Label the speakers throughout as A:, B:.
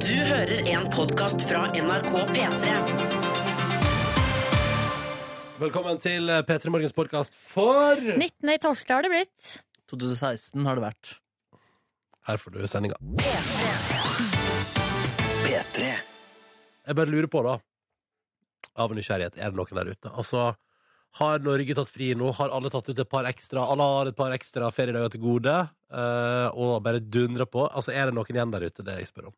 A: Du hører en podkast fra NRK P3.
B: Velkommen til P3 Morgens podkast for
C: 19. i 12. har det blitt.
D: 2016 har det vært.
B: Her får du sendinga. Jeg bare lurer på, da, av nysgjerrighet, er det noen der ute? Altså, har Norge tatt fri nå? Har alle tatt ut et par ekstra Alle har et par ekstra feriedager til gode eh, og bare dundrer på? Altså, er det noen igjen der ute? Det jeg spør om.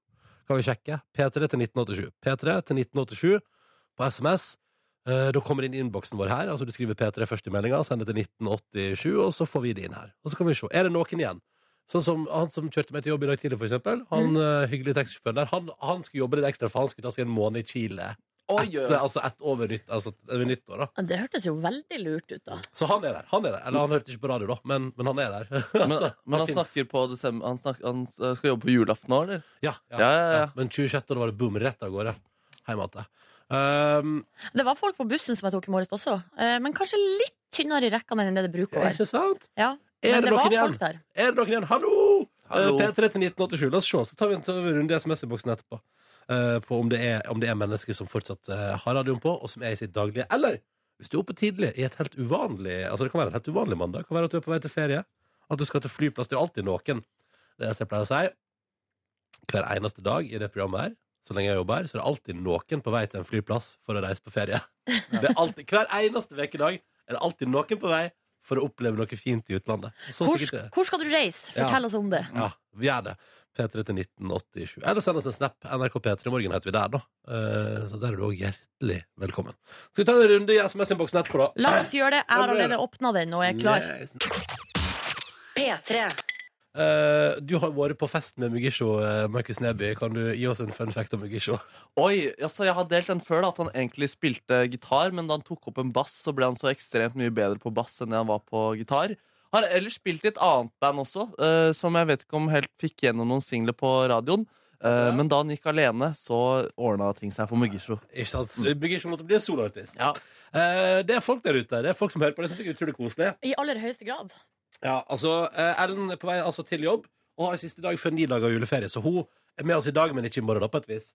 B: Kan vi sjekke? P3 til 1987. P3 til 1987 på SMS. Eh, da kommer det inn i innboksen vår her. Altså Du skriver P3 først i meldinga, send det til 1987, og så får vi det inn her. Og så kan vi se. Er det noen igjen? Sånn som Han som kjørte meg til jobb i dag tidlig, for eksempel.
D: Mm.
B: Han eh, hyggelige taxisjåføren der. Han, han skulle jobbe litt ekstra, for han skulle ta seg en måned i Chile. Etter, altså ett over nytt, altså, ved nyttår, da.
C: Ja, Det hørtes jo veldig lurt ut, da.
B: Så han er der. han er der Eller han hørte ikke på radio, da, men, men han er der. Altså,
D: Men, men han
B: finnes.
D: snakker på desember Han, snak, han eh, skal jobbe på julaften nå, eller?
B: Ja, ja,
D: Ja, ja, ja.
B: Men 26. da var det boom, rett av gårde. Hjem igjen. Um,
C: Det var folk på bussen som jeg tok i morges også, eh, men kanskje litt tynnere i rekkene enn det det bruker å være.
B: ikke sant?
C: Ja.
B: Er
C: Men
B: det
C: det var
B: noen igjen?
C: folk der.
B: Er det noen igjen? Hallo!
D: Hallo.
B: Eh, P3 til 1987. La oss se, så tar vi en tur rundt i SMS-boksen etterpå. eh, på om det, er, om det er mennesker som fortsatt eh, har radioen på, og som er i sitt daglige. Eller hvis du er oppe tidlig i et helt uvanlig Altså Det kan være en helt uvanlig mandag. Det kan være at du er på vei til ferie. At du skal til flyplass. Det er jo alltid noen. Det er det jeg pleier å si. Hver eneste dag i det programmet her, så lenge jeg jobber her, så er det alltid noen på vei til en flyplass for å reise på ferie. Det er alltid, hver eneste ukedag er det alltid noen på vei for å oppleve noe fint i utlandet. Så
C: Hvor,
B: sikkert Sånn det.
C: hvor skal du reise?
B: Ja.
C: Fortell oss om det.
B: Ja, vi gjør det. P3 til 1987. Eller send oss en snap. NRK P3 i morgen heter vi der, da. Eh, Så der er du òg hjertelig velkommen. Skal vi ta en runde i SMS-innboksen etterpå, da?
C: La oss gjøre det. Jeg
B: Ja,
C: har
B: vi gjør det.
C: allerede åpna den og er klar.
A: P3.
B: Eh, du har vært på fest med Mugisho, eh, Markus Neby. Kan du gi oss en fun fact om Mugisho?
D: Oi, altså jeg har delt den før da At han egentlig spilte gitar Men da han tok opp en bass Så ble han så ekstremt mye bedre på bass Enn det han var på gitar Har ellers spilt i et annet band også eh, Som jeg vet ikke om helt fikk gjennom noen singler på radioen Eh, Men da han gikk alene Så ordnet ting seg for Mugisho
B: Ikke sant? Så Mugisho måtte bli en soloartist.
D: Ja.
B: Eh, det er folk der ute. Det er folk som hører på. Det syns jeg er utrolig koselig.
C: I aller høyeste grad.
B: Ja, altså, eh, Ellen er på vei altså, til jobb og har siste dag før ni dager av juleferie. Så hun er med oss i dag, men ikke i morgen, da, på et vis.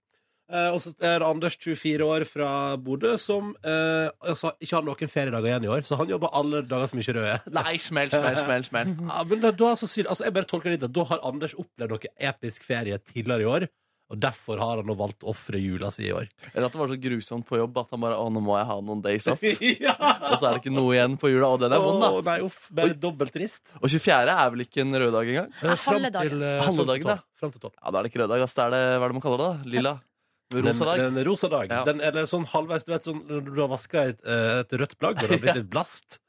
B: Eh, og så er det Anders, 24 år, fra Bodø, som eh, altså, ikke har noen feriedager igjen i år. Så han jobber alle dager som ikke røde er.
D: Nei, smell, smell, smell, smell
B: Ja, men da, da, er så synd. altså, jeg bare tolker det litt at Da har Anders opplevd noe episk ferie tidligere i år, og derfor har han nå valgt å ofre jula si i år.
D: Eller at det var så grusomt på jobb At han bare, å nå må jeg ha noen days off
B: ja!
D: Og så er det ikke noe igjen på jula Og den er vond da
B: Å, nei, uff, bare dobbelt trist.
D: Og 24 er vel ikke en rød dag engang
B: Eh, fram
C: halve dagen.
B: til, eh,
D: Halve
B: fram til
D: dagen,
B: tolv.
D: ja.
B: Fram til tolv.
D: Ja, da er det ikke rød dag ass. Da er det, hva er det man kaller det da? Lilla?
B: Den-
D: Rosa dag?
B: Den, rosa dag.
D: Ja.
B: Den, eller sånn halvveis, du vet, sånn, når du har vaska et, eh, et rødt plagg og det har blitt et blast.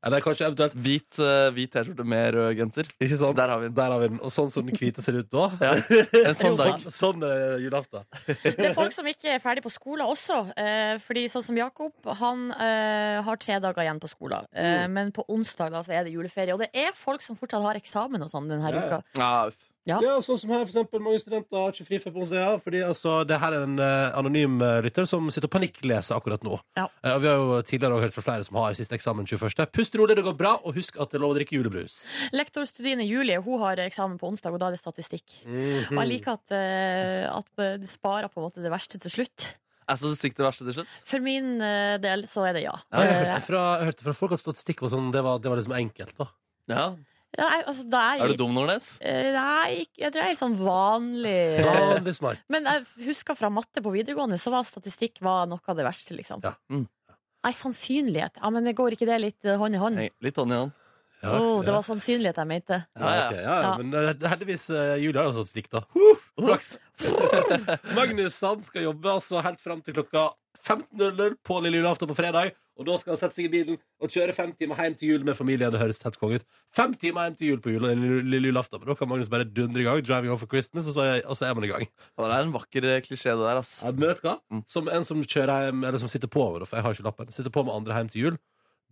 B: Eller kanskje eventuelt
D: Hvit, eh, hvit T-skjorte med rød genser.
B: Ikke sant?
D: Der har vi den.
B: Der har vi den. Og sånn som den hvite ser ut da.
D: Ja, en sånn dag.
B: Sånn, sånn eh, julaften.
C: Det er folk som ikke er ferdig på skolen også. Eh, fordi sånn som Jakob, han eh, har tre dager igjen på skolen. Eh,
B: Mm.
C: men på onsdag da, så er det juleferie. Og det er folk som fortsatt har eksamen og sånn denne
B: Ja, ja.
C: uka.
D: Ja, uff.
C: Ja.
B: Ja, sånn som her, for eksempel. Mange studenter har ikke fri før på onsdag. ja, Fordi altså, det her er en eh, anonym eh, lytter som sitter og panikkleser akkurat nå.
C: Ja.
B: Eh, og vi har jo tidligere også hørt fra flere som har siste eksamen 21. Pust rolig, det går bra, og husk at det er lov å drikke julebrus.
C: Lektor Studine Julie hun har eksamen på onsdag, og da er det statistikk.
D: Mhm.
C: Og jeg liker at, eh, at det sparer på en måte det verste til slutt.
D: Er statistikk det verste til slutt?
C: For min eh, del så er det ja.
B: Ja, jeg,
C: Eh,
B: hørte fra, jeg hørte fra folk at statistikk var sånn, det var, det var liksom enkelt, da.
D: Ja.
C: ja, jeg, altså, da er,
D: Er
C: jeg,
D: du dum, Nordnes?
C: Eh, Nei, ikke- jeg tror jeg er helt sånn vanlig.
B: Vanlig smart.
C: Men jeg husker fra matte på videregående, så var statistikk var noe av det verste, liksom.
B: Ja.
D: Mm.
C: Nei, sannsynlighet. Ja, men det går ikke det litt eh, hånd i hånd?
D: Hei, Litt hånd i hånd.
B: Ja,
C: Åh, det
B: ja.
C: var sannsynlighet jeg mente.
D: Ja, ja.
B: Ja, ok, ja, ja.
C: Ja.
B: Men eh, heldigvis uh, Julie har jo sånn stikk, da. Flaks. Magnus han skal jobbe altså helt fram til klokka 15.00 på lille julaften på fredag. Og da skal han sette seg i bilen og kjøre fem timer hjem til jul med familien. Det høres helt konge ut. Fem timer hjem til jul på jul, lille, lille julaften. Men da kan Magnus bare dundre i gang. Driving over for Christmas, og så er, og så er man i gang. Mm.
D: Ja, Det er en vakker eh, klisjé, det der. ass.
B: Ja, men vet du hva? Som en som kjører hjem, eller som sitter på, for jeg har ikke lappen, sitter på med andre hjem til jul.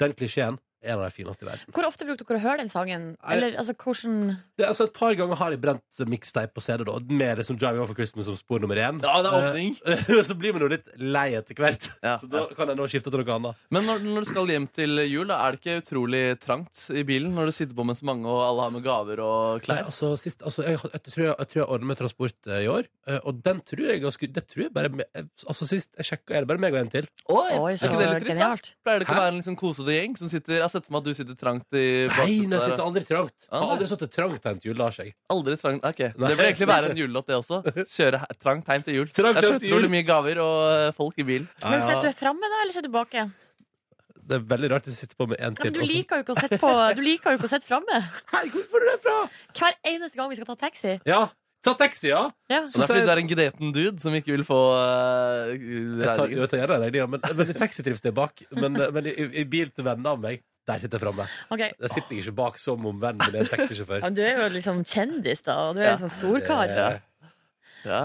B: Den klisjeen En av de fineste i verden.
C: Hvor ofte brukte dere å høre den sangen?
B: Nei.
C: Eller altså, hvordan
B: Det, er altså, et par ganger har jeg brent mixtape på CD, da, med liksom det som Driving Over Christmas som spor nummer én.
D: Ja, det er åpning.
B: Eh, så blir man jo litt lei etter hvert.
D: Ja.
B: Så da kan jeg nå skifte til noe annet.
D: Men når, når du skal hjem til jul, da, er det ikke utrolig trangt i bilen når du sitter på med så mange og alle har med gaver og
B: Nei,
D: klær?
B: altså, sist, altså jeg, jeg, tror jeg, jeg tror jeg ordner med transport eh, i år, eh, og den tror jeg ganske Det tror jeg bare me- eh, Altså, sist jeg sjekka, er det bare meg og en til.
C: Oi,
D: er
C: så
D: ikke det litt trist, da?
C: genialt.
D: Pleier det ikke
B: Hæ?
D: å være en liksom kosete gjeng som sitter Jeg har sett for meg at du sitter trangt i
B: Nei, nei, jeg
D: der.
B: sitter aldri trangt.
D: Ah,
B: Har
D: nei.
B: aldri sittet trangt en til jul, Lars. Jeg.
D: Aldri trangt Ok,
B: Nei,
D: Det bør egentlig være en julelåt, det også. Kjøre he- trangt hjem til jul. Det
B: Trangt
D: er så
B: hjem til jul.
D: utrolig mye gaver og eh, folk i bilen.
C: Men
B: Ja,
C: sitter
B: ja.
C: du framme, da, eller sitter du baki? Ja,
B: Det er veldig rart å sitte på med en til.
C: men du
B: og så-
C: liker jo ikke å sitte på Du liker jo ikke å sitte framme.
B: Hei, hvor får du det fra?
C: Hver eneste gang vi skal ta taxi.
B: Ja, ta taxi, ja.
C: Ja.
D: Og det er
B: sier jeg-
D: fordi du er en gneten dude som ikke vil få eh,
B: Jeg tar,
D: regningen.
B: jeg tar gjerne regninga, men, men i taxi trives jeg bak. Men, eh, men i, i bil til venner av meg, der sitter jeg framme.
C: Ok.
B: Der sitter jeg ikke bak som om vennen min er en taxisjåfør.
C: Ja, men du er jo liksom kjendis, da. Og du er
D: Ja.
C: liksom storkar.
B: Eh,
D: Ja.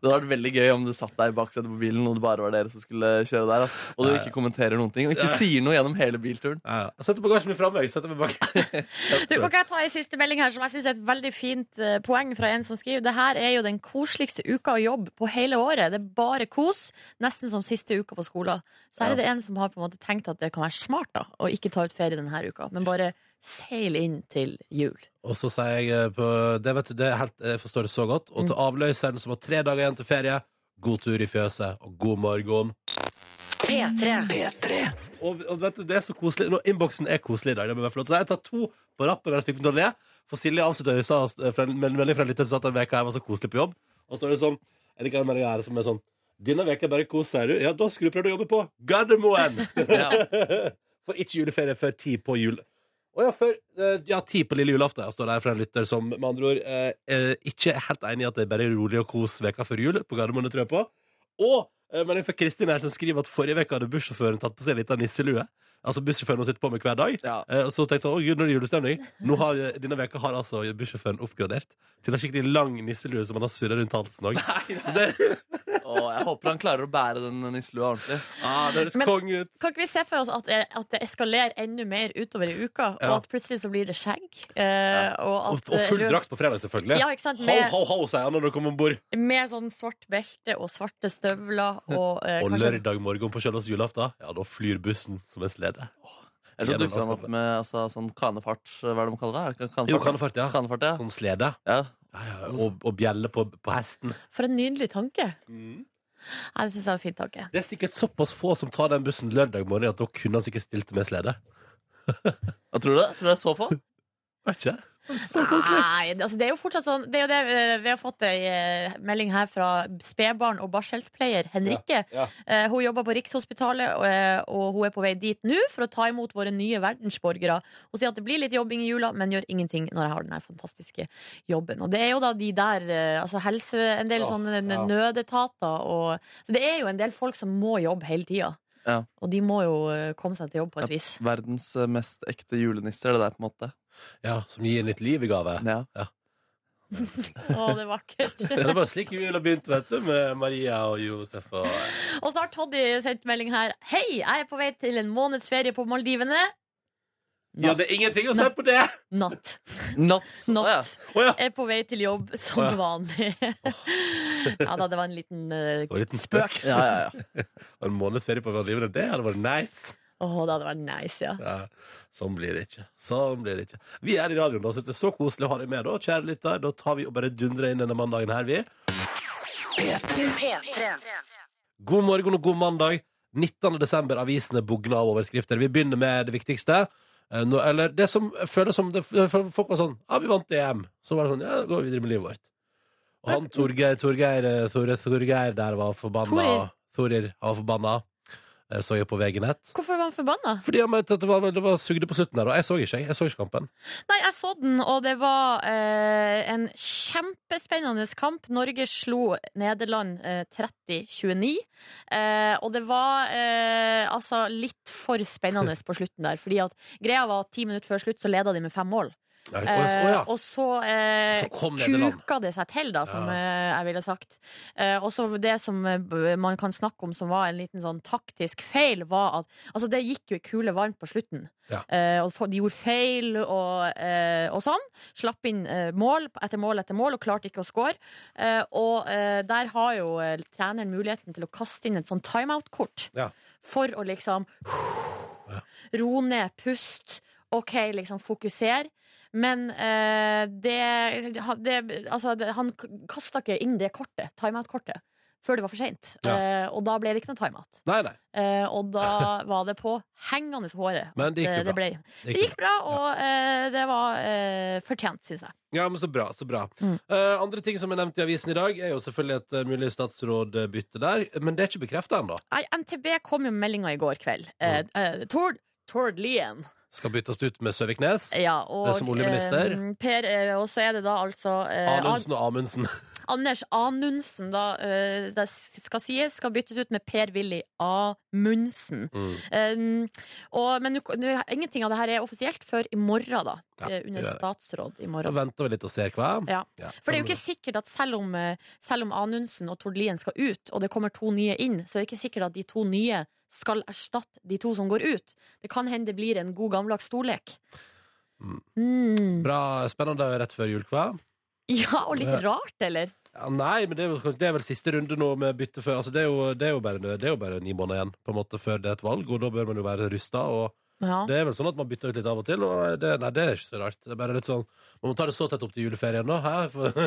D: Det hadde vært veldig gøy om du satt deg i baksetet på bilen, og det bare var dere som skulle kjøre der. ass. Og du ikke kommenterer noen ting, og ikke sier noe gjennom hele bilturen.
B: ja, ja. Jeg setter bagasjen min framme. Jeg setter meg bak.
C: Du, kan ikke jeg ta en siste melding her som jeg synes er et veldig fint eh, poeng fra en som skriver Det her er jo den koseligste uka å jobbe på hele året. Det er bare kos. Nesten som siste uka på skolen. Så her er det en som har på en måte tenkt at det kan være smart da å ikke ta ut ferie denne uka, men bare seile inn til jul.
B: Og så sier jeg eh, på Det vet du, det er helt, jeg forstår det så godt. Og til avløseren som har tre dager igjen til ferie, god tur i fjøset og god morgen.
A: P3.
B: Og, og vet du, det er så koselig. Nå, Innboksen er koselig i dag. Det må jeg få lov til å si. Jeg tar to på rappen. Jeg fikk meg til å le. For Silje avslutta i stad eh, fra en- med en melding fra en lytter som sa at den veka her var så koselig på jobb. Og så er det sånn Jeg liker den meldinga her som er sånn Denne veka bare kos, sier du. Ja, da skulle du prøvd å jobbe på Gardermoen!
D: Ja.
B: For ikke juleferie før ti på jul. Å ja, før eh, Ja, ti på lille julaften. Jeg står der fra en lytter som med andre ord eh, eh, ikke er helt enig i at det er bare rolig og kos veka før jul på Gardermoen, det tror jeg på. Og eh, melding fra Kristin her som skriver at forrige uke hadde bussjåføren tatt på seg en liten nisselue. Altså bussjåføren hun sitter på med hver dag.
D: Ja.
B: Eh, og så tenkte jeg sånn, å gud, nå er det julestemning. Nå har, eh, denne veka har altså bussjåføren oppgradert til en skikkelig lang nisselue som han har surra rundt halsen òg. Så det
D: Og jeg håper han klarer å bære den nisselua ordentlig.
B: ah, det høres
C: Men- eh,
B: kong ut.
C: Kan ikke vi se for oss at, det- at det eskalerer enda mer utover i uka,
B: Ja.
C: og at plutselig så blir det skjegg? eh, og,
B: Og,
C: at,
B: og full
C: eh,
B: drakt på fredag, selvfølgelig.
C: Ja, ikke sant?
B: Ho,
C: Med,
B: ho, ho, sier han når du kommer om bord.
C: med sånn svart belte og svarte støvler og, eh,
B: Og
C: kanskje-
B: lørdag morgen på sjølveste julaften, ja, da flyr bussen som en slede.
D: Eller så
B: Gjennom
D: dukker han opp
B: landskapet.
D: med altså, sånn kanefart, hva er det de kaller det? Er det? Kanefart,
B: Jo, kanefart, ja.
D: Kanefart, ja.
B: Sånn slede.
D: ja.
B: Ja, ja, og, og bjelle på, på hesten.
C: For en nydelig tanke.
B: Mm.
C: Nei, det syns jeg er en fin tanke.
B: Det er sikkert såpass få som tar den bussen lørdag morgen, at da kunne han sikkert stilt med slede.
D: Hva tror du? det? Tror du det er så få?
B: Vet ikke.
C: Nei, altså det er jo fortsatt sånn Det er jo det eh, Vi har fått ei eh, melding her fra spedbarn og barselspleier Henrikke.
B: Ja, ja.
C: Eh, Hun jobber på Rikshospitalet, og, eh, og hun er på vei dit nå for å ta imot våre nye verdensborgere. Hun sier at det blir litt jobbing i jula, men gjør ingenting når jeg har den her fantastiske jobben. Og det er jo da de der eh, Altså helse En del
B: Ja,
C: sånne
B: ja.
C: nødetater og Så det er jo en del folk som må jobbe hele tida.
D: Ja.
C: Og de må jo eh, komme seg til jobb på
D: Ja.
C: et vis.
D: Verdens eh, mest ekte julenisse, er det der, på en måte.
B: Ja, som gir nytt liv i gave.
D: Ja.
C: Å, det er vakkert.
B: Ja, Det var slik jula begynte, vet du, med Maria og Josef og
C: Og så har Toddy sendt melding her. Hei, jeg er på vei til en måneds ferie på Maldivene.
B: Ja, det er ingenting å si på det!
C: Natt.
D: Not.
C: Not.
D: Ja.
B: Å ja.
C: Er på vei til jobb som
B: Å, ja.
C: vanlig. ja da, det var en liten eh,
B: Og en liten spøk.
D: Ja, ja, ja.
B: Og en måneds ferie på Valdivene, det hadde vært nice.
C: Å, det hadde vært nice, ja.
B: Ja, sånn blir det ikke. Sånn blir det ikke. Vi er i radioen, da. Syns det er så koselig å ha deg med, da. Kjære lytter, da tar vi og bare dundrer inn denne mandagen her, vi. God morgen og god mandag. 19. desember, avisene bugner av overskrifter. Vi begynner med det viktigste. Eh, Nå, eller det som føles som det, for Folk var sånn Ja, vi vant EM. Så var det sånn Ja, da går vi videre med livet vårt. Og han Torgeir Torgeir, eh, Tore, Torgeir der var forbanna.
C: Torir.
B: Torir. Han var forbanna. Eh, Så jeg på VG Nett.
C: Hvorfor var han forbanna?
B: Fordi han mente at det var, det var sugde på slutten der, og jeg så ikke, jeg. jeg så ikke kampen.
C: Nei, jeg så den, og det var eh, en kjempespennende kamp. Norge slo Nederland eh, 30-29. Eh, og det var eh, altså litt for spennende på slutten der. Fordi at greia var at ti minutter før slutt så leda de med fem mål.
B: Nei, å, ja, å, ja.
C: Eh, og så, eh,
B: Så kom Nederland.
C: kuka det seg til, da, som
B: Ja.
C: eh, jeg ville sagt. Eh, og så det som eh, b- man kan snakke om som var en liten sånn taktisk feil, var at Altså, det gikk jo i kule varmt på slutten.
B: Ja.
C: Eh, og for- de gjorde feil og, eh, og sånn. Slapp inn eh, mål etter mål etter mål og klarte ikke å score. Eh, og eh, der har jo eh, treneren muligheten til å kaste inn et sånn timeout-kort
B: Ja.
C: for å liksom Ro ned, pust. OK, liksom fokuser. Men eh, det, ha- det Altså, det, han kasta ikke inn det kortet, timeout-kortet, før det var for seint.
B: Ja.
C: Eh, og da ble det ikke noe timeout.
B: Nei, nei.
C: Eh, og da var det på hengende håret.
B: Men det gikk jo
C: eh,
B: bra.
C: ble.
B: Det
C: Det
B: gikk
C: gikk bra, og eh, det var eh, fortjent, syns jeg.
B: Ja, men så bra, så bra.
C: Mm.
B: Eh, andre ting som er nevnt i avisen i dag, er jo selvfølgelig et eh, mulig statsrådbytte der, men det er ikke bekrefta ennå.
C: Nei, NTB kom jo med meldinga i går kveld.
B: Mm.
C: Eh, eh, Tord, Tord Lien.
B: Skal byttes ut med Søviknes,
C: Ja, og,
B: Eh, som oljeminister?
C: eh, per, eh, og så er det da altså eh,
B: Anundsen og Amundsen.
C: Anders Anundsen, da, eh, det skal sies, skal byttes ut med Per-Willy Amundsen.
B: Mm.
C: Eh, og, men nå- nå- ingenting av det her er offisielt før i morgen, da.
B: Ja,
C: eh, under
B: det er det.
C: statsråd i
B: Da
C: morgen.
B: venter vi litt og ser hva.
C: Ja.
B: Ja.
C: For det er jo ikke sikkert at selv om, eh, selv om Anundsen og Tord Lien skal ut, og det kommer to nye inn, så er det ikke sikkert at de to nye skal erstatte de to som går ut. Det kan hende det blir en god gammeldags storlek.
B: Mm.
C: Mm.
B: Bra, spennende rett før jul, hva?
C: Ja, og litt
B: Ja.
C: rart, eller?
B: Ja, nei, men det er, jo, det er vel siste runde nå med bytte før. Altså, det, er jo, det, er jo bare, det er jo bare ni måneder igjen på en måte før det er et valg, og da bør man jo være rusta.
C: Ja.
B: Det er vel sånn at man bytter ut litt av og til, og det, nei, det er ikke så rart. Det er bare litt sånn, Man må ta det så tett opp til juleferien nå. Hæ? For,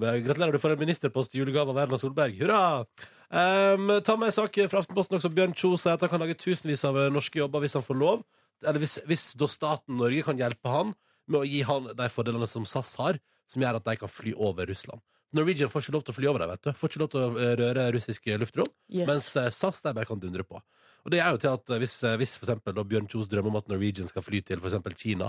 B: Men gratulerer, du får en ministerpost i julegave av Erna Solberg. Hurra! Ehm, ta med en sak fra Aftenposten også. Bjørn Kjo sier at han kan lage tusenvis av eh, norske jobber hvis han får lov. Eller hvis, hvis da staten Norge kan hjelpe han med å gi han de fordelene som SAS har, som gjør at de kan fly over Russland. Norwegian får ikke lov til å fly over dem, vet du. Får ikke lov til å eh, røre russisk luftrom.
C: Yes.
B: Mens eh, SAS der bare kan dundre på. Og det er jo til at eh, hvis, eh, hvis for eksempel da Bjørn Kjos drømmer om at Norwegian skal fly til for eksempel Kina,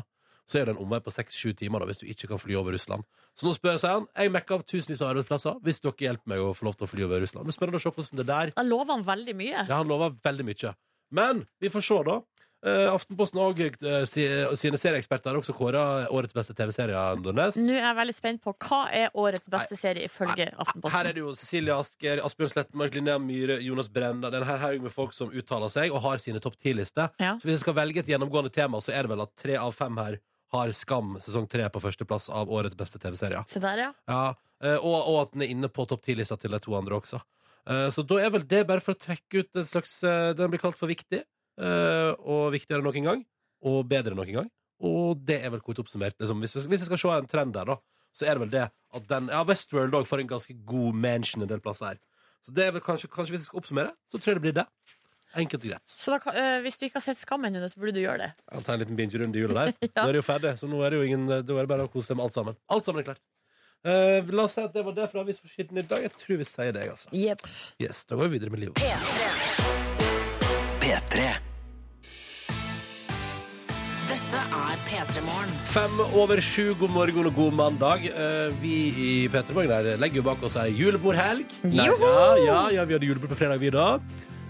B: så er det en omvei på 6-7 timer da, hvis du ikke kan fly over Russland. Så nå spør seg han, jeg mekker av tusenvis av arbeidsplasser hvis dere hjelper meg å få lov til å fly over Russland. Men spennende å se hvordan det der,
C: Da lover han veldig mye.
B: ja, han lover veldig mye. Men vi får se da. Eh, Aftenposten og eh, si- sine serieeksperter har også kåret årets beste tv-serie av Nordnes.
C: Nå er jeg veldig spent på hva er årets beste serie ifølge Aftenposten.
B: Her er det jo Cecilie Asker, Asbjørn Slettemark, Linnea Myhre, Jonas Brenna. Det er en hel haug med folk som uttaler seg og har sine topp ti-lister.
C: Ja.
B: Så hvis jeg skal velge et gjennomgående tema, så er det vel at tre av fem her har Skam sesong tre på førsteplass av årets beste TV-serier.
C: Se der, ja.
B: Ja, eh, og, og at den er inne på topp ti-lista til de to andre også. Eh, Så da er vel det bare for å trekke ut en slags eh, Den blir kalt for viktig, eh, og viktigere enn noen gang, og bedre enn noen gang. Og det er vel kort oppsummert. Liksom. Hvis, vi- hvis jeg skal se en trend der, da, så er det vel det at den Ja, Westworld òg får en ganske god mention en del plasser her. Så det er vel kanskje, kanskje hvis jeg skal oppsummere, så tror jeg det blir det. Enkelt og greit.
C: Så da, kan- eh, hvis du ikke har sett Skam ennå, så burde du gjøre det.
B: Jeg tar en liten bingerunde i jula der. Nå er det jo ferdig, så nå er det jo ingen, da er det bare å kose seg med alt sammen. Alt sammen er klart. Eh, la oss si at det var det fra avisforsiden i dag. Jeg tror vi sier det, jeg, altså.
C: Jepp.
B: Yes, da går vi videre med livet.
A: Dette er P3 Morgen.
B: Fem over sju, god morgen og god mandag. Eh, vi i P3 Morgen her legger jo bak oss ei julebordhelg.
C: Joho!
B: Ja, ja, ja, vi hadde julebord på fredag, vi da.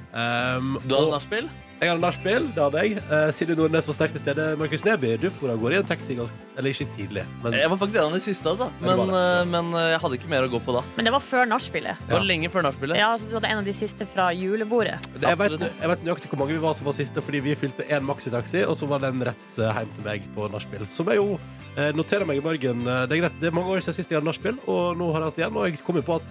B: Um,
D: Du hadde
B: og-
D: nachspiel?
B: Jeg hadde nachspiel, det hadde jeg. Eh, Silje Nordnes var sterkt til stede. Markus Neby, du for av gårde i en taxi ganske Eller ikke tidlig, men
D: Jeg var faktisk en av de siste, altså.
B: Ja, du
D: Men,
B: var
D: eh, men eh, jeg hadde ikke mer å gå på da.
C: Men det var før nachspielet.
D: Det var lenge før nachspielet.
C: Ja, så du hadde en av de siste fra julebordet.
B: jeg vet,
D: absolutt.
B: jeg vet nøyaktig hvor mange vi var som var siste, fordi vi fylte én maxitaxi, og så var den rett eh, hjem til meg på nachspiel. Som jeg jo eh, noterer meg i morgen. eh, Det er greit, det er mange år siden sist jeg hadde nachspiel, og nå har jeg hatt igjen. Og jeg kom jo på at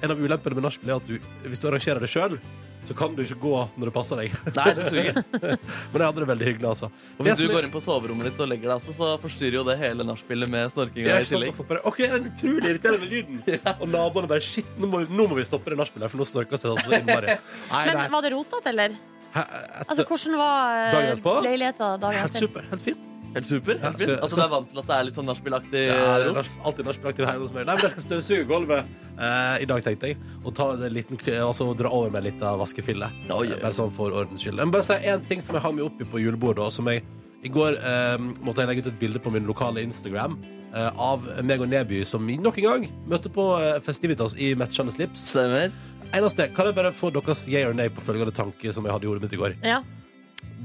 B: en av ulempene med nachspiel er at du, hvis du arrangerer det sjøl, så kan du ikke gå når det passer deg.
D: Nei, det suger.
B: Men jeg hadde det veldig hyggelig, altså.
D: Og hvis du går inn på soverommet ditt og legger deg også, så forstyrrer jo det hele nachspielet med snorkinga i tillegg.
B: OK, den utrolig irriterende lyden. Og naboene bare Shit, nå må, nå må vi stoppe det nachspielet, her, for nå snorker det seg altså så innmari. Nei,
C: Men
B: nei.
C: var det rotete, eller?
B: Hæ,
C: Altså,
B: etter-
C: hvordan var eh,
B: Dagen etterpå?
C: leiligheta dagen
B: Helt
C: etter?
B: super. Helt fint.
D: Helt super.
B: Ja,
D: Helt
B: skal-
D: fint. Altså, du er vant til at det er litt sånn nachspielaktig
B: Ja, det
D: rot.
B: er Eh, norsk- alltid nachspielaktiv hjemme hos meg. Nei, men jeg skal støvsuge gulvet eh, i dag, tenkte jeg. Og ta det en liten, k- altså, dra over med litt av vaskefillet.
D: Oi, oi.
B: Eh, Bare sånn for ordens skyld. Jeg må bare si én ting som jeg hang meg opp i på julebordet. Og som jeg, I går eh, måtte jeg legge ut et bilde på min lokale Instagram eh, av meg og Neby, som vi nok en gang møtte på eh, Festivitas i matchende slips.
D: Stemmer.
B: Eneste, kan jeg bare få deres yeah or nay på følgende tanke som jeg hadde i hodet mitt i går?
C: Ja.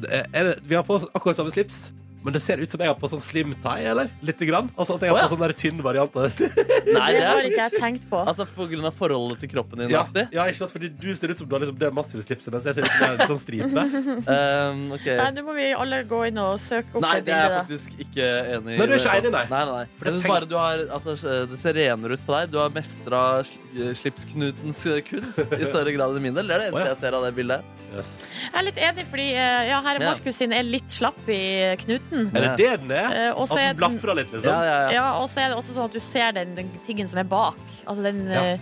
B: Det er, er det- vi har på oss akkurat samme slips. Men det ser ut som jeg har på sånn slim tie, eller? Litt grann. Altså at jeg har
D: Å, ja.
B: på sånn der tynn variant av det.
D: Nei,
C: Det
D: det
C: har
D: er
C: ikke jeg tenkt på.
D: Altså på grunn av forholdet til kroppen din.
B: ja,
D: aktig.
B: ja, ikke sant? Fordi du ser ut som du har liksom det massive slipset, mens jeg ser ut som jeg har en sånn stripe.
D: Ehm, ok.
C: Nei, nå må vi alle gå inn og søke opp
D: Nei,
C: det
D: det er jeg
C: bildet. da.
D: faktisk ikke enig i.
B: Nei, du er ikke enig, nei.
D: nei, nei, nei.
B: For
D: Jeg
B: jeg
D: synes bare du har, altså, Det ser renere ut på deg. Du har mestra eh, slipsknutens eh, kunst i større grad enn min del. Det er det
B: Å, ja.
D: eneste jeg ser av det bildet.
B: Yes.
C: Jeg er litt enig, fordi eh, ja, herre
D: Ja.
C: Markus sin er litt slapp i knuten.
B: Er det det den er?
C: Eh, og
B: At
C: så er
B: den
C: den-
B: blafrer litt,
D: Mm. Ja,
B: liksom?
D: ja, ja.
C: Ja, og så er det også sånn at du ser den, den tingen som er bak. Altså den
B: Ja.
C: eh,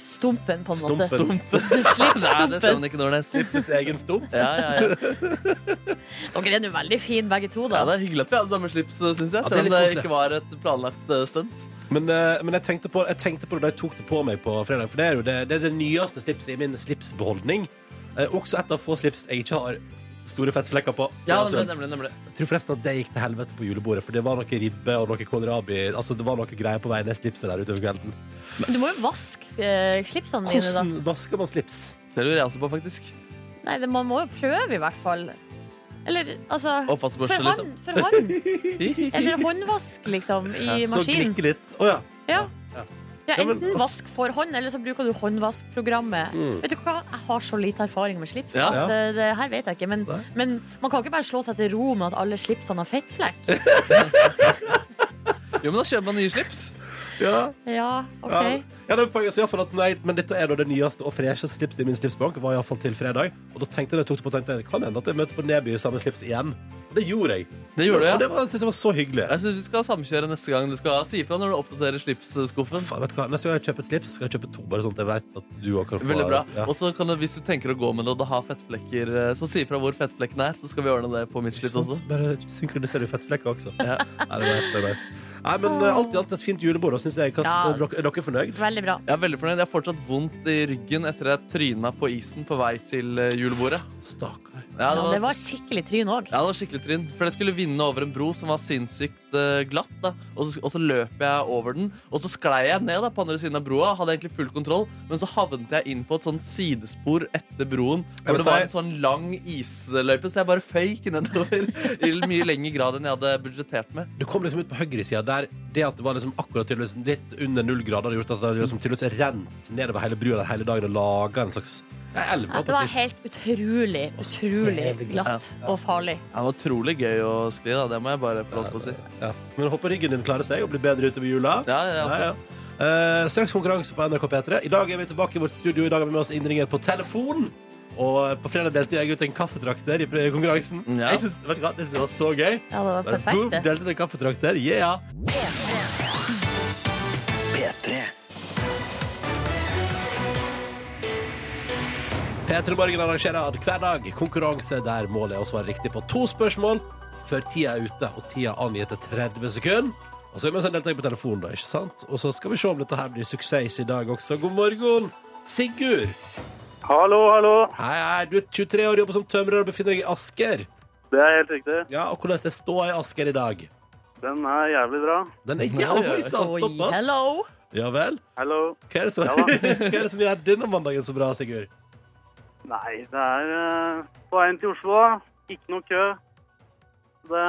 C: stumpen, på en måte.
B: Stumpen.
D: Nei, det ser
C: Slippstumpen.
D: man ikke når det er slips.
B: Slipsets egen stump.
D: Ja, ja, ja.
C: Dere er nå veldig fine begge to, da.
D: ja, Det er hyggelig at vi hadde samme slips, syns jeg.
B: er
D: Selv om
B: litt
D: det
B: koselig.
D: ikke var et planlagt eh, stunt.
B: Men, eh, men jeg, tenkte på, jeg tenkte på det da jeg tok det på meg på fredag, for det er jo det, det, er det nyeste slipset i min slipsbeholdning. Eh, også et av få slips jeg ikke har store fettflekker på.
D: Ja,
B: Altså,
D: nemlig, nemlig, nemlig.
B: Jeg tror forresten at det gikk til helvete på julebordet, for det var noe ribbe og noe kålrabi. Altså, det var noe greier på vei ned slipset der utover kvelden.
C: Du må jo vaske eh, slipsene dine, da.
B: Hvordan vasker man slips?
D: Det lurer jeg også på, faktisk.
C: Nei, det, man må jo prøve, i hvert fall. Eller altså For
D: Oppvaskbørste, liksom.
C: hånd, for hånd.
D: Eller
C: Eller håndvask, liksom, i
B: Stå og
C: maskinen.
B: glikke litt. Å ja.
C: Ja.
B: Ja.
C: Ja,
B: Ja, men-
C: enten vask for hånd, eller så bruker du håndvaskprogrammet. Vet du hva, Jeg har så lite erfaring med slips.
D: Ja.
C: At, eh, det her vet jeg ikke men,
B: Nei.
C: men man kan ikke bare slå seg til ro med at alle slipsene har fettflekk.
D: Jo, men da kjøper man nye slips.
B: ja.
C: Ja, ok
B: Ja. Ja, det er poenget, så i hvert fall at nei, men dette er da det nyeste og fresheste slipset i min slipsbank. Var iallfall til fredag. Og da tenkte jeg, da jeg tok det på, tenkte jeg, det kan hende at jeg møter på Neby i samme slips igjen. Og det gjorde jeg.
D: Det gjorde du, ja.
B: Og det var, jeg synes jeg var så hyggelig.
D: Jeg synes Vi skal samkjøre neste gang. Du skal si ifra når du oppdaterer slipsskuffen.
B: Faen, vet du hva? Neste gang jeg kjøper et slips, skal jeg kjøpe to. Bare sånn at jeg vet at du også kan få
D: Veldig bra.
B: Ja.
D: Og så kan du, Hvis du tenker å gå med det og du har fettflekker, eh, så si ifra hvor fettflekken er. Så skal vi ordne det på mitt slipp også.
B: Sånn, Bare synkronisere fettflekker også.
D: Ja.
B: Nei, det var helt nice. Nei, men eh, alt i alt et fint julebord, og synes jeg. Hva,
C: Ja.
B: er, dere, er dere fornøyd?
C: Veldig bra.
D: Jeg er veldig fornøyd. Jeg har fortsatt vondt i ryggen etter jeg tryna på isen på vei til eh, julebordet.
B: Stakkar.
D: Ja,
C: Ja, det var skikkelig tryn òg.
D: ja, det var skikkelig trinn. For jeg skulle vinne over en bro som var sinnssykt eh, glatt. Da. Og, så, og så løp jeg over den, og så sklei jeg ned da, på andre siden av broa. Hadde egentlig full kontroll, men så havnet jeg inn på et sånn sidespor etter broen.
B: vil
D: Hvor det var
B: si-
D: en sånn lang isløype, så jeg bare føyk nedover i mye lengre grad enn jeg hadde budsjettert med.
B: Du kom liksom ut på høyresida der det at det var liksom akkurat tydeligvis litt under null grader, hadde gjort at det hadde liksom tydeligvis rent nedover hele brua der hele dagen og laga en slags ja, elv.
C: Det var helt utrolig, utrolig glatt og farlig.
D: Det var utrolig gøy å skli, da. Det må jeg bare få lov til å si.
B: Ja. Men jeg håper ryggen din klarer seg og blir bedre utover jula.
D: Ja, ja, altså.
B: Eh, straks konkurranse på NRK P3. I dag er vi tilbake i vårt studio. I dag har vi med oss innringer på telefon. Og på fredag delte jeg ut en kaffetrakter i pre- konkurransen.
D: Ja.
B: Jeg synes, vet du hva, Det synes jeg var så gøy.
C: Ja, det var
B: Boom,
C: perfekt. det.
B: delte ut en kaffetrakter. Yeah! P3 Morgen arrangerer hver dag konkurranse der målet er å svare riktig på to spørsmål før tida er ute, og tida er angitt til 30 sekunder. Og så er vi en deltaker på telefonen, da, ikke sant? Og så skal vi se om dette her blir suksess i dag også. God morgen, Sigurd.
E: Hallo, hallo.
B: Hei, hei, du er 23 år, jobber som tømrer og befinner deg i Asker.
E: Det er helt riktig.
B: Ja, og hvordan er ståa i Asker i dag?
E: Den er jævlig bra.
B: Den er jævlig oi, sant,
C: Oi,
B: såpass.
C: hello!
B: Ja vel?
E: Hallo.
B: Hva er det som,
E: Ja da.
B: hva er det som gjør denne mandagen så bra, Sigurd?
E: Nei, det er eh, på veien til Oslo, da. Ikke noe kø. Det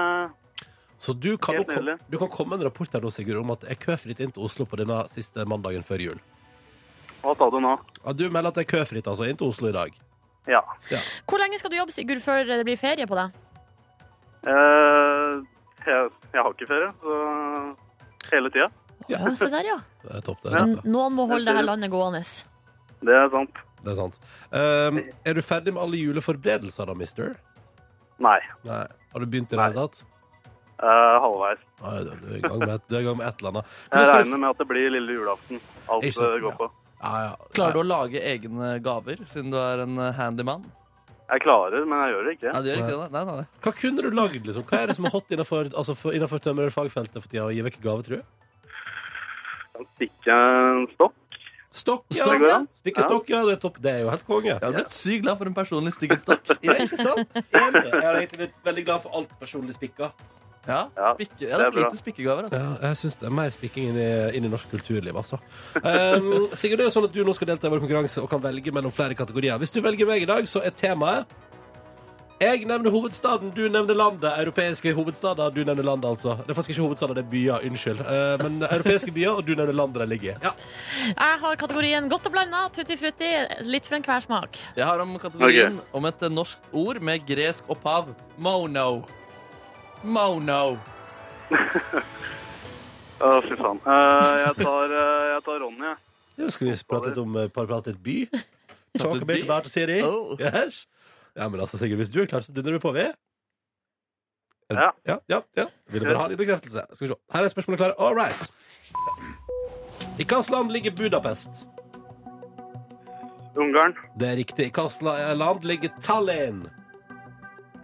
B: Så du kan,
E: Helt
B: jo kom-
E: nydelig.
B: du kan komme med en rapport her nå, Sigurd, om at det er køfritt inn til Oslo på denne siste mandagen før jul.
E: Hva sa du nå?
B: Ja, du melder at det er køfritt altså, inn til Oslo i dag.
E: Ja.
C: Hvor lenge skal du jobbe, Sigurd, før det blir ferie på deg?
E: Eh, jeg, jeg har ikke ferie, så hele tida.
C: Ja, se der, ja.
B: Det er topp, det.
E: Ja.
B: Er
C: N-
B: topp, det.
C: Noen må holde det her landet gående.
E: Det er sant.
B: det er sant. Um, er du ferdig med alle juleforberedelser da, mister?
E: Nei.
B: Nei. Har du begynt i det hele tatt?
E: eh, halvveis.
B: Nei, du du er i gang med et, du er i gang med et eller annet. Hvordan
E: Jeg
B: skal du
E: regner med at det blir lille julaften. Alt
B: Ikke sant,
E: det går
B: ja.
E: på.
B: f- Ja, ja.
D: Klarer du å lage egne gaver, siden du er en eh, handyman?
E: Jeg klarer, men jeg gjør det ikke.
D: Nei, du gjør ikke det? da? Nei, nei, nei.
B: Hva kunne du lagd, liksom? Hva er det som er hot innenfor, altså, for, innenfor tømmerfagfeltet for tida? Å gi vekk gave, tror jeg?
E: Jeg kan stikke en stopp.
B: Stokk, ja.
E: Det går an.
B: Spikke stokk, ja. Det er topp. Det er jo helt konge.
D: Jeg hadde blitt sykt glad for en personlig stikkenstokk.
B: Ja, ikke sant? Enig. Jeg har egentlig blitt veldig glad for alt personlig spikka.
D: Ja,
E: Ja,
D: spikke, ja, det er
E: det er
D: for
E: bra.
D: lite spikkegaver, altså.
B: Ja, jeg syns det er mer spikking inn i, inn i norsk kulturliv, altså. Um, Sigurd, det er jo sånn at du nå skal delta i vår konkurranse og kan velge mellom flere kategorier. Hvis du velger meg i dag, så er temaet Jeg nevner hovedstaden, du nevner landet. Europeiske hovedstader, du nevner landet, altså. Det er faktisk ikke hovedstader, det er byer. Unnskyld. Eh, Men europeiske byer, og du nevner landet de ligger i. Ja.
C: Jeg har kategorien godt og blanda, tutti frutti, litt for enhver smak.
D: Jeg har om kategorien om et eh, norsk ord med gresk opphav. Mono. Mono.
E: Å, fy faen. Eh, jeg, tar, eh, jeg tar Ronny, jeg.
B: Ja, skal vi prate litt om eh, par- prate litt by? Talk a
D: by?
B: bit about Siri.
D: Oh.
B: Yes. Ja, men altså, Sigurd, hvis du er klar, så dundrer vi på, vi. Er-
E: Ja.
B: ja, ja, ja. Ville bare ha litt bekreftelse. Skal vi se. Her er spørsmålet klare. All right. I hvilket land ligger Budapest?
E: Ungarn.
B: Det er riktig. I hvilket la- eh, land ligger Tallinn?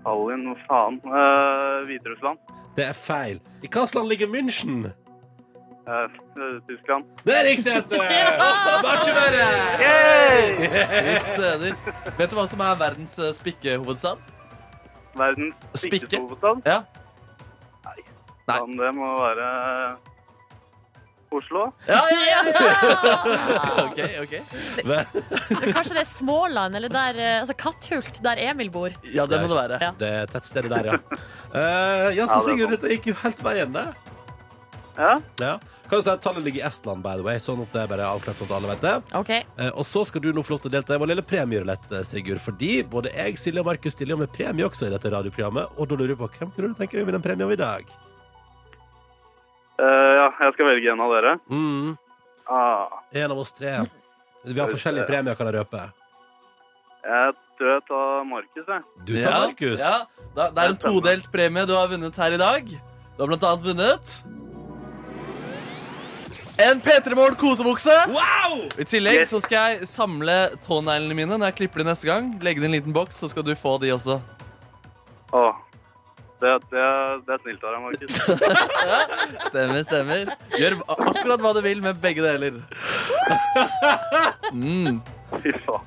E: Tallinn, hva faen. Eh, Hviterussland.
B: Det er feil. I hvilket land ligger München?
E: Eh, eh, Tyskland.
B: Det er riktig, vet du! Bare ikke verre!
D: Fy søder. Vet du hva som er verdens eh, spikkehovedstad?
E: Verdens
D: Spikke.
E: rikeste hovedstad.
D: Ja. Nei.
E: Faen, Det må være Oslo.
D: Ja, ja, ja.
C: Ja!
D: OK, OK.
C: Men Kanskje det er Småland, eller der, eh, altså Katthult, der Emil bor.
D: Ja, det må det være.
C: Ja.
B: Det er tettstedet der, ja. Eh, ja,
E: Ja, det
B: så
E: er
B: Sigurd,
E: sant.
B: dette gikk jo helt veien, det.
E: Ja.
B: Ja. Kan du si at tallet ligger i Estland, by the way, sånn at det er bare avklart sånn at alle vet det.
C: Ok,
B: Eh, og så skal du nå få lov til å delta i vår lille premierulett, eh, Sigurd, fordi både jeg, Silje og Markus stiller jo med premie også i dette radioprogrammet, og da lurer du på hvem kunne du tenke deg å vinne en premie av i dag?
E: Eh, ja, jeg skal velge en av dere.
B: Mm,
E: Ah,
B: en av oss tre. Vi har forskjellige premier, kan jeg røpe.
E: jeg tror jeg tar Markus, jeg.
B: Du tar
D: Ja,
B: Markus.
D: Ja. Da- Det er en todelt premie du har vunnet her i dag. Du har blant annet vunnet en P3 Morgen kosebukse.
B: Wow!
D: I tillegg
E: Yes.
D: så skal jeg samle tåneglene mine når jeg klipper de neste gang. Legge det i en liten boks, så skal du få de også.
E: Åh, det, det, det er snilt av deg, Markus.
D: Stemmer, stemmer. Gjør a- akkurat hva du vil med begge deler. Mm.
E: Fy faen.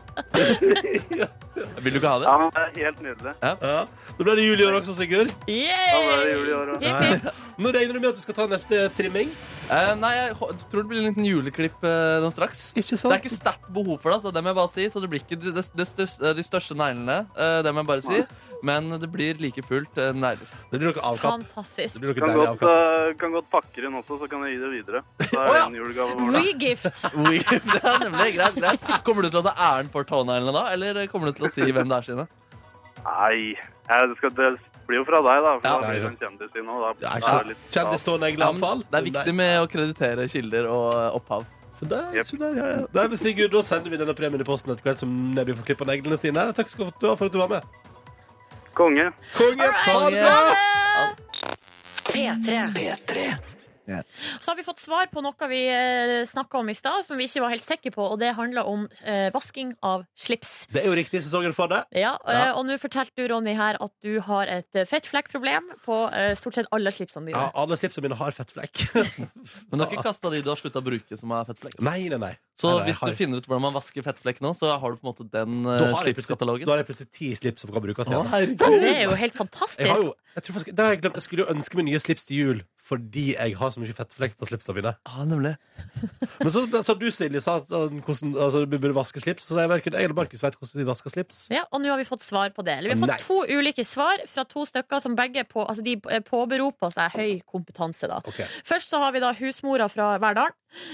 D: Vil du ikke ha det?
E: Ja, men det er helt nydelig.
B: Ja. Nå ble det jul i år også, Sigurd.
E: Ja, det er det jul i år,
C: Yay!
E: da.
C: Hipp, hipp.
B: Nå regner du med at du skal ta neste trimming.
D: Eh, nei, jeg hå- tror det blir en liten juleklipp eh, nå straks.
B: Ikke
D: Det er ikke sterkt behov for det, altså, det må jeg bare si. Så det blir ikke de, de, de, største, de største neglene. eh, det må jeg bare si. Men det blir like fullt eh, negler.
B: Det blir noe avkapp.
C: Fantastisk.
B: Det blir noe
E: Kan
B: deilig
E: godt,
B: avkapp.
E: eh, kan godt pakke den også, så kan jeg gi det videre. Så er det en julegave for deg.
C: Regift.
D: det er nemlig greit, greit. Kommer du til å ta æren for tåneglene da, eller kommer du til å si hvem det er sine?
E: Nei, jeg, det, skal, det blir jo fra deg, da. For
D: Ja.
E: da blir det en kjendis i nå. Da,
B: Ja,
E: da
B: ikke
E: er det
B: sant?
E: litt-
B: Kjendistånegle,
D: Ja,
B: iallfall.
D: men det er viktig med å kreditere kilder og eh, opphav.
B: Der,
E: Jep.
B: så der, ja, ja. Nei, men Sigurd, da sender vi denne premien i posten etter hvert som Nebby får klippet neglene sine. Takk skal du ha for at du var med.
E: Konge.
B: Konge!
D: Konge.
C: Eh,
A: P3.
C: Så har vi fått svar på noe vi snakka om i stad, som vi ikke var helt sikre på, og det handla om eh, vasking av slips.
B: Det er jo riktig sesongen for det.
C: Ja,
B: Ja.
C: eh, Og nå fortalte du, Ronny, her at du har et eh, fettflekkproblem på eh, stort sett alle slipsene dine.
B: Ja, alle slipsene mine har fettflekk.
D: Men du har ikke kasta de du har slutta å bruke, som er fettflekk?
B: nei, nei, nei.
D: Så
B: nei, nei, jeg
D: hvis du
B: har-
D: finner ut hvordan man vasker fettflekk nå, så har du på en måte den
B: Da
D: eh,
B: har jeg plutselig- Da
D: slipskatalogen?
B: har jeg plutselig ti slips som kan brukes
D: Å,
B: igjen.
D: herregud.
C: Det er jo helt
B: Jeg har
C: fantastisk.
B: jo, jeg tror faktisk, det har jeg glemt. Jeg skulle jo ønske meg nye slips til jul fordi jeg har så mye fettflekk på slipsene mine.
D: Ja, nemlig.
B: Men så sa du, Silje, sa, at, sånn, hvordan altså, du burde vaske slips. Så jeg verken jeg eller Markus vet hvordan vi vasker slips.
C: Ja, og nå har vi fått svar på det. Eller, vi har fått
B: Nice.
C: to ulike svar fra to stykker som begge på, altså de eh, påberoper seg høy kompetanse. Da.
B: Ok.
C: Først så har vi da husmora fra Verdal,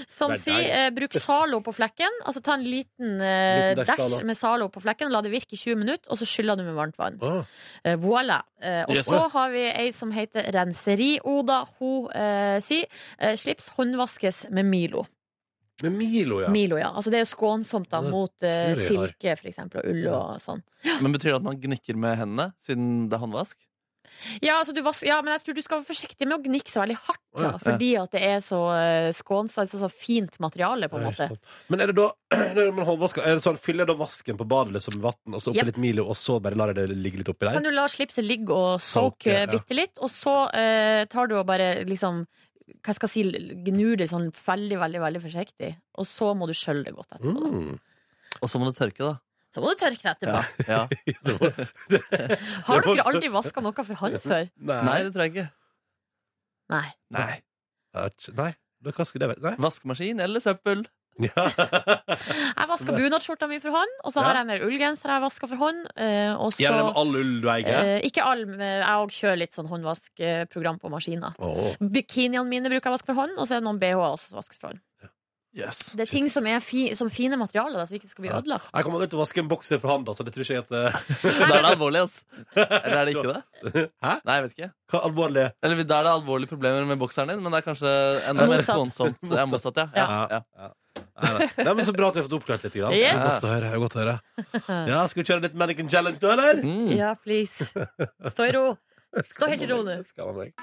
C: som
B: Verdal.
C: sier eh, bruk Zalo på flekken. Altså ta en liten, eh,
B: Liten dash
C: dash
B: Zalo.
C: med Zalo på flekken, la det virke i 20 minutter, og så skyller du med varmt vann.
B: Åh.
C: Eh, voilà. Eh, og
D: Yes.
C: så har vi ei som heter Renseri-Oda. Hun eh, sier eh, slips håndvaskes med Milo.
B: Med Milo, ja.
C: Milo, ja. Altså det er jo skånsomt da
B: Det
C: mot eh,
B: tror jeg jeg har.
C: silke, for eksempel, og ull og sånn.
D: Men betyr det at man gnikker med hendene, siden det er håndvask?
C: Ja, altså, du vas ja, men jeg tror du skal være forsiktig med å gnikke så veldig hardt,
B: Å,
C: ja,
B: ja.
C: fordi at det er så eh, skånsomt, altså så fint materiale, på en
B: Ja,
C: måte.
B: ikke sant. sånn. Men er det da når man håndvasker, er det sånn, Fyller jeg da vasken på badet liksom, med vann, og så oppi
C: Jep.
B: litt Milo, og så bare lar jeg det ligge litt oppi
C: Kan
B: der?
C: du la slipset ligge og
B: Soak,
C: soake
B: ja, ja.
C: bitte litt, og så eh, tar du og bare liksom hva skal jeg si, gnur det sånn veldig, veldig veldig forsiktig, og så må du skjølle det godt etterpå. da.
B: Mm.
D: Og så må du tørke, da.
C: Så må du tørke det etterpå.
D: Ja.
C: Har
B: Det var
C: dere
B: så-
C: aldri vaska noe for hånd før?
B: Nei.
D: Nei, det tror jeg ikke.
C: Nei.
B: Nei. Ja, tj- Nei. Da, hva skulle det være? Nei.
D: Vaskemaskin eller søppel?
C: Jeg vaska bunadsskjorta mi for hånd, og så har jeg en del ullgenser jeg vaska for hånd. eh, Og så
B: Gjelder det med all ull du eier?
C: eh, Ikke all, men jeg òg kjører litt sånn håndvaskprogram på maskiner.
B: Åh.
C: Bikiniene mine bruker jeg vaske for hånd, og så er det noen BH-er også som vaskes for hånd.
D: Yes.
C: Det er ting som er fi, som fine materialer, da, så ikke skal bli
B: Ja.
C: ødelagt.
B: Jeg kommer aldri til å vaske en bokser for hånd, altså. Det tror ikke jeg at eh,
D: Da er det alvorlig, ass. Eller er det ikke det?
B: Hæ?
D: Nei, jeg vet ikke.
B: Hva alvorlig?
D: Eller da er det alvorlige problemer med bokseren din, men det er kanskje enda mer
C: Motsatt.
D: skånsomt. Ja, motsatt, ja. ja.
B: Ja.
D: ja.
B: Nei, nei. Nei, men Så bra at vi har fått oppklart litt. Grann.
C: Yes.
B: Det er Godt å høre. det er Godt å høre. Ja, Skal vi kjøre litt Mannequin Challenge nå, eller?
D: Mm.
C: Ja, please. Stå i ro. Stå helt i ro nå.
B: Skal man meg.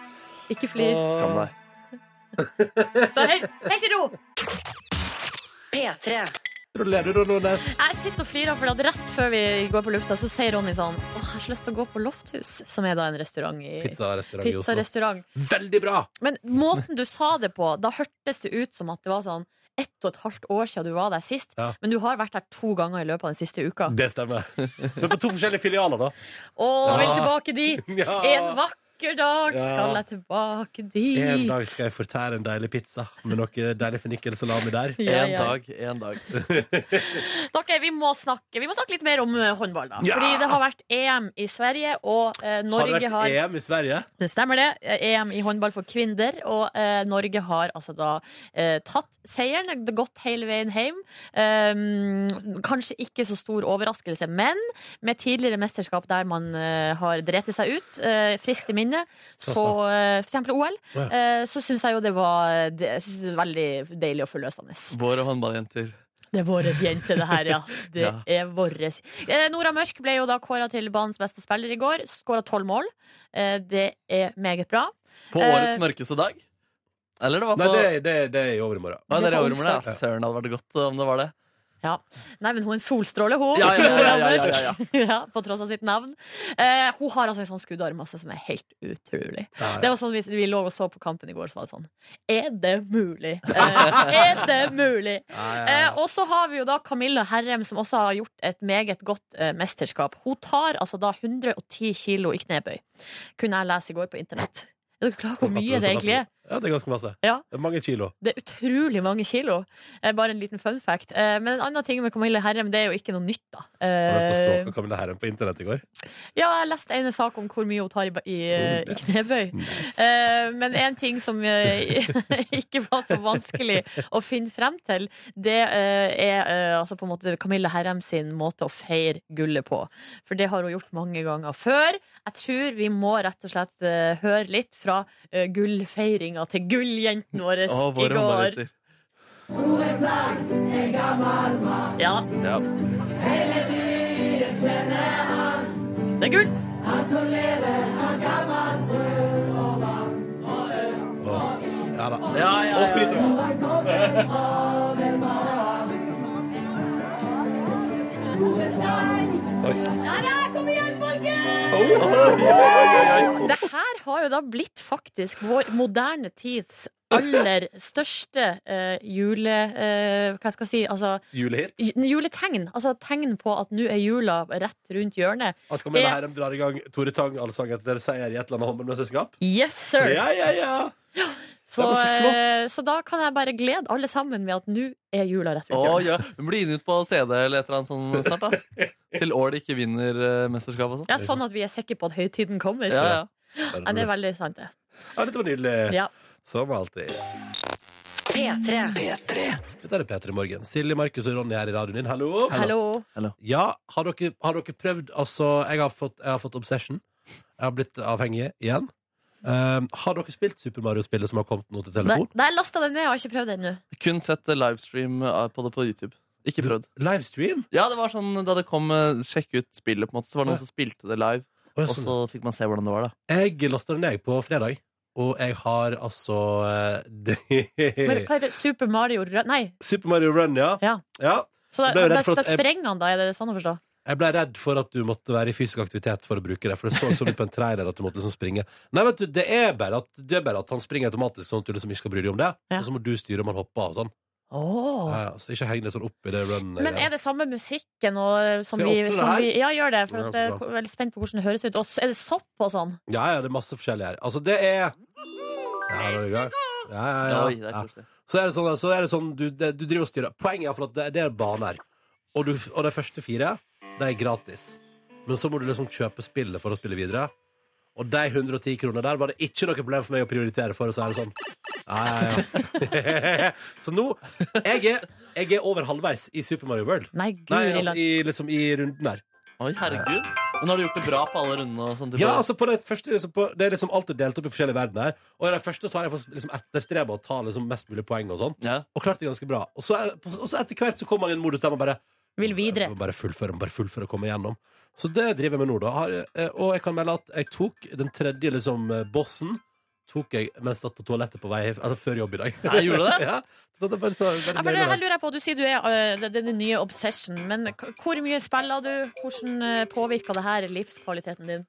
C: Ikke flir.
D: Skam deg.
C: Stå helt, helt i ro!
A: P3.
B: Gratulerer, du, Ronny Nordnes.
C: Jeg sitter og flirer, for at rett før vi går på lufta, så sier Ronny sånn Åh, jeg har så lyst til å gå på Lofthus, som er da en restaurant i
B: Pizzarestaurant i Oslo.
C: Pizzarestaurant.
B: Veldig bra!
C: Men måten du sa det på, da hørtes det ut som at det var sånn ett og et halvt år siden du var der sist,
B: Ja.
C: men du har vært der to ganger i løpet av den siste uka.
B: Det stemmer. Men på to forskjellige filialer, da.
C: Å, vil
B: Ja.
C: tilbake dit!
B: Ja.
C: En vakker dag
B: Ja.
C: skal jeg tilbake dit.
B: En dag skal jeg fortære en deilig pizza med noe deilig fennikelsalami der.
C: Ja,
D: En
C: ja.
D: dag, en dag.
C: Dere, vi må, snakke, vi må snakke litt mer om eh, håndball, da.
B: Ja.
C: Fordi det har vært EM i Sverige, og eh,
B: Har det
C: Norge
B: vært
C: har
B: EM i Sverige?
C: Det stemmer det. EM i håndball for kvinner. Og eh, Norge har altså da eh, tatt seieren, gått hele veien hjem. Ehm, kanskje ikke så stor overraskelse, men med tidligere mesterskap der man eh, har drept seg ut, eh, friskt i minne, så eh, for eksempel OL,
B: Ja.
C: eh, så syns jeg jo det var det, jeg synes det er veldig deilig og forløsende.
D: Våre håndballjenter.
C: Det er vår jente, det her, ja. Det
D: Ja.
C: er våres. Eh, Nora Mørk ble jo da kåra til banens beste spiller i går. Skåra tolv mål. Eh, det er meget bra.
D: På
C: Eh.
D: årets mørkeste dag? Eller det var på
B: Nei, det, det, det er i overmorgen.
D: Hva er
C: Det
D: dere
C: var
D: overmorgen?
C: onsdag.
D: Ja, søren, det hadde vært godt om det var det.
C: Ja. Nei, men hun er en solstråle, hun.
D: Ja, ja, ja, ja,
C: Nora Mørk.
D: ja, ja,
C: Ja, på tross av sitt navn. Eh, hun har altså en sånn skuddarm altså, som er helt utrolig. Det var sånn Vi, vi lå og så på kampen i går, så var det sånn Er det mulig? Eh, er det mulig? Eh, og så har vi jo da Camilla Herrem, som også har gjort et meget godt eh, mesterskap. Hun tar altså da 110 kilo i knebøy, kunne jeg lese i går på internett. Er dere klar over hvor mye det egentlig er?
B: Ja, det er ganske masse.
C: Ja.
B: Det er mange kilo.
C: Det er utrolig mange kilo. Eh, bare en liten fun fact. Eh, men en annen ting med Camilla Herrem, det er jo ikke noe nytt, da.
B: Har du
C: Eh,
B: ståka Camilla Herren på internett i går?
C: ja, jeg leste en sak om hvor mye hun tar i, ba- i, eh, i knebøy.
B: Nice.
C: Eh, men en ting som eh, ikke var så vanskelig å finne frem til, det eh, er eh, altså på en måte Camilla Herrem sin måte å feire gullet på. For det har hun gjort mange ganger før. Jeg tror vi må rett og slett eh, høre litt fra eh, gullfeiringa til gulljenten vår
D: Å,
C: i
D: våre
C: går.
D: håndballjenter.
C: Ja,
D: Ja.
C: det er gull!
B: Ja da.
D: Ja, ja,
B: Og sprit.
C: Det her har jo da blitt faktisk vår moderne tids aller største eh, jule... eh, hva skal jeg si? Altså,
B: Julehir.
C: j- juletegn. Altså tegn på at nå er jula rett rundt hjørnet.
B: At Camilla
C: Ja.
B: Herrem drar i gang Tore Tang-allsang etter seier i et eller annet håndballmesterskap?
C: Yes, sir!
B: Ja, ja, ja!
C: så,
B: var så flott.
C: eh, så da kan jeg bare glede alle sammen med at nå er jula rett
D: Å,
C: rundt hjørnet.
D: ja. Hun blir gitt ut på CD eller et eller annet sånt snart, da. Til år de ikke vinner eh, mesterskap og sånn.
C: Ja, sånn at vi er sikre på at høytiden kommer.
D: Ja, ja.
C: Ja, det er veldig sant, det.
B: Ja, dette var nydelig.
C: Ja.
B: Som alltid.
A: P3.
B: Dette er P3 Morgen. Silje, Markus og Ronny her i radioen din. Hallo.
C: Hallo.
B: Ja, har dere, har dere prøvd Altså, jeg har, fått, jeg har fått obsession. Jeg har blitt avhengig igjen. Um, har dere spilt Super Mario-spillet som har kommet nå til
C: Nei,
B: telefon?
C: nei, jeg lasta den ned, jeg har ikke prøvd den ennå.
D: Kun sett eh, livestream eh, på det på YouTube. Ikke prøvd.
B: Livestream?
D: Ja, det var sånn da det kom eh, sjekk ut spillet, på en måte, så var det
B: Ja.
D: noen som spilte det live.
B: Å, ja,
D: Og
B: sånn.
D: så fikk man se hvordan det var, da.
B: Jeg lasta den ned på fredag, og jeg har altså eh,
C: Men
B: det,
C: hva heter det? Super Mario Rød... Nei.
B: Super Mario Run, ja.
C: Ja.
B: ja.
C: Så da,
B: Jeg ble jo
C: da,
B: redd for
C: da
B: at jeg-
C: sprenger han, da? Er det sånn å forstå?
B: Jeg ble redd for at du måtte være i fysisk aktivitet for å bruke det. For det så sånn ut på en trailer at du måtte liksom springe. Nei, vet du, det er bare at, det er bare at han springer automatisk, sånn at du liksom ikke skal bry deg om det.
C: Ja.
B: Og så må du styre om han hopper og sånn.
C: Oh.
B: Ja, ja, så ikke heng deg sånn opp i det runnet.
C: Men er det samme musikken og, eh, som,
B: Skal jeg
C: vi,
B: åpne
C: som
B: det her?
C: vi Ja, gjør det. For
B: Ja,
C: at jeg
B: bra.
C: er veldig spent på hvordan det høres ut. Og så er det sopp og sånn?
B: Ja, ja, det er masse forskjellig her. Altså, det er Ja, da er vi i gang. Ja, ja, ja.
D: Oi, det er
B: ja.
D: koselig.
B: Så er det sånn, så er det sånn du, det, du driver og styrer. Poenget er for at det, det er baner. Og, du, og de første fire, de er gratis. Men så må du liksom kjøpe spillet for å spille videre. Og de 110 kronene der var det ikke noe problem for meg å prioritere for. Og så er det sånn. Ja, ja, ja. så nå jeg er, jeg er over halvveis i Super Mario World.
C: Nei,
B: Nei,
C: guri
B: altså,
C: land.
B: i, liksom i runden der.
D: Oi, herregud. Men har du gjort det bra på alle rundene? og sånn sånt?
B: Ja, altså på det første så på, Det er liksom alltid delt opp i forskjellige verdener. Og i den første så har jeg fått liksom etterstreba å ta liksom mest mulig poeng og sånn.
D: Ja.
B: Og klarte det ganske bra. Og så, er, og så etter hvert så kommer man i en modus der man bare
C: Vil videre.
B: Man bare fullføre, man bare fullføre og komme igjennom. Så det driver jeg med nå, da. Har, eh, og jeg kan melde at jeg tok den tredje liksom eh, bossen tok jeg mens jeg satt på toalettet på vei altså før jobb i dag.
D: Nei, gjorde du det?
B: ja, så det bare, så,
C: Ja, for det her lurer jeg på, Du sier du er øh, det, det er den nye obsession, men k- hvor mye spiller du? Hvordan øh, påvirker det her livskvaliteten din?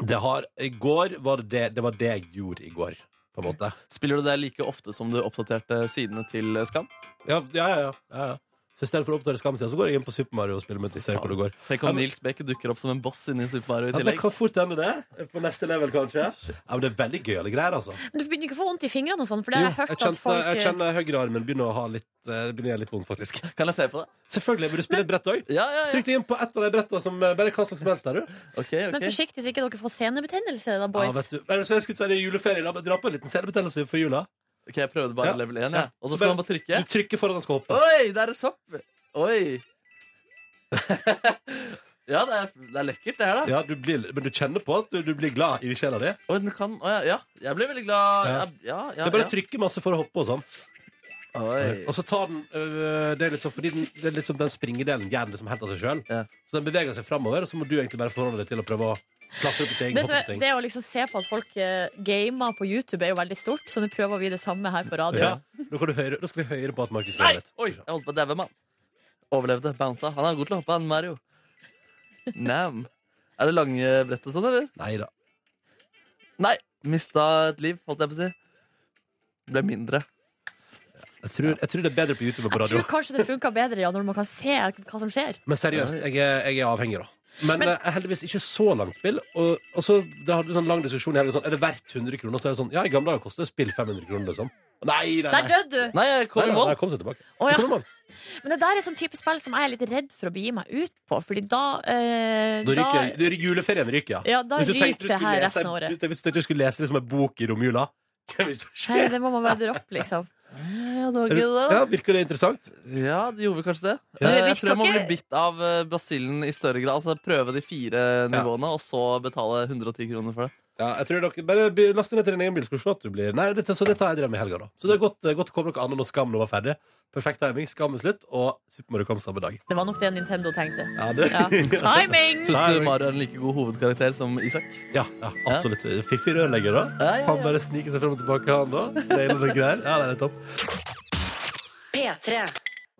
B: det har, I går var det det Det var det jeg gjorde i går, på en måte.
D: Spiller du det like ofte som du oppdaterte sidene til eh, Skam?
B: Ja, ja, ja. ja, ja, ja. Så i stedet for å oppdage skammen sin, så går jeg inn på Super Mario og spiller mens vi ser hvor det går.
D: Tenk
B: Ja,
D: om
B: men-
D: Nils Bech dukker opp som en boss inni Super Mario i
B: Ja, det
D: tillegg.
B: kan fort ende det. På neste level, kanskje. Ja, men det er veldig gøyale greier, altså.
C: Men Du begynner ikke å få vondt i fingrene og sånn, for det har jeg hørt
B: jeg, kjente,
C: at folk eh,
B: jeg kjenner høyrearmen begynner å ha litt, eh, begynner å gjøre litt vondt, faktisk.
D: Kan jeg se på det?
B: Selvfølgelig. Vil du spille et brett òg?
D: Ja, ja, ja.
B: Trykk deg inn på et av de brettene som eh, bare hva slags som helst er, du.
D: Ok,
C: Men
D: ok.
C: forsiktig så ikke dere får senebetennelse, da,
B: Ja,
C: boys.
B: vet du. Eller så jeg skulle si det er juleferie. La meg dra på en liten senebetennelse for jula.
D: Ok, Jeg prøvde bare
B: Ja.
D: level 1,
B: Ja.
D: jeg. Og
B: Så
D: så skal
B: bare-
D: man bare trykke.
B: Du trykker foran han skal hoppe.
D: Oi, der er sopp! Oi! ja, det er, det er lekkert, det her, da.
B: Ja, du blir, men du kjenner på at du, du blir glad i sjela di.
D: Oi, den kan, å, ja, ja, jeg ble veldig glad. Ja,
B: Ja.
D: ja, ja,
B: Det er bare å trykke masse for å hoppe og sånn.
D: Oi.
B: Og så tar den øh, Det er litt sånn fordi den, det er litt sånn den springedelen gjør den liksom helt av seg sjøl.
D: Ja.
B: Så den beveger seg framover, og så må du egentlig bare forholde deg til å prøve å klatre opp i ting.
C: Det, som
B: hoppe
C: er,
B: på ting.
C: det å liksom se på at folk eh, gamer på YouTube er jo veldig stort, så nå prøver vi det samme her på radio.
B: Ja. Nå, kan du høre, nå skal vi høre på at Markus
D: Nei!
B: går litt.
D: Oi, jeg holdt på å daue, mann. Overlevde, bounsa. Han er god til å hoppe, han Mario. Nam. Er det lange brettet sånn, eller?
B: Nei da.
D: Nei. Mista et liv, holdt jeg på å si. Ble mindre.
B: Jeg tror, jeg tror det er bedre på YouTube enn på
C: Jeg
B: radio.
C: tror kanskje det funka bedre ja, når man kan se hva som skjer.
B: Men seriøst, jeg er, jeg er avhengig, da. Men,
C: Men-
B: eh, heldigvis ikke så langt spill. Og, og så da hadde vi sånn lang diskusjon i helga. Sånn, er det verdt 100 kroner? Så er det sånn Ja, i gamle dager kostet spill 500 kroner, liksom. Nei, nei,
C: Der
B: nei.
C: døde du!
D: Nei, jeg kom i
B: Nei, nei,
D: mål.
B: nei, kom seg tilbake.
C: Å, ja.
B: Kom i mål.
C: Men det der er sånn type spill som jeg er litt redd for å begi meg ut på, fordi da eh,
B: Da ryker, da, juleferien ryker, ja.
C: Ja, da
B: Hvis du
C: ryker
B: tenkte du
C: det
B: skulle
C: her
B: lese,
C: resten av året.
B: hvis du tenkte du skulle lese liksom en bok i romjula det vil ikke skje.
C: Nei, det må man bare droppe, liksom.
D: Ja, det var
B: Er
D: gøy, det der,
B: du-
D: da.
B: Ja, virker det interessant?
D: Ja, det gjorde vi kanskje det.
C: Ja.
D: Eh, Jeg
C: Virker
D: tror jeg må bli
C: ikke-
D: bitt av eh, basillen i større grad. Altså Prøve de fire nivåene, og så betale 110 kroner for det.
B: Ja, jeg tror dere Bare be- last ned til din egen bil, skal du se at du blir Nei, dette, så dette har jeg drevet med i helga, da. Så det er godt, eh, godt å komme noe annet når Skam nå var ferdig. Perfekt timing. Skam er slutt, og Super Mario kom samme dag.
C: Det var nok det Nintendo tenkte.
B: Ja, det,
C: Ja. Timing!
D: Syns
B: Nei,
D: du
B: men-
D: Mario er en like god hovedkarakter som Isak?
B: ja, ja absolutt. Fiffig rørlegger, da.
D: Ja, ja,
B: Han bare sniker seg frem og tilbake, han da. Nailer noen greier. Ja, det er topp.
A: P3.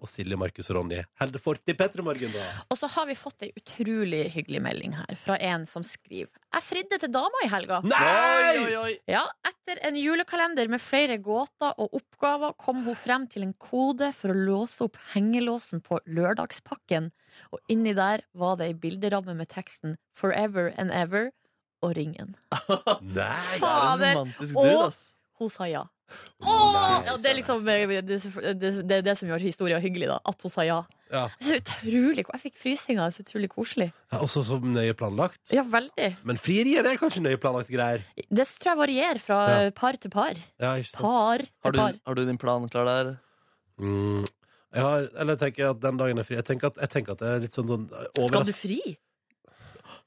B: Og Silje, Markus og Ronny holder fort i Petremorgen, da.
C: Og så har vi fått ei utrolig hyggelig melding her, fra en som skriver Jeg fridde til dama i helga.
B: Nei!
D: Oi, oi, oi.
C: Ja, etter en julekalender med flere gåter og oppgaver kom hun frem til en kode for å låse opp hengelåsen på lørdagspakken, og inni der var det ei bilderamme med teksten 'Forever and Ever' og ringen.
B: Nei!
D: Det er
C: Fader,
D: en romantisk dude,
C: og-
D: ass.
C: Hun sa ja.
B: Åh!
C: ja det er liksom eh, det, det, det, er det som gjør historien hyggelig, da. At hun sa ja.
B: Ja.
C: Det er Så utrolig, jeg fikk frysninger. det er Så utrolig koselig.
B: Ja, Også så nøye planlagt.
C: Ja, veldig.
B: Men frierier er kanskje nøye planlagt greier.
C: Det tror jeg varierer fra
B: Ja.
C: eh, par til par.
B: Ja, ikke sant?
C: Par til
D: Har du,
C: par.
D: har du din plan klar der?
B: Mm. Jeg har, eller jeg tenker at den dagen er fri. Jeg tenker at, jeg tenker at det er litt sånn, sånn
C: Skal du
B: overraskende.
C: fri?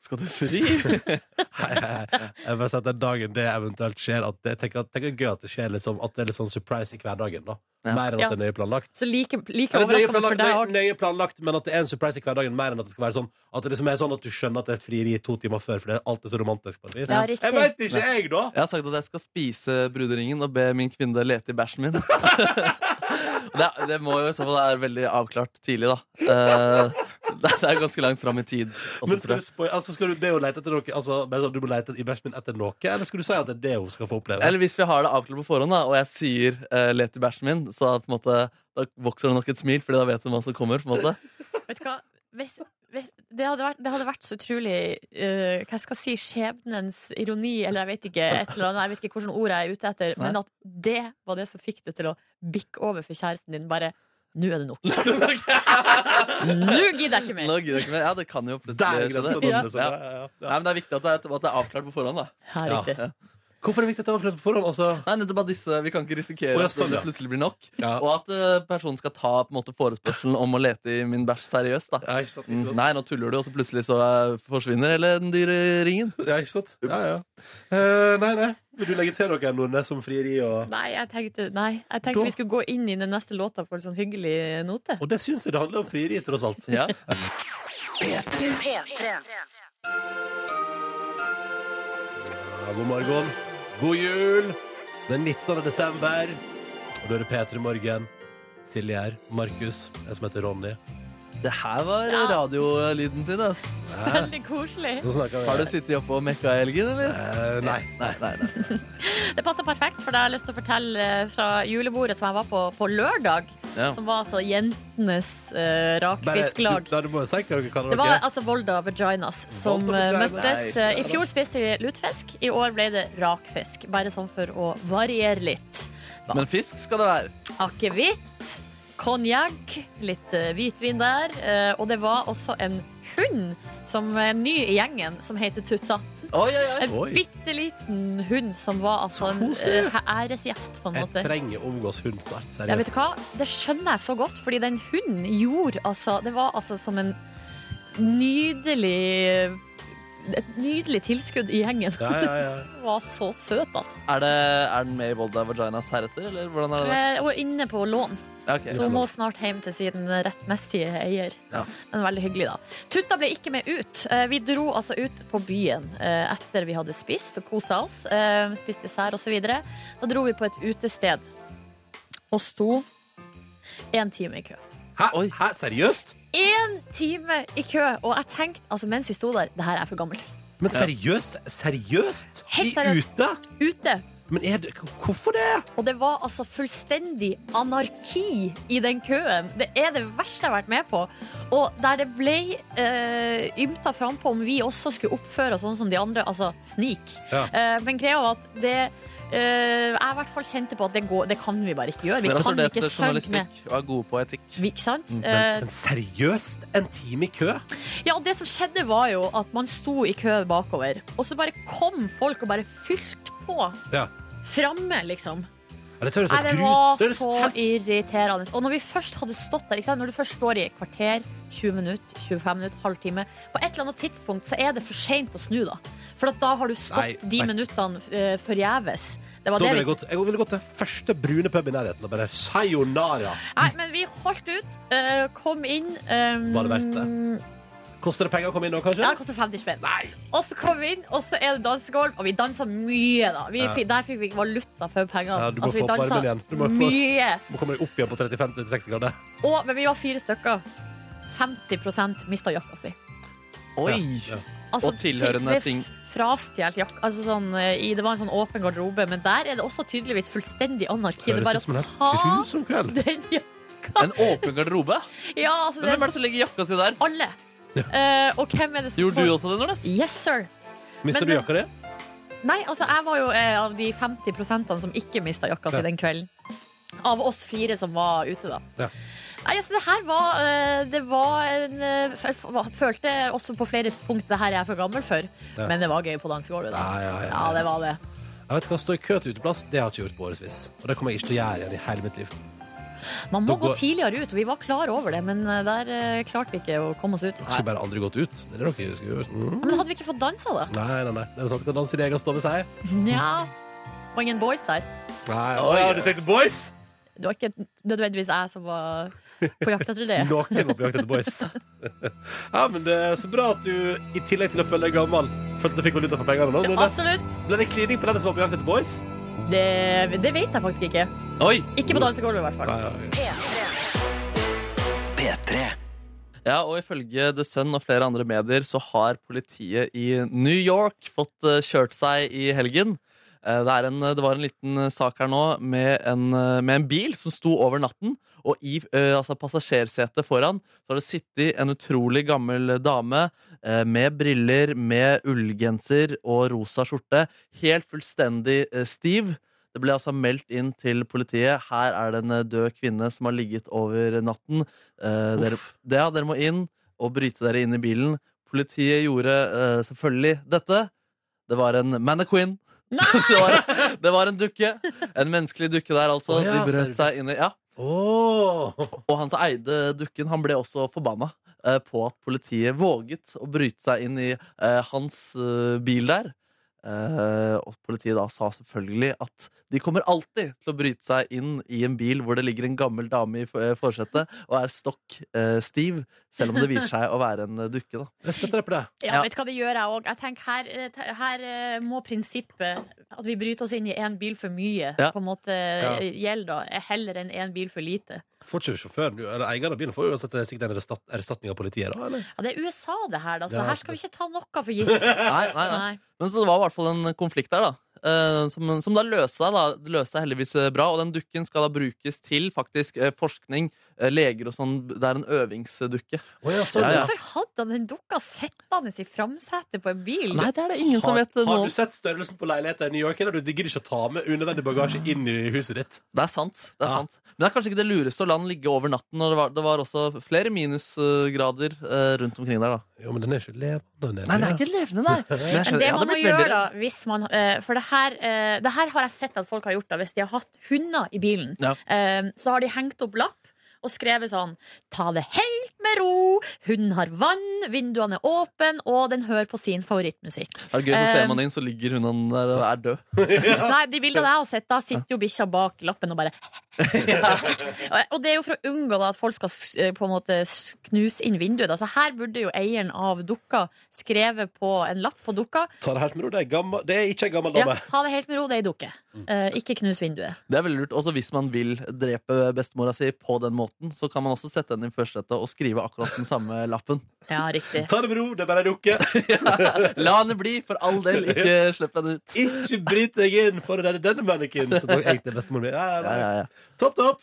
D: Skal du fri?
B: Jeg bare sier at den dagen det eventuelt skjer, at det, jeg tenker, at- tenker det er gøy at det skjer litt sånn, at det er litt sånn surprise i hverdagen. da.
D: Ja.
B: Mer enn
C: Ja.
B: at det er nøye planlagt.
C: Så like, like
B: Eller nøye
C: overraskende for
B: planlagt,
C: deg
B: nøye,
C: òg.
B: nøye planlagt, men at det er en surprise i hverdagen. Mer enn at det skal være sånn at det liksom er sånn at du skjønner at det er et frieri to timer før, for det er alltid så romantisk. på et vis.
C: Ja, riktig.
B: jeg veit ikke, jeg, da!
D: Jeg har sagt at jeg skal spise bruderingen og be min kvinne lete i bæsjen min. det, det må jo i så fall være veldig avklart tidlig, da. Eh, det, det er ganske langt fram i tid. også,
B: Men
D: tror
B: skal
D: jeg.
B: du, spoil, altså skal du be henne lete etter noe altså, bare sånn, Du må lete i bæsjen min etter noe, eller skal du si at det er det hun skal få oppleve?
D: Eller hvis vi har det avklart på forhånd, da, og jeg sier uh, 'let i bæsjen min', så på en måte, da vokser det nok et smil, Fordi da vet hun hva som kommer. på en måte
C: Vet du hva? hvis, hvis, det, hadde vært, det hadde vært så utrolig eh, Hva skal jeg si skjebnens ironi, eller jeg vet ikke et eller annet, jeg vet ikke hvilket ord jeg er ute etter, men
D: Nei.
C: at det var det som fikk det til å bikke over for kjæresten din. Bare nå er det nok. Nå gidder jeg ikke mer!
D: Nå gidder jeg ikke mer. Ja, det kan jo
B: Der
D: plutselig
B: er grensa!
D: skje det.
B: Ja.
D: liksom. Ja. Nei, men Det er viktig at det er, at det er avklart på forhånd. da
C: Ja, riktig.
D: Ja.
B: Hvorfor er det viktig at det var flere på forhånd? Altså?
D: Nei, nettopp at disse, Vi kan ikke risikere
B: Å, ja,
D: at
B: sånn,
D: det
B: ja.
D: plutselig blir nok.
B: Ja.
D: Og at eh, personen skal ta på en måte forespørselen om å lete i min bæsj seriøst. da
B: Ja, ikke sant,
D: Mm,
B: ikke sant.
D: Nei, nå tuller du, og så plutselig så eh, forsvinner hele den dyre ringen.
B: Ja, ikke sant? Ja, ja. Eh, nei, nei. Vil du legge til noe, Nordnes, om frieri og
C: Nei, jeg tenkte, nei, jeg tenkte vi skulle gå inn i den neste låta på en sånn hyggelig note.
B: Og det syns jeg det handler om frieri, tross alt.
D: Ja.
B: Ja, god morgen. God jul. Den 19. desember. Og da er det P3 Morgen. Silje her. Markus. Jeg som heter Ronny.
D: Det her var
C: Ja.
D: radiolyden sin, ass.
C: Veldig koselig.
B: Nå snakker vi.
D: Har du sittet oppe og mekka i helgen, eller?
B: Eh, nei.
D: Nei, nei, nei.
C: Det passer perfekt, for det har jeg lyst til å fortelle eh, fra julebordet som jeg var på på lørdag.
D: Ja.
C: Som var altså jentenes eh,
B: Bare,
C: rakfisklag.
B: du, nei, du må jo si hva dere kaller
C: Det var
B: dere.
C: altså Volda Vaginas som
B: Volda
C: eh,
B: Vaginas.
C: møttes.
D: Nei.
C: Eh, I fjor spiste vi lutfisk, i år ble det rakfisk. Bare sånn for å variere litt.
D: Men fisk skal det være.
C: Akevitt, konjakk, litt eh, hvitvin der. eh, og det var også en hund som er ny i gjengen, som heter Tutta.
D: Oi, oi, oi.
C: En
B: Oi.
C: bitte liten hund som var altså en
B: koselig.
C: eh, æresgjest, på en
B: Jeg
C: måte.
B: trenger omgås hund snart.
C: Ja, vet
B: Seriøst.
C: du hva? Det skjønner jeg så godt, fordi den hunden gjorde altså Det var altså som en nydelig Et nydelig tilskudd i gjengen.
B: Ja, ja, ja.
C: Den var så søt, altså.
D: Er, det, er den med i Volda Vaginas heretter, eller hvordan er det?
C: Eh, Og inne på lån,
D: Ja, ok.
C: så hun må snart hjem til sin rettmessige eier.
D: Ja.
C: Men veldig hyggelig, da. Tutta ble ikke med ut. Eh, Vi dro altså ut på byen eh, etter vi hadde spist og kosa oss. eh, Spist dessert osv. Da dro vi på et utested og sto én time i kø.
B: Hæ? Hæ? Seriøst?
C: én time i kø, og jeg tenkte altså, mens vi sto der det her er for gammelt.
B: Men seriøst? Seriøst?
C: Helt
B: I
C: seriøst.
B: ute?
C: Ute.
B: Men er det, hvorfor det?
C: Og det var altså fullstendig anarki i den køen. Det er det verste jeg har vært med på. Og der det ble eh, ymta frampå om vi også skulle oppføre oss sånn som de andre, altså snik.
B: Ja.
C: Eh, men greia var at det eh, Jeg i hvert fall kjente på at det, går, det kan vi bare ikke gjøre. Vi
D: Dere har
C: kan
D: studert
C: ikke søke med
D: journalistikk og er gode på etikk.
C: Vi- Ikke sant? Eh,
B: Men, men seriøst? En time i kø?
C: Ja, og det som skjedde var jo at man sto i kø bakover, og så bare kom folk og bare fylte på.
B: Ja.
C: Framme, liksom.
B: Ja, det høres
C: Nei,
B: helt
C: det
B: gru-
C: var
B: det høres-
C: så irriterende. Og når vi først hadde stått der, ikke sant? når du først står i et kvarter, 20 minutter, 25 minutter, halvtime På et eller annet tidspunkt så er det for seint å snu, da. For at da har du stått
B: Nei,
C: de
B: nei.
C: minuttene eh, forgjeves. Det var
B: Da
C: det
B: ville jeg
C: vi
B: gått, jeg ville gått til første brune pub i nærheten og bare sayonara.
C: Nei, men vi holdt ut, eh, kom inn eh,
B: Var det verdt Koster det penger å komme inn nå, kanskje?
C: Ja, det koster 50 spenn. Og så kom vi inn, og så er det dansegulv. Og vi dansa mye, da. Vi
B: Ja.
C: fikk, der fikk vi valuta for pengene.
B: Ja, du må
C: Altså, vi
B: få opp
C: dansa
B: varmen igjen. Du må få-
C: mye.
B: Må komme deg opp igjen på 35-36 grader.
C: Og, men vi var fire stykker. 50 mista jakka si.
D: Oi!
B: Ja, ja.
C: Altså,
D: Og tilhørende
C: det ble
D: ting.
C: Frastjålet jakk. Altså sånn, eh, i, det var en sånn åpen garderobe, men der er det også tydeligvis fullstendig anarki. Det er bare
B: Høres ut som en
C: å
B: helt
C: ta
B: grusom kveld.
C: den jakka.
D: En åpen garderobe?
C: Ja, altså,
D: Men Hvem
C: det
D: er det som legger jakka si der?
C: er alle. Eh, og hvem er det som
D: Gjorde du også det, Nordnes?
C: Yes, sir.
B: Mister du
C: Men-
B: jakka di?
C: Nei, altså jeg var jo eh, av de 50 prosentene som ikke mista jakka si
B: Ja.
C: den kvelden. Av oss fire som var ute, da.
B: Ja.
C: Nei, altså det her var eh, Det var en eh, f- f- Følte også på flere punkt det her er jeg for gammel for.
B: Ja.
C: Men det var gøy på dansegulvet, da.
B: Ja, ja, ja, ja.
C: det var det.
B: Jeg vet hva, Stå i kø til uteplass det har jeg ikke gjort på årevis. Og det kommer jeg ikke til å gjøre igjen i hele mitt liv.
C: Man må gå
B: Da går-
C: tidligere ut. Vi var klar over det, men eh, der eh, klarte vi ikke å komme oss ut.
B: Jeg skulle bare aldri gått ut. Det er det dere skulle gjort. Mm.
C: Men hadde vi ikke fått dansa, da?
B: Nei, nei, nei. Det er sant. Kan danse i din egen stå ved seg.
C: Nja. Var ingen boys der.
B: Nei,
D: Oi, ja,
B: du tenkte boys?
C: Det var ikke nødvendigvis jeg som var på jakt etter det.
B: Noen var på jakt etter boys. ja, men det er så bra at du, i tillegg til å føle deg gammel, følte at du fikk valuta for pengene. Nå, Nordnes.
C: Absolutt.
B: Ble det klining på den som var på jakt etter boys?
C: Det, det vet jeg faktisk ikke.
D: Oi!
C: Ikke på dansegulvet, i hvert fall.
B: Nei, nei, nei.
D: Ja, og ifølge The Sun og flere andre medier så har politiet i New York fått eh, kjørt seg i helgen. Eh, Det, er en, det var en liten eh, sak her nå med en, eh, med en bil som sto over natten. Og i eh, altså passasjersetet foran så har det sittet en utrolig gammel dame eh, med briller, med ullgenser og rosa skjorte. Helt fullstendig eh, stiv. Det ble altså meldt inn til politiet. Her er det en eh, død kvinne som har ligget over natten. Eh, dere, det, ja, dere må inn og bryte dere inn i bilen. Politiet gjorde eh, selvfølgelig dette. Det var en mannequin. det, var, det var en dukke. En menneskelig dukke der, altså.
B: Å, ja,
D: De brøt
B: ser
D: seg inn i Ja.
B: Åh.
D: Og han som eide dukken, han ble også forbanna eh, på at politiet våget å bryte seg inn i eh, hans eh, bil der. Eh, og politiet da sa selvfølgelig at de kommer alltid til å bryte seg inn i en bil hvor det ligger en gammel dame i for- eh, forsetet og er stokk eh, stiv, selv om det viser seg å være en eh, dukke. da
B: Jeg støtter deg på det.
C: Ja,
D: Ja.
C: vet du hva det gjør jeg òg. Jeg tenker her, eh, te- her eh, må prinsippet at vi bryter oss inn i én bil for mye,
D: Ja.
C: på en måte eh, gjelder da, eh, heller enn én bil for lite.
B: Får ikke sjåføren eller eieren av bilen får uansett eh, sikkert en erstat- erstatning av politiet, da? Eller?
C: Ja, det er USA, det her, da, så
B: Ja,
C: her skal vi ikke ta noe for gitt.
D: altså Nei, nei, nei.
C: Nei.
D: Men så det var i hvert fall en konflikt der, da. eh, som, som da løste seg, da. Det løste seg heldigvis eh, bra. Og den dukken skal da brukes til faktisk eh, forskning, eh, leger og sånn. Det er en øvingsdukke.
B: Å, ja, sånn,
D: Ja, ja.
B: ja.
C: Hvorfor hadde han den dukka sittende i framsetet på en bil?
D: Nei, det er det ingen som
B: Har,
D: vet eh,
B: har
D: noe
B: du sett størrelsen på leiligheten i New York? Eller du digger ikke å ta med unødvendig bagasje inn i huset ditt?
D: Det er sant. det er
B: Ja.
D: sant Men det er kanskje ikke det lureste å la den ligge over natten. Og det var, det var også flere minusgrader eh, rundt omkring der, da.
B: Jo, men den er ikke levende.
D: Nei, det er ikke levende, nei. Men jeg
C: Men
D: skjønner-
C: det
D: jeg hadde
C: man må
D: blitt
C: gjøre,
D: veldig
C: da,
D: redd.
C: hvis man eh, For det her, eh, det her har jeg sett at folk har gjort, da, hvis de har hatt hunder i bilen.
D: Ja.
C: Eh, så har de hengt opp lapp og skrevet sånn Ta det helt med ro, hunden har vann, vinduene er åpne, og den hører på sin favorittmusikk.
D: Det er gøy, så
C: Eh,
D: ser man inn, så ligger hun han der og er død.
C: Nei, de bildene jeg har sett, da sitter jo bikkja bak lappen og bare Og det er jo for å unngå da, at folk skal s- eh, på en måte s- knuse inn vinduet. Da. Så her burde jo eieren av dukka skrevet på en lapp på dukka
B: Ta det helt med ro. Det er, gammel, det er ikke en gammel
C: ja,
B: dame.
C: Ta det helt med ro, det er ei dukke. Eh, ikke knus vinduet.
D: Det er veldig lurt. Også hvis man vil drepe bestemora si på den måten, så kan man også sette henne i førstetet og skrive akkurat den samme lappen.
C: Ja, riktig.
B: Ta det med ro, det er bare ei dukke.
D: La henne bli, for all del. Ikke slipp henne ut.
B: Ikke bryt deg inn for å redde denne mannequinen, som nok egentlig er bestemoren min. Ja,
D: Ja,
B: ja, ja.
D: ja, ja.
B: Topp, topp!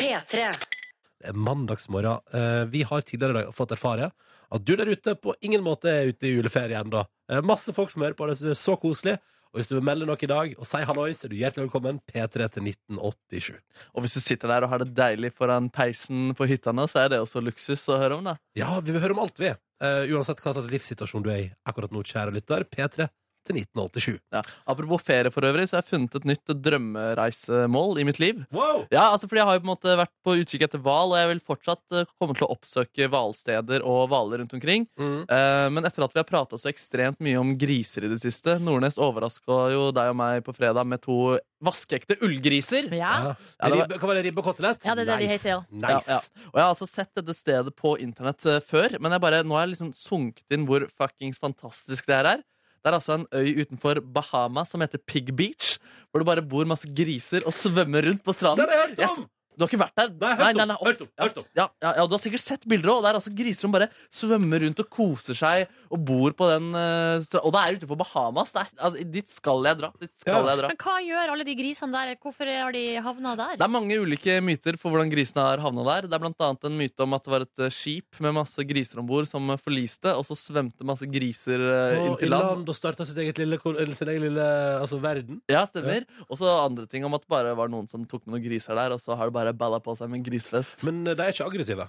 A: P3.
B: Det er mandagsmorgen. Eh, vi har tidligere i dag fått erfare at du der ute på ingen måte er ute i juleferie ennå. Eh, masse folk som hører på, det er så koselig. Og hvis du vil melde noe i dag og si hallois, er du hjertelig velkommen. P3 til 1987.
D: Og hvis du sitter der og har det deilig foran peisen på hytta nå, så er det også luksus å høre om, da.
B: Ja, vi vil høre om alt, vi. Eh, uansett hva slags livssituasjon du er i akkurat nå, kjære lytter. P3 til 1987.
D: Ja. Apropos ferie for øvrig, så har jeg funnet et nytt drømmereisemål i mitt liv.
B: Wow!
D: Ja, altså fordi Jeg har jo på en måte vært på utkikk etter hval, og jeg vil fortsatt eh, komme til å oppsøke hvalsteder og hvaler rundt omkring.
B: Mm.
D: Eh, Men etter at vi har prata så ekstremt mye om griser i det siste Nordnes overraska jo deg og meg på fredag med to vaskeekte ullgriser.
C: Ja.
B: Ja.
D: Ja, det var-
B: Ribbe, hva var det? Ribbe og kotelett?
C: Ja, det er det de
B: nice.
C: heter, ja.
B: Nice.
D: Ja, ja. Og jeg har altså sett dette stedet på internett eh, før, men jeg bare, nå har jeg liksom sunket inn hvor fuckings fantastisk det her er. Det er altså en øy utenfor Bahama som heter Pig Beach, hvor det bare bor masse griser og svømmer rundt på stranden.
B: Der har jeg hørt
D: Jeg
B: om!
D: Du har ikke vært der?
B: Nei, hørt om, hørt om,
D: ja,
B: hørt om.
D: Ja, ja, ja, du har sikkert sett bilder òg. Det er altså griser som bare svømmer rundt og koser seg og bor på den eh, stra- Og det er utenfor Bahamas. Det er, altså, dit skal jeg dra. Dit skal
B: Ja.
D: jeg dra.
C: Men hva gjør alle de grisene der? Hvorfor har de havna der?
D: Det er mange ulike myter for hvordan grisene har havna der. Det er blant annet en myte om at det var et eh, skip med masse griser om bord som eh, forliste, og så svømte masse griser eh, inn
B: Og i
D: til land.
B: land og starta sitt eget lille, kol- eller sin egen lille altså, verden.
D: Ja, stemmer. Og så andre ting om at det bare var noen som tok med noen griser der, og så har det bare balla på seg med en grisfest.
B: Men eh, de er ikke aggressive.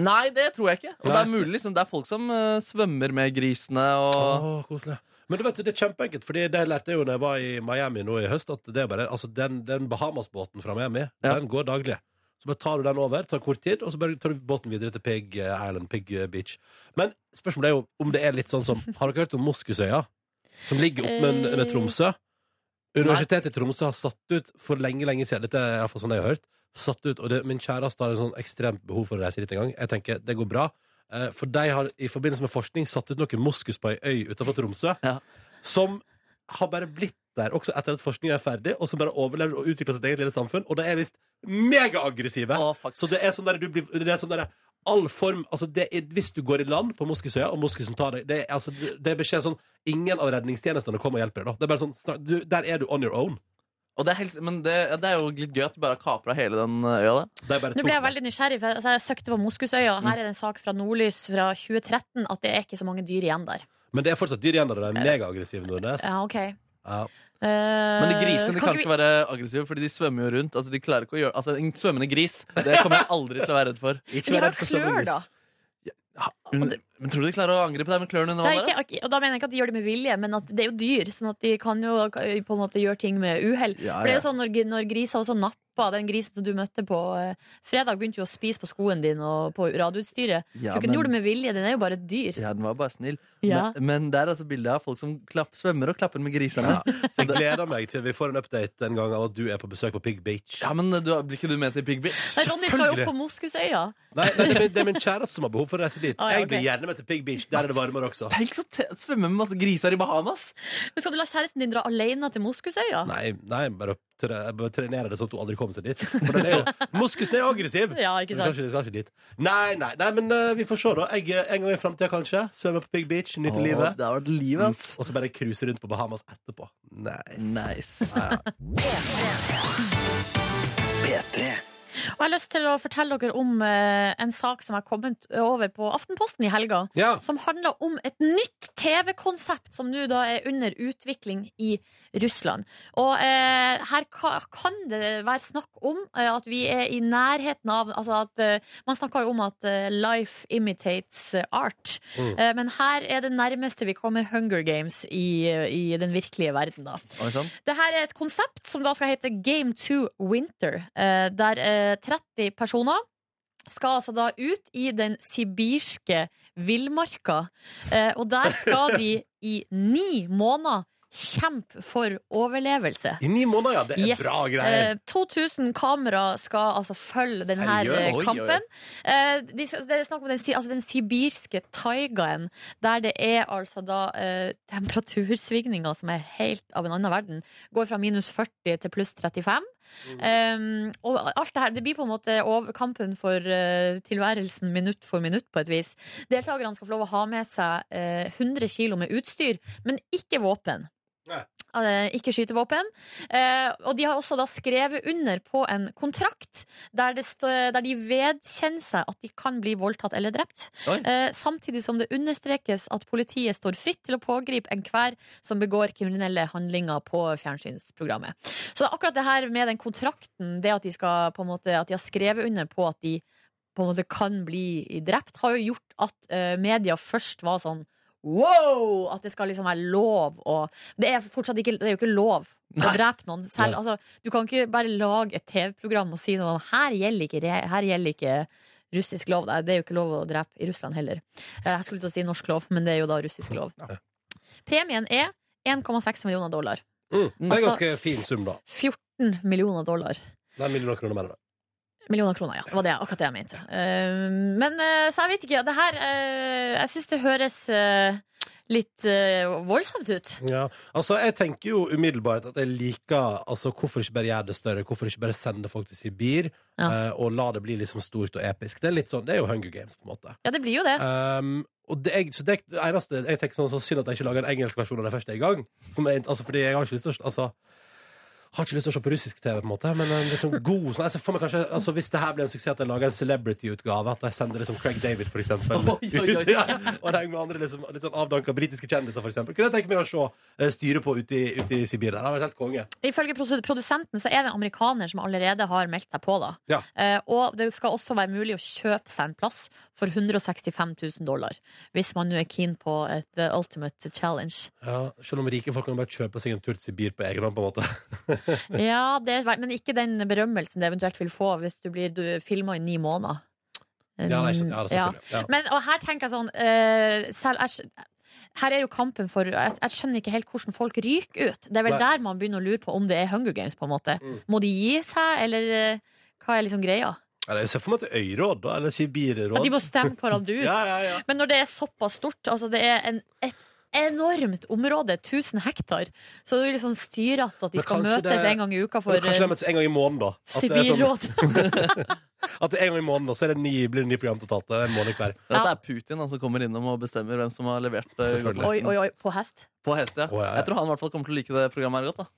D: Nei, det tror jeg ikke. Og det
B: Nei.
D: er mulig, liksom. Det er folk som eh, svømmer med grisene og
B: Åh, koselig. Men du vet, det er kjempeenkelt, Fordi det lærte jeg jo når jeg var i Miami nå i høst. At det er bare, altså Den, den Bahamas-båten fra Miami
D: Ja.
B: Den går daglig. Så bare tar du den over, tar kort tid, og så bare tar du båten videre til Pig eh, Island. Pig Beach Men spørsmålet er jo om det er litt sånn som Har dere hørt om Moskusøya? Som ligger opp med, med Tromsø? Universitetet i Tromsø har satt ut for lenge lenge siden. Dette er i hvert fall sånn jeg har hørt. Satt ut, og det, Min kjæreste har et sånn ekstremt behov for å reise dit en gang. Jeg tenker, det går bra. Eh, For de har i forbindelse med forskning satt ut noen moskus på ei øy utenfor Tromsø
D: Ja.
B: som har bare blitt der også etter at forskningen er ferdig, og som bare overlever og utvikler sitt eget lille samfunn. Og de er visst megaaggressive.
D: Å, fuck.
B: Så det er sånn der du blir Det er sånn der all form altså det er, Hvis du går i land på Moskosøya, og Moskosen tar deg Det er, altså, det er beskjed sånn Ingen av redningstjenestene kommer og hjelper deg. da Det er bare sånn, snak- du, Der er du on your own.
D: Og det er helt, men det, ja, det er jo litt gøy at du bare kapra hele den eh, øya. Da.
B: Det er bare
C: Nå
B: tungt.
C: ble jeg veldig nysgjerrig, for jeg, altså, jeg søkte på Moskusøya. og Her er det en sak fra Nordlys fra 2013 at det er ikke så mange dyr igjen der. Eh,
B: Men det er fortsatt dyr igjen der. De er megaaggressive, Nordnes.
C: Ja, ok
B: Ja.
D: Men
C: Eh,
D: de grisene de kan ikke være aggressive, Fordi de svømmer jo rundt. Altså, de klarer ikke å gjøre, altså En svømmende gris det kommer jeg aldri til å være redd for.
B: Ikke
C: De
B: vær
C: har
B: redd for sånne
C: klør,
B: hus.
C: da.
D: Men, men Tror du de klarer å angripe deg med klørne under
C: Nei,
D: vannet? da?
C: ikke, ikke- og da mener jeg ikke at de gjør det med vilje, men at det er jo dyr. Sånn at de kan jo eh, på en måte gjøre ting med uhell.
D: Ja,
C: For det er
D: ja.
C: jo sånn når, når griser også napper Den grisen du møtte på eh, fredag, begynte jo å spise på skoen din og på radioutstyret.
F: Ja,
C: Tror ikke den gjorde det med vilje, den er jo bare et dyr.
F: Ja, den var bare snill.
C: sånn- Ja.
F: Men, men det er altså bilde av folk som klapp, svømmer og klapper med grisene.
B: Jeg gleder meg til vi får en update en gang av at du er på besøk på Pig Beach.
D: Ja, men du, Blir ikke du med til Pig Beach?
C: Nei, Ronny skal jo opp
B: selvfølgelig.
C: på Moskusøya.
B: Nei, nei det, er min, det er min kjæreste som har behov for å reise dit.
C: Ah, ja,
B: Jeg blir
C: ok.
B: gjerne med til Pig Beach. Der er det varmere også.
D: Tenk så te svømme med masse griser i Bahamas!
C: Men skal du la kjæresten din dra alene til Moskusøya?
B: Nei, nei bare, tre, bare trenere det sånn at hun aldri kommer seg dit. For den er jo, Moskusen er jo aggressiv!
C: Ja, ikke sant?
B: Kanskje, kanskje dit. Nei, nei, nei, men eh, vi får se, da. Jeg, eh, en gang i framtida, kanskje. Svømme på Pig Beach, nyte
F: Åh,
B: livet.
F: Det har vært livet, ass.
B: Og så bare cruise rundt på Bahamas etterpå. Nice.
D: Mm.
F: Nice.
C: Og jeg har lyst til å fortelle dere om eh, en sak som har kommet over på Aftenposten i helga.
B: Ja.
C: Som handler om et nytt TV-konsept som nå da er under utvikling i Russland. Og eh, her ka, kan det være snakk om eh, at vi er i nærheten av Altså at eh, Man snakker jo om at eh, life imitates eh, art.
B: Mm.
C: Eh, men her er det nærmeste vi kommer Hunger Games i, eh, i den virkelige verden, da.
D: Oi, sånn.
C: Det her er et konsept som da skal hete Game 2 Winter, eh, der eh, 30 personer skal altså da ut i den sibirske villmarka. Eh, Og der skal de i ni måneder kjempe for overlevelse.
B: I ni måneder, ja. Det er
C: Yes.
B: bra greier.
C: Eh, 2000 kamera skal altså følge denne
D: Oi,
B: Seriøst?
D: oi.
C: kampen. Eh, de skal, det er snakk om den, si- altså den sibirske taigaen, der det er altså da eh, temperatursvingninger som er helt av en annen verden. Går fra minus 40 til pluss 35.
D: Mm.
C: Eh, og alt det her, det blir på en måte over kampen for eh, tilværelsen minutt for minutt, på et vis. Deltakerne skal få lov å ha med seg eh, 100 kilo med utstyr, men ikke våpen.
B: Nei.
C: Eh, Ikke skytevåpen. Eh, og de har også da skrevet under på en kontrakt der, det stå, der de vedkjenner seg at de kan bli voldtatt eller drept.
D: Oi.
C: Eh, samtidig som det understrekes at politiet står fritt til å pågripe enhver som begår kriminelle handlinger på fjernsynsprogrammet. Så det er akkurat det her med den kontrakten, det at de, skal, på en måte, at de har skrevet under på at de på en måte kan bli drept, har jo gjort at eh, media først var sånn Wow! At det skal liksom være lov å Det er fortsatt ikke, det er jo ikke lov å
D: Nei.
C: drepe noen selv. Altså, du kan ikke bare lage et TV-program og si sånn Her gjelder ikke, re- her gjelder ikke russisk lov. Nei, Det er jo ikke lov å drepe i Russland heller. Eh, Jeg skulle til å si norsk lov, men det er jo da russisk lov. Premien er 1,6 millioner dollar.
B: Mm. Det er en
C: Altså-
B: ganske fin sum, da.
C: 14 millioner dollar.
B: Det er en million kroner, mener du.
C: Millioner kroner, ja. Det var det, akkurat det jeg mente. Eh, men eh, så jeg vet ikke. Det her eh, Jeg syns det høres eh, litt eh, voldsomt ut.
B: Ja, altså jeg tenker jo umiddelbart at jeg liker Altså hvorfor ikke bare gjøre det større Hvorfor ikke bare sende folk til Sibir
C: Ja.
B: eh, Og la det bli liksom stort og episk Det er litt sånn, det er jo Hunger Games på en måte
C: Ja, det blir jo det.
B: um, Og det, jeg, så det er det eneste Jeg tenker sånn, så synd at jeg ikke lager en engelsk versjon av det første i gang Som er, altså fordi jeg har ikke lyst til å Altså har ikke lyst til å se på russisk TV på en måte Men en litt sånn god sånn, altså, for meg kanskje, altså, Hvis det her blir en suksess at jeg lager en celebrity-utgave At jeg sender liksom Craig David for eksempel
D: Oi, oi, oi.
B: ut, ja, Og det med andre liksom, litt sånn avdanket britiske kjendiser for eksempel Kunne jeg tenke meg å se eh, styre på ute i, ute i Sibir der? Det har vært helt konge
C: Ifølge produ- produsenten så er det en amerikaner som allerede har meldt seg på. da
B: Ja.
C: Eh, Og det skal også være mulig å kjøpe seg en plass for 165 000 dollar. Hvis man nå er keen på et The Ultimate Challenge.
B: ja, Selv om rike folk kan bare kjøpe seg en tur til Sibir på egen hånd på en måte
C: Ja, det er, ver- Men ikke den berømmelsen det eventuelt vil få hvis du blir filma i ni måneder.
B: Ja, nei, skjønner- ja, det
C: Mm.
B: er
C: Ja.
B: selvfølgelig ja.
C: Men og her tenker jeg sånn eh, selv, jeg, skj- Her er jo kampen for jeg, jeg skjønner ikke helt hvordan folk ryker ut. Det er vel
B: Nei.
C: der man begynner å lure på om det er Hunger Games. på en måte
B: Mm.
C: Må de gi seg, eller eh, hva er liksom greia?
B: Eller, jeg ser for meg til øyråd da, eller Sibirråd
C: At de må stemme hverandre ut.
B: Ja, ja, ja
C: Men når det er såpass stort, altså det er en, et enormt område, 1000 hektar. Så det er liksom styrete at de
B: Men
C: skal
B: kanskje
C: møtes
B: det-
C: en gang i uka for
B: Kanskje de
C: eh,
B: møtes en gang i måneden, da. At det er sånn-
C: sivilråd.
B: At det er en gang i måneden, og så er det ni, blir det nye program totalt. Det er en måned hver.
D: Dette er Putin han som kommer innom og bestemmer hvem som har levert eh,
B: Selvfølgelig.
C: Oi,
D: godteplikten.
C: oi, oi, på hest.
D: på hest. Ja.
B: Å, ja, ja.
D: Jeg tror han i hvert fall kommer til å like det programmet her godt. da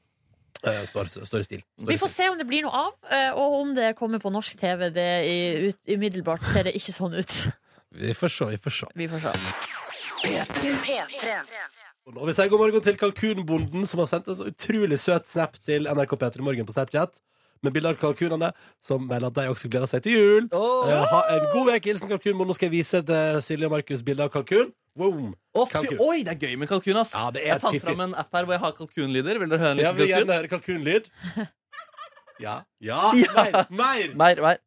B: Eh, Står, står i stil. Står i
C: Vi får
B: stil.
C: se om det blir noe av, eh, og om det kommer på norsk TV. Det i, ut, umiddelbart ser det ikke sånn ut.
B: Vi får se, vi får se.
C: Vi får se.
B: Og vi sier god morgen til kalkunbonden, som har sendt en så utrolig søt snap til NRK P3 Morgen på Snapchat. Med bilder av kalkunene, som melder at de også gleder seg til jul. Eh, ha en god uke, hilsen kalkunbonden. Nå skal jeg vise til Silje og Markus bilde av kalkun. Wow.
D: Å, fy-
B: Kalkun.
D: Oi, det er gøy med kalkun, ass!
B: Ja, det er
D: jeg fant
B: fiffig.
D: fram en app her hvor jeg har kalkunlyder. Vil dere høre en liten
B: Jeg vil
D: kalkun?
B: gjerne høre kalkunlyd. Ja. Ja! Mer! mer.
D: Mer, mer.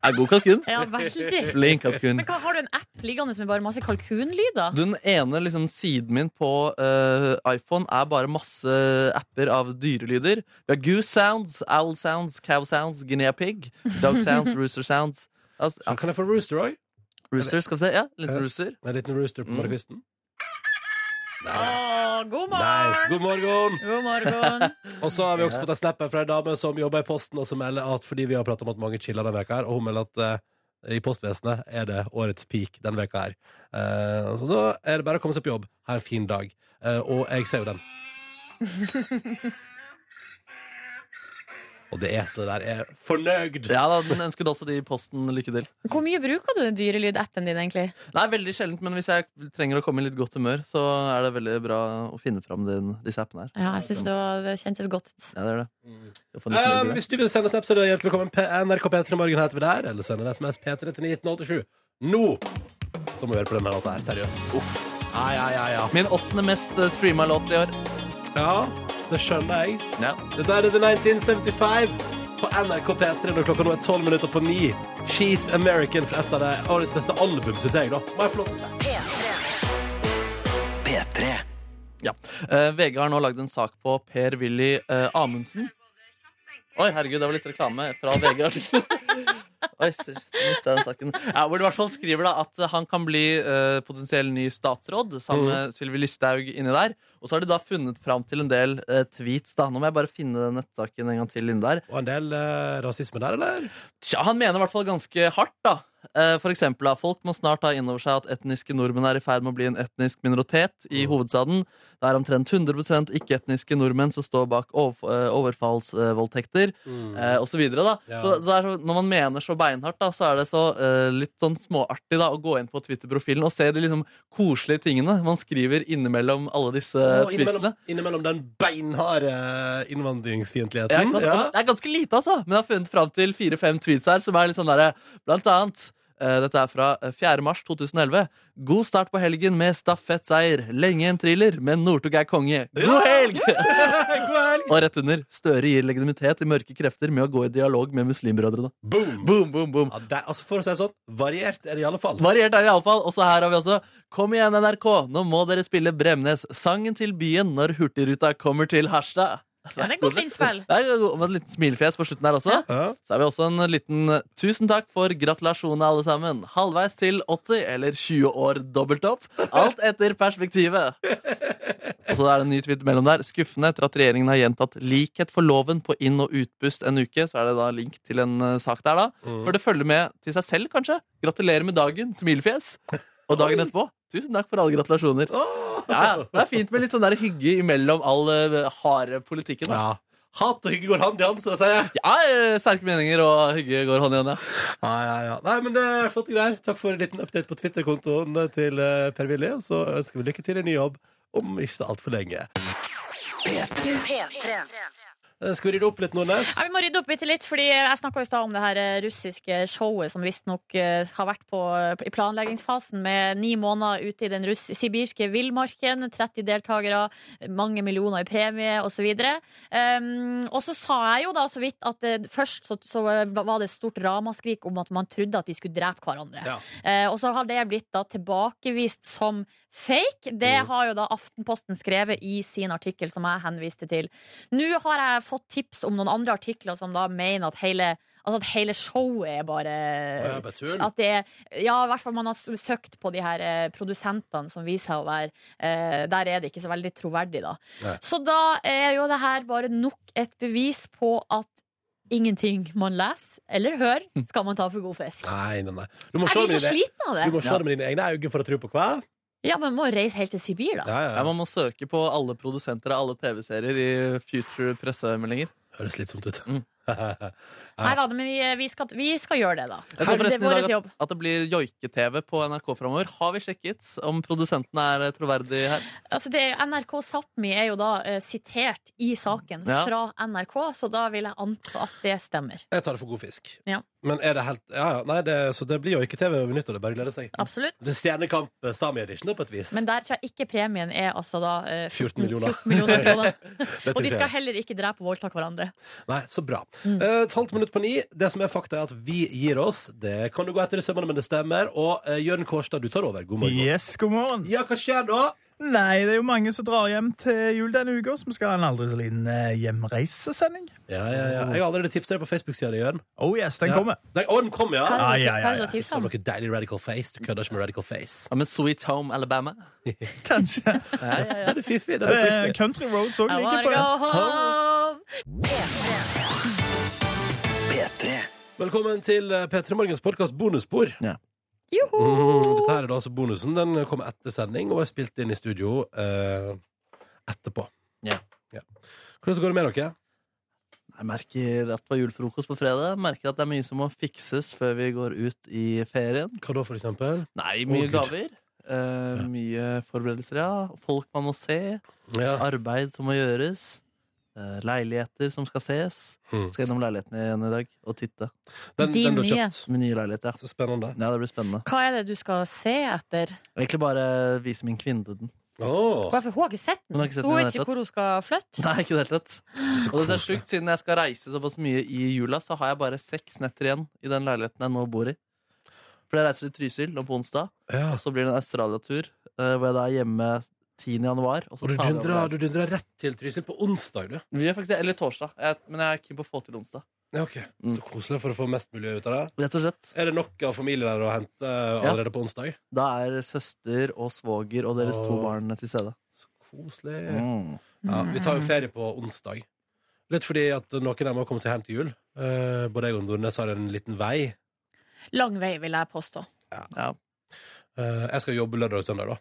D: Er god kalkun.
C: Ja, veldig.
D: Flink kalkun.
C: Men hva, har du en app liggende med bare masse kalkunlyder?
D: Den ene liksom, siden min på eh, iPhone er bare masse apper av dyrelyder. Vi har goose sounds, owl sounds, cow sounds, guinea pig, dog sounds, rooster sounds. Altså, ja,
B: Så kan jeg få Rooster Roy?
D: rooster, skal vi se. Ja, liten rooster.
B: En liten rooster på
D: Mm.
B: morgenkvisten?
C: Å, god
B: Nice.
C: morgen!
B: God morgen!
C: God morgen.
B: Og så har vi også fått en snap her fra ei dame som jobber i Posten, og som melder at fordi vi har prata om at mange chiller denne veka her, og hun melder at eh, i postvesenet er det årets peak denne veka her. Eh, så da er det bare å komme seg på jobb. Ha en fin dag. Eh, og jeg ser jo den. og det er så det der er fornøyd.
D: Ja, da, den ønsket også de i posten lykke til.
C: Hvor mye bruker du den dyrelydappen din, egentlig?
D: Nei, veldig sjeldent, men hvis jeg trenger å komme i litt godt humør, så er det veldig bra å finne fram din, disse appene her.
C: Ja, jeg synes det, var, det kjentes godt ut.
D: Ja, det er det. Å få en liten
B: Um,
D: lykke til.
B: hvis du vil sende snap, så er du hjertelig velkommen. P NRK P3 Morgen heter vi der. Eller send en SMS P3 til 1987. Nå! Så må vi høre på denne låta her. Seriøst. Uff. Ja, ja, ja, ja.
D: Min åttende mest eh, streama låt i år.
B: ja. Det skjønner jeg.
D: Ja.
B: Dette er The 1975 på NRK P3 når klokka nå er 12 minutter på 9. She's American fra et av de årets beste album, synes jeg. da. Må jeg få lov til å si.
D: Ja. Eh, VG har nå lagd en sak på Per-Willy eh, Amundsen. Oi, herregud, det var litt reklame fra VG-artikkelen. Oi, så mistet jeg den saken. Ja, hvor de i hvert fall skriver da at han kan bli eh, potensiell ny statsråd, sammen med Sylvi Listhaug inni der. Og så har de da funnet fram til en del eh, tweets. da. Nå må jeg bare finne den nettsaken en gang til inni der.
B: Og en del eh, rasisme der, eller?
D: Tja, han mener i hvert fall ganske hardt, da. Eh, For eksempel, da, folk må snart ta inn over seg at etniske nordmenn er i ferd med å bli en etnisk minoritet i
B: Mm.
D: hovedstaden. Det er omtrent 100 ikke-etniske nordmenn som står bak overf- eh, overfallsvoldtekter eh, osv. da.
B: Mm. Ja.
D: Så det er så, når man mener så beinhardt, da, så er det så eh, litt sånn småartig da, å gå inn på Twitter-profilen og se de liksom koselige tingene man skriver innimellom alle disse
B: Og innimellom,
D: tweetsene.
B: innimellom den beinharde eh,
D: Mm, Ja, ikke
B: innvandringsfiendtligheten.
D: sant? Og Det er ganske lite, altså. Men jeg har funnet fram til fire-fem tweets her som er litt sånn derre Blant annet eh, dette er fra eh, 4. mars 2011. God start på helgen med stafettseier. Lenge en thriller, men Northug er konge. God helg!
B: God helg!
D: Og rett under Støre gir legitimitet til mørke krefter med å gå i dialog med muslimbrødrene.
B: Boom!
D: Boom, boom, boom.
B: Ja, det, er- altså For å si det sånn, variert er det i alle fall.
D: Variert er det iallfall. Og så her har vi altså Kom igjen, NRK, nå må dere spille Bremnes. Sangen til byen når Hurtigruta kommer til Harstad.
C: Ja, det er godt innspill.
D: Det er jo- med et liten smilefjes på slutten her også.
B: Ja.
D: Så er vi også en liten tusen takk for gratulasjonene, alle sammen. Halvveis til 80 eller 20 år dobbelt opp. Alt etter perspektivet. Og så er det en ny tweet mellom der. Skuffende etter at regjeringen har gjentatt likhet for loven på inn- og utpust en uke. Så er det da link til en eh, sak der, da. For det følger med til seg selv, kanskje. Gratulerer med dagen, smilefjes. Og dagen etterpå. Tusen takk for alle gratulasjoner. Ja, ja. Det er fint med litt sånn der hygge imellom all eh, harde politikken. Da.
B: Ja. Hat og hygge går hand i hand, som jeg sier.
D: Ja, eh, sterke meninger og hygge går hånd i hånd, ja.
B: Ja, ja, ja. Nei, men det er flotte greier. Takk for en liten update på Twitter-kontoen til eh, Per Willy. Og så ønsker vi lykke til i ny jobb om ikke så altfor lenge. Eh, Skal vi rydde opp litt, Nordnes?
C: Ja, vi må rydde opp bitte litt, fordi jeg snakka i stad om det her eh, russiske showet som visstnok eh, har vært på, i planleggingsfasen med ni måneder ute i den russ sibirske villmarken. 30 deltakere, mange millioner i premie osv. Um, og så sa jeg jo da så vidt at eh, først så, så var det et stort ramaskrik om at man trodde at de skulle drepe hverandre.
B: Ja.
C: Eh, og så har det blitt da tilbakevist som
B: Mm.
C: fake. Det har jo da Aftenposten skrevet i sin artikkel som jeg henviste til. Nå har jeg fått tips om noen andre artikler som da mener at hele, altså at hele showet er bare
B: Å, ja, bare tull.
C: At det er Ja, i hvert fall man har s- søkt på de her eh, produsentene som viser seg å være eh, Der er det ikke så veldig troverdig, da.
B: Nei.
C: Så da er jo det her bare nok et bevis på at Ingenting man leser eller hører, skal man ta for god fisk.
B: Nei, nei, nei. Du må
C: Jeg
B: se det
C: blir så
B: med dine,
C: sliten av
B: du må
C: det.
B: se det med dine egne øyne for å tro på hva?
C: Ja, Man må reise helt til Sibir, da.
B: Ja, ja,
D: Ja,
B: ja.
D: man må søke på alle produsenter av alle TV-serier i future pressemeldinger.
B: Høres slitsomt ut.
D: Mm.
B: Ja.
C: Nei da, men vi, eh, vi, skal, vi skal gjøre det, da.
D: Jeg så
C: det
D: forresten
C: er
D: i
C: vår
D: dag
C: jobb.
D: at, at det blir joike-TV på NRK framover. Har vi sjekket om produsentene er troverdige her?
C: Altså, det, er- NRK Sápmi er jo da eh, sitert i saken
D: Ja.
C: fra NRK, så da vil jeg anta at det stemmer.
B: Jeg tar det for god fisk.
C: Ja.
B: Men er det helt Ja, ja. Nei, det, så det blir jo ikke TV over nyttår. Det er bare å glede seg.
C: Absolutt.
B: Det er Stjernekamp eh, Sami Edition, da, på et vis.
C: Men der tror jeg ikke premien er altså da eh,
B: 14 millioner.
C: 14 millioner kroner.
B: Det
C: Og
B: tror
C: de
B: jeg.
C: skal heller ikke drepe og voldta hverandre.
B: Nei, så bra.
C: Mm.
B: Eh, et halvt minutt på ni. Det som er fakta, er at vi gir oss. Det kan du gå etter i sømmene, men det stemmer. Og uh, Jørn Kårstad, du tar over. God morgen.
G: Yes, god morgen.
B: Ja, hva skjer da?
G: Nei, det er jo mange som drar hjem til jul denne uka, så vi skal ha en aldri så liten eh, hjemreisesending.
B: Ja, ja, ja. Jeg har allerede tipsa deg på Facebook-sida di, Jørn.
G: Oh yes, den
B: Ja.
G: kommer.
B: Nei, Å, den kom, ja!
C: Hva
G: Ja,
C: er det
G: ja,
C: du-
G: ja,
C: hva er det
G: ja.
C: du
B: Du
C: tipser
B: tar
C: om?
B: noe deilig radical face. Du kødder ikke med radical face.
D: Ja, men Sweet Home Alabama?
G: Kanskje.
B: Det er fiffig. Det
G: Det
B: er
G: er
B: fiffig.
G: Country Roads òg
C: I
G: ligger
C: wanna
G: på
C: go
G: den.
C: home.
B: Velkommen til eh, P3 Morgens podkast bonusspor.
C: Joho!
B: Mm, dette her er da altså bonusen. Den kommer etter sending og er spilt inn i studio eh, etterpå.
D: Ja.
B: Ja. Hvordan går det med dere?
D: Jeg merker at det var julefrokost på fredag. Merker at det er mye som må fikses før vi går ut i ferien.
B: Hva da, for eksempel?
D: Nei, mye
B: Å, Gud.
D: gaver. eh, Mye forberedelser, ja. Folk man må se.
B: Ja.
D: Arbeid som må gjøres. eh, Leiligheter som skal ses.
B: Mm.
D: Skal gjennom leiligheten igjen i dag og titte.
B: Den,
C: Din
B: den du har
C: nye.
B: kjøpt.
D: Min nye leilighet, ja.
B: Så spennende.
D: Ja, Det blir spennende.
C: Hva er det du skal se etter?
D: Egentlig bare vise min kvinne den.
B: Åh,
C: Hvorfor hun har ikke sett den?
D: Hun har ikke sett
C: Hun
D: den i
C: vet
D: det hele
C: ikke hvor hun skal flytte.
D: Nei, ikke i det hele tatt.
B: så
D: Og det er
B: koselig.
D: slukt, siden jeg skal reise såpass mye i jula, så har jeg bare seks netter igjen i den leiligheten jeg nå bor i. For jeg reiser til Trysil nå på onsdag,
B: Ja.
D: og så blir det en Australia-tur, eh, hvor jeg da er hjemme 10. januar. Og så
B: Og du
D: tar jeg
B: dundrer,
D: over der.
B: du dundrer rett til Trysil på onsdag, du.
D: Vi er faktisk, eller torsdag, jeg, men jeg er keen på å få til onsdag.
B: Ja, ok.
D: Mm.
B: Så koselig for å få mest mulig ut av det.
D: Rett og slett.
B: Er det nok av familie der å hente eh,
D: Ja.
B: allerede på onsdag?
D: Da er søster og svoger og deres to
B: Åh.
D: barn til stede.
B: Så koselig.
D: Mm.
B: Ja, vi tar jo ferie på onsdag. Litt fordi at noen av dem har kommet seg hjem til jul. Eh, både jeg og Nordnes har en liten vei.
C: Lang vei, vil jeg påstå.
D: Ja.
B: Eh, jeg skal jobbe lørdag og søndag, da.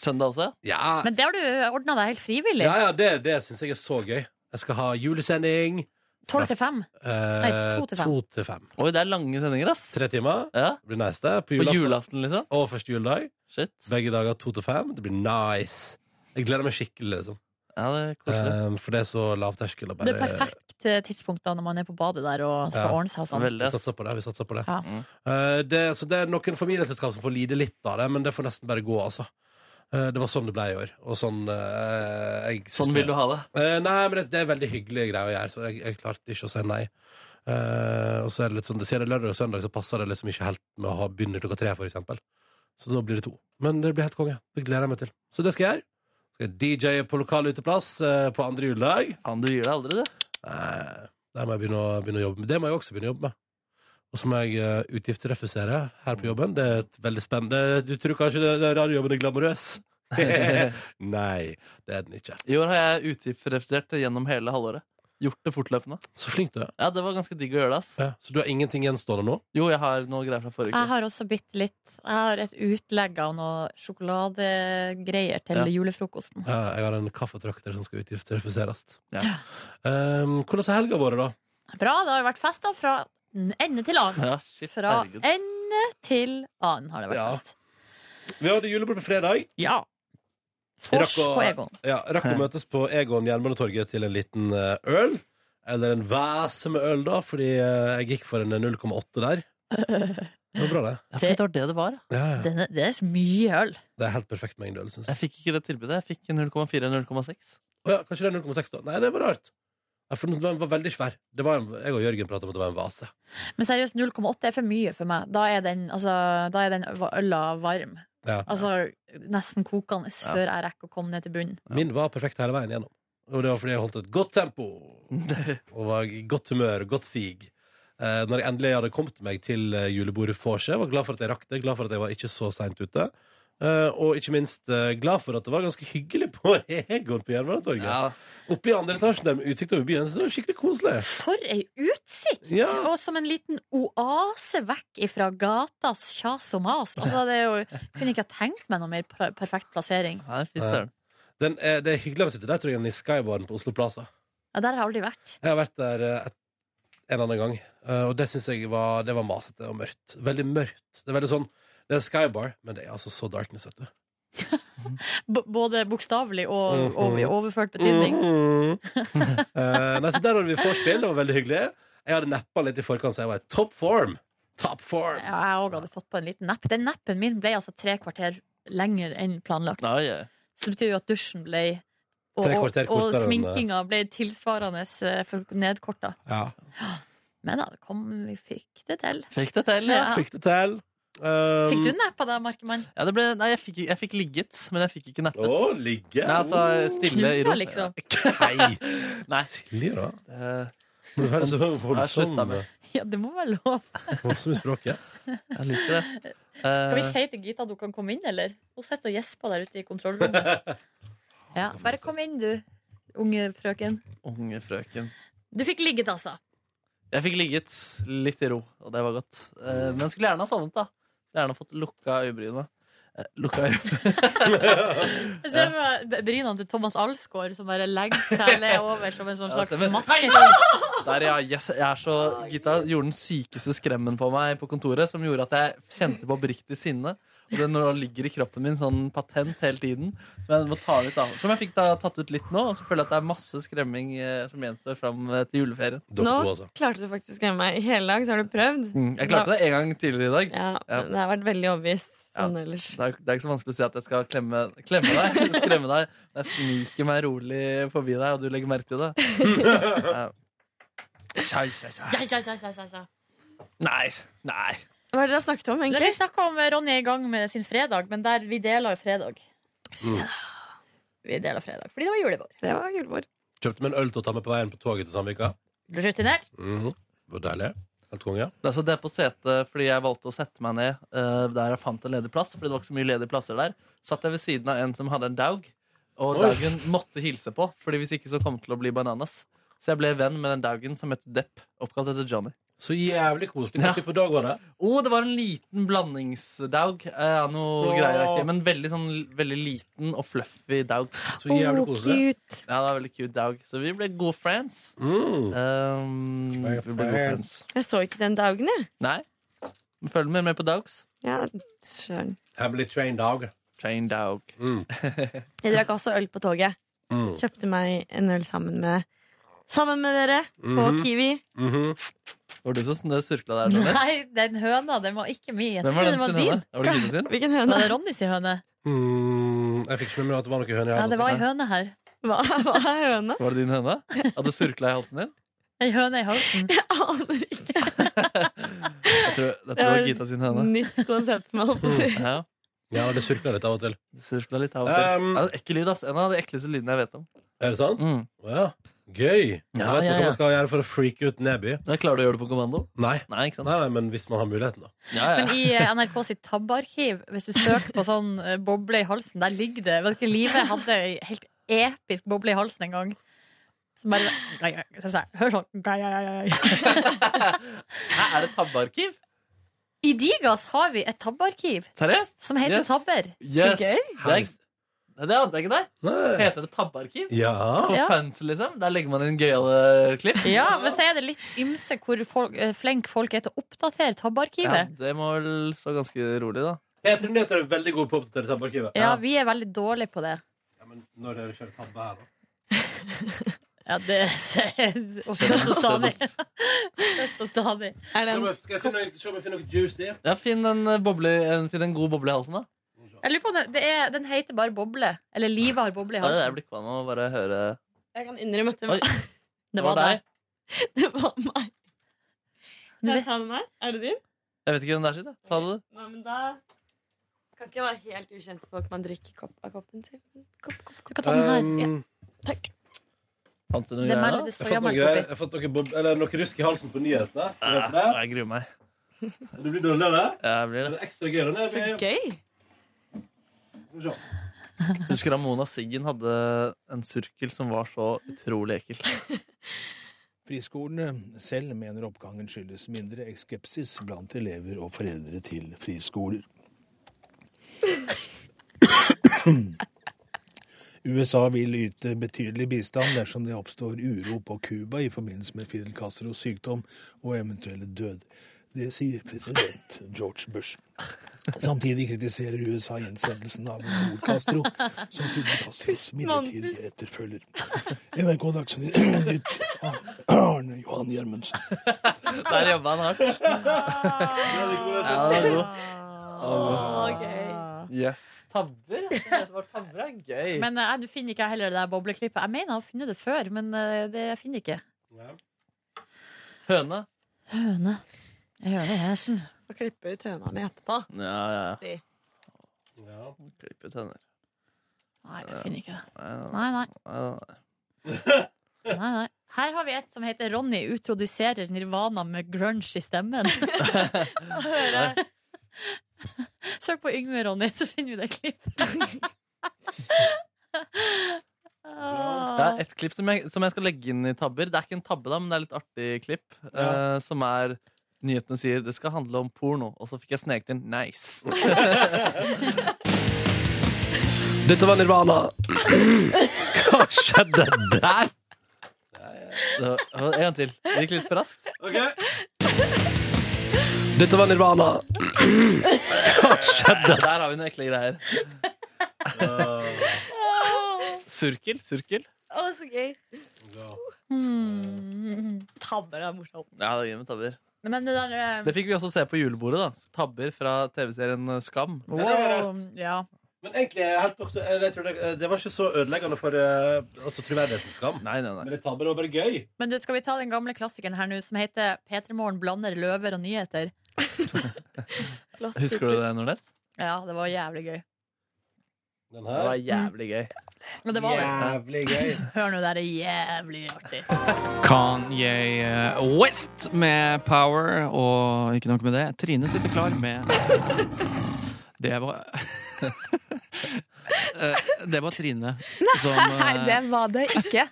D: Søndag også?
B: Ja,
C: Men det har du ordna deg helt frivillig.
B: ja, ja det, det syns jeg er så gøy. Jeg skal ha julesending.
C: Tolv til fem.
B: eh,
C: Nei, to til fem.
B: to til fem.
D: Oi, det er lange sendinger, ass.
B: Tre timer.
D: Ja,
B: Det blir nice, det. På
D: På
B: julaften.
D: julaften, liksom.
B: Og første juledag.
D: Shit.
B: Begge dager to til fem. Det blir nice. Jeg gleder meg skikkelig, liksom.
D: Ja, det er koselig.
B: Eh, for det er så lav terskel. og
C: Det
B: Bare,
C: er perfekt eh, tidspunkt da når man er på badet der og skal
B: Ja.
C: ordne seg og sånn.
D: Veldig,
B: Vi
D: ass.
B: satser på det. Vi satser på det.
C: Ja.
D: Mm.
B: Eh, det, så det er noen familieselskap som får lide litt av det, men det får nesten bare gå, altså. Eh, det var sånn det ble i år. Og sånn eh, jeg syns
D: Sånn
B: det-
D: vil du ha det.
B: Eh, nei, men det, det er veldig hyggelige greier å gjøre, så jeg, jeg klarte ikke å si nei. Eh, og så er det litt sånn, det sier det lørdag og søndag, så passer det liksom ikke helt med å ha begynne klokka tre, for eksempel. Så da blir det to. Men det blir helt konge. Det gleder jeg meg til. Så det skal jeg gjøre. Skal jeg DJ-e på lokal uteplass eh, på andre juledag.
D: Faen, du gir deg aldri, du.
B: Nei, det må jeg begynne å, begynne å jobbe med. Det må jeg også begynne å jobbe med. Og så må jeg eh, utgiftsrefusere her på jobben. Det er et veldig spennende Du tror kanskje det- den radiojobben er glamorøs? Nei, det er den ikke.
D: I år har jeg utgiftsrefusert gjennom hele halvåret. Gjort det fortløpende.
B: Så flink du er.
D: Ja, Det var ganske digg å gjøre det. ass
B: Ja, så du har ingenting gjenstående nå?
D: Jo, jeg har noe greier fra forrige
C: Jeg
D: uke.
C: har også bitte litt. Jeg har et utlegg av noe sjokoladegreier til
D: Ja.
C: julefrokosten.
B: Ja, jeg har en kaffetrakter som skal utgiftsrefuseres.
D: Ja.
B: Um, hvordan er helga vår, da?
C: Bra, det har jo vært fest da, fra ende til annen.
D: Ja, shit,
C: Fra
D: herregud.
C: ende til annen har det vært
B: Ja.
C: fest.
B: Vi hadde julebord på fredag.
C: Ja. Tors på Egon.
B: Ja, rakk å møtes på Egon Jernbanetorget til en liten eh, øl. Eller en væse med øl, da, fordi eh, jeg gikk for en 0,8 der. Det var bra, det.
D: Ja, for det var det det var. ja.
B: Ja, ja.
C: Det, det er mye øl.
B: Det er helt perfekt mengde øl, syns jeg.
D: Jeg fikk ikke det tilbudet. Jeg fikk 0,4 0,6.
B: Å ja, kanskje det er 0,6, da. Nei, det var rart. Ja, for den var veldig svær. Det var en, jeg og Jørgen prata om at det var en vase.
C: Men seriøst, 0,8 er for mye for meg. Da er den, altså, da er den øla varm.
B: Ja.
C: Altså nesten kokende før jeg rekker å komme ned til bunnen.
B: Min var perfekt hele veien gjennom. Og det var fordi jeg holdt et godt tempo og var i godt humør, godt sig. Eh, når jeg endelig hadde kommet meg til eh, julebordet vorset, var glad for at jeg rakk det, glad for at jeg var ikke så seint ute. Eh, og ikke minst eh, glad for at det var ganske hyggelig på Egon på Jernbanetorget.
D: Ja.
B: Oppe i andre etasjen der med utsikt over byen. Så det var skikkelig koselig.
C: For ei utsikt!
B: Ja.
C: Og som en liten oase vekk ifra gatas kjas og mas. Altså, det er jo, kunne ikke ha tenkt meg noe mer pra- perfekt plassering.
D: Nei, fy søren.
B: Den er, det er hyggeligere å sitte der tror jeg, enn i Skybaren på Oslo Plaza.
C: Ja, der har jeg aldri vært.
B: Jeg har vært der eh, et, en annen gang, eh, og det syns jeg var, det var masete og mørkt. Veldig mørkt. Det er veldig sånn det er Skybar, men det er altså så darkness, vet du.
C: B både bokstavelig og,
B: Mhm.
C: og i overført betydning.
B: Mhm. Eh, nei, så der hadde vi vorspiel, det var veldig hyggelig. Jeg hadde neppa litt i forkant, så jeg var i top form. Top form.
C: Ja, jeg òg hadde fått på en liten nepp. Den neppen min ble altså tre kvarter lenger enn planlagt.
D: Nei, ja.
C: Så det betyr jo at dusjen ble og,
B: Tre
C: og,
B: kvarter
C: og
B: kortere enn- eh,
C: sminkinga ble tilsvarende eh, for- nedkorta.
B: Ja.
C: Men da, det kom, vi fikk det til.
D: Fikk det til, ja.
C: Ja.
B: Fikk det til. Um,
C: Fikk du neppa da, Markemann?
D: ja det ble, nei, jeg fikk, jeg fikk ligget, men jeg fikk ikke neppet.
B: Å, ligge.
D: Nei, altså stille i
C: Knulpa,
D: ro.
C: liksom?
B: Nei.
D: Nei.
B: Silje, da.
D: Eh,
B: Må du være så voldsom, eh,
D: slutta med.
C: Ja, det må være lov.
B: voldsom i språket.
D: Jeg liker det.
C: Skal vi
D: Eh,
C: si til Gita at hun kan komme inn, eller? Hun sitter og gjesper der ute i kontrollrommet. Ja, bare kom inn, du, unge frøken.
D: Eh, Unge frøken.
C: Du fikk ligget, altså.
D: Jeg fikk ligget litt i ro, og det var godt. Eh, men skulle gjerne ha sovnet, da. Skulle gjerne ha fått lukka øyebrynene. Eh, lukka øyebrynene.
C: Jeg ser for meg brynene til Thomas Alsgaard som bare legger seg ned over som en sånn
D: Ja,
C: slags
D: stemmer.
C: maske.
D: Der, ja, yes, jeg er så, Gita gjorde den sykeste skremmen på meg på kontoret, som gjorde at jeg kjente på oppriktig sinne. Og det nå ligger i kroppen min sånn patent hele tiden. Som jeg, må ta ut av. Som jeg fikk da tatt ut litt nå, og så føler jeg at det er masse skremming eh, som gjenstår fram eh, til juleferien.
B: Dere
H: Nå
B: to, altså.
H: klarte du faktisk å skremme meg. I hele dag så har du prøvd.
D: Jeg klarte det en gang tidligere i dag.
H: Ja, men Det har vært veldig overbevist sånn ellers.
D: Det er, det er ikke så vanskelig å si at jeg skal klemme, klemme deg. Skremme deg. Jeg sniker meg rolig forbi deg, og du legger merke til det. Ja. Tja, tja, tja.
C: Ja, ja, ja, ja, ja, ja.
D: Nei. Nei.
H: Hva er det dere har snakket om,
C: Eller,
H: egentlig?
C: Vi snakka om Ronny er i gang med sin fredag, men der vi deler jo fredag.
B: Mm.
C: Vi deler fredag, fordi det var julebord.
H: Det var julebord.
B: Kjøpte meg en øl til å ta med på veien på toget til Sandvika.
C: Rutinert.
B: Mhm. Det var deilig. Helt konge.
D: Det er så det på setet fordi jeg valgte å sette meg ned eh, der jeg fant en ledig plass. Fordi det var ikke så mye ledige plasser der. Satt jeg ved siden av en som hadde en daug, og
B: Oi.
D: daugen måtte hilse på. Fordi hvis ikke så kom det til å bli bananas. Så jeg ble venn med den daugen som het Depp, oppkalt etter Johnny.
B: Så jævlig koselig.
D: Ja.
B: Hva type dag var det?
D: Å, det var en liten blandingsdaug. Eh, noe
B: Åh.
D: greier jeg ikke. Men veldig, sånn, veldig liten og fluffy daug.
B: Så jævlig koselig.
H: Oh, cute!
D: Ja, det var veldig cute daug. Så vi ble gode friends.
B: Mm.
D: Um, vi ble gode friends.
H: Jeg så ikke den dagen, jeg.
D: Nei. Men Følg med mer på daugs.
H: Ja, søren.
B: Hemmelig train dog.
D: Train daug.
B: Mm.
H: Jeg drakk også øl på toget.
B: Mm.
H: Kjøpte meg en øl sammen med Sammen med dere på
B: Mhm.
H: Kiwi.
B: Mhm.
D: Var du som sn- surkla der? Jonas?
C: Nei, den høna, den var ikke min. Jeg
D: Hvem var
C: trodde den
D: den
C: var
D: sin høne?
C: din.
D: Var det Gine sin?
H: Hvilken
C: Var
H: høne?
C: det Ronny sin høne?
B: Mm. Jeg fikk ikke med meg at det var noe
C: Ja,
B: høne. i
C: det
B: havet.
C: var ei høne her.
H: Hva, hva er høne?
D: Var det din høne? Hadde du surkla i halsen din?
C: Ei høne i halsen.
H: Jeg aner ikke.
D: Jeg tror, jeg tror det var Gita sin
C: Mm.
D: høne.
H: Nytt konsept for meg. holdt på å si.
D: Ja,
B: Ja, det surkla litt av og til.
D: du surkla litt av og til.
B: Um.
D: Ja, det er en ekkel lyd, ass. En av de ekleste lydene jeg vet om.
B: Er det sant?
D: Mm.
B: Ja. Gøy.
D: Ja,
B: jeg vet
D: ja,
B: ikke hva
D: ja.
B: man skal gjøre for å freake ut Neby.
D: Men Klarer du å gjøre det på kommando?
B: Nei.
D: Nei, ikke sant?
B: Nei, nei, men hvis man har muligheten, da.
D: Ja, ja.
C: Men i eh, NRK sitt tabbearkiv, hvis du søker på sånn eh, boble i halsen, der ligger det. Vet du ikke, Live hadde ei helt episk boble i halsen en gang. Som bare Nei, nei, sånn her. Hør sånn. Nei, nei, nei, nei.
D: Hæ, er det tabbearkiv?
C: I Digas har vi et tabbearkiv
D: Seriøst?
C: som heter
D: Yes.
C: Tabber.
D: Yes.
H: gøy.
D: Det, er, det ante jeg ikke deg.
B: Nei.
D: Heter det tabbearkiv?
B: Ja.
D: For
C: Ja.
D: fans, liksom? Der legger man inn gøyale klipp.
C: Ja, men så er det litt ymse hvor folk, eh, flink folk er til å oppdatere
D: Ja,
C: tabbearkivet.
D: det må vel stå ganske rolig, da.
B: Peter Nyheter er veldig god på å oppdatere tabbearkivet.
C: Ja, vi er veldig dårlige på det.
B: Ja, men når dere kjører tabbe her, da?
C: Ja, det er støtt og stadig. Støtt og stadig.
H: Er det
B: Se om
H: en
B: jeg- Skal jeg finne, se om jeg finner noe juicy?
D: Ja, Finn en, eh, boble, en, finn en god boble i halsen, da.
C: Jeg lurer på om det, det er, Den heter bare Boble. Eller Livet har boble i
D: Ja, det er
C: halsen.
D: blitt med å bare høre
H: Jeg kan innrømme at det var,
D: Oi.
C: Det var
D: det
C: deg.
H: det var meg. Kan
C: Du
H: jeg
C: vet-
H: ta den her? Er det din?
D: Jeg vet ikke hvem det er sitt. jeg. Ta det, du.
H: Nei, men da kan ikke være helt ukjente folk man drikker kopp av koppen til. Kopp, kopp,
C: Du kan ta den her.
B: Um,
H: Takk.
D: Fant du noe
C: Det er
D: greier
C: mer
D: da?
C: det
B: Jeg Ehm, fant noen
C: soyamelk
B: greier.
C: oppi.
B: Jeg fant noe, bob eller noe rusk i halsen på
D: Ah,
B: nyhetene. Skal vi åpne?
D: Ja, Jeg gruer meg.
B: Det blir dårlig av det.
D: Ja, jeg blir
B: Det
D: det.
B: er ekstra gøy. Det
H: Så gøy.
B: er Skal vi se.
D: Husker Ramona Siggen hadde en surkel som var så utrolig ekkel.
I: Friskolene selv mener oppgangen skyldes mindre skepsis blant elever og foreldre til friskoler. USA vil yte betydelig bistand dersom det oppstår uro på Cuba i forbindelse med Fidel Castros sykdom og eventuelle død. Det sier president George Bush. Samtidig kritiserer USA innsettelsen av Raúl Castro som Fidel Castros midlertidige etterfølger. NRK Dagsnytt Arne Johan Gjermundsen.
D: Der jobba han hardt. Ja,
C: Ah.
D: det var god.
H: Åh, gøy.
D: Yes. Tabber? Det var tabber er gøy.
C: Men eh, jeg finner ikke jeg heller det der bobleklippet. Jeg mener jeg har funnet det før, men eh, det jeg finner ikke.
D: Høne?
C: Høne. Jeg hører det, Hesen.
H: Får klippe ut høna mi etterpå.
D: Ja, ja.
H: Si.
B: Ja.
D: Klipp ut høner.
C: Nei, jeg finner ikke det.
D: Nei,
C: Nei,
D: nei,
C: nei.
D: nei, nei.
C: nei, nei. Her har vi et som heter Ronny utroduserer Nirvana med grunge i stemmen. Hører jeg. Søk på Yngve Ronny, så finner vi det klippet.
D: Det
C: Ah.
D: er et klipp som jeg, som jeg skal legge inn i tabber. Det er ikke en tabbe, da, men det er litt artig klipp. eh, som er Nyhetene sier det skal handle om porno, og så fikk jeg sneket inn 'nice'.
B: Dette var Nirvana. Hva skjedde der?
D: Så, En gang til. Det gikk litt for raskt.
B: Dette var Nirvana.
D: Der har vi noen ekle greier. Surkel? Surkel?
H: Å, så gøy.
C: Hmm.
H: Tabber er morsomt.
D: Ja, det er gøy med tabber.
C: Men det der eh,
D: Det fikk vi også se på julebordet. da Tabber fra TV-serien eh, Skam.
C: wow, ja.
B: Men egentlig, jeg er helt også, eller jeg tror det, eh, det var ikke så ødeleggende for eh, altså, troverdighetens skam.
D: Nei, nei, nei.
B: Men det tabber var bare gøy.
C: Men du, skal vi ta den gamle klassikeren her nå som heter P3morgen blander løver og nyheter?
D: Husker du det, Nordnes?
C: Ja, det var jævlig gøy.
B: Den
D: Det
B: her.
D: var jævlig gøy.
C: Men det var det.
B: Jævlig gøy.
C: Hør nå, det her er jævlig artig.
J: Kanye eh, West med Power, og ikke nok med det, Trine sitter klar med Det var Eh, Det var Trine som Nei, det var det ikke.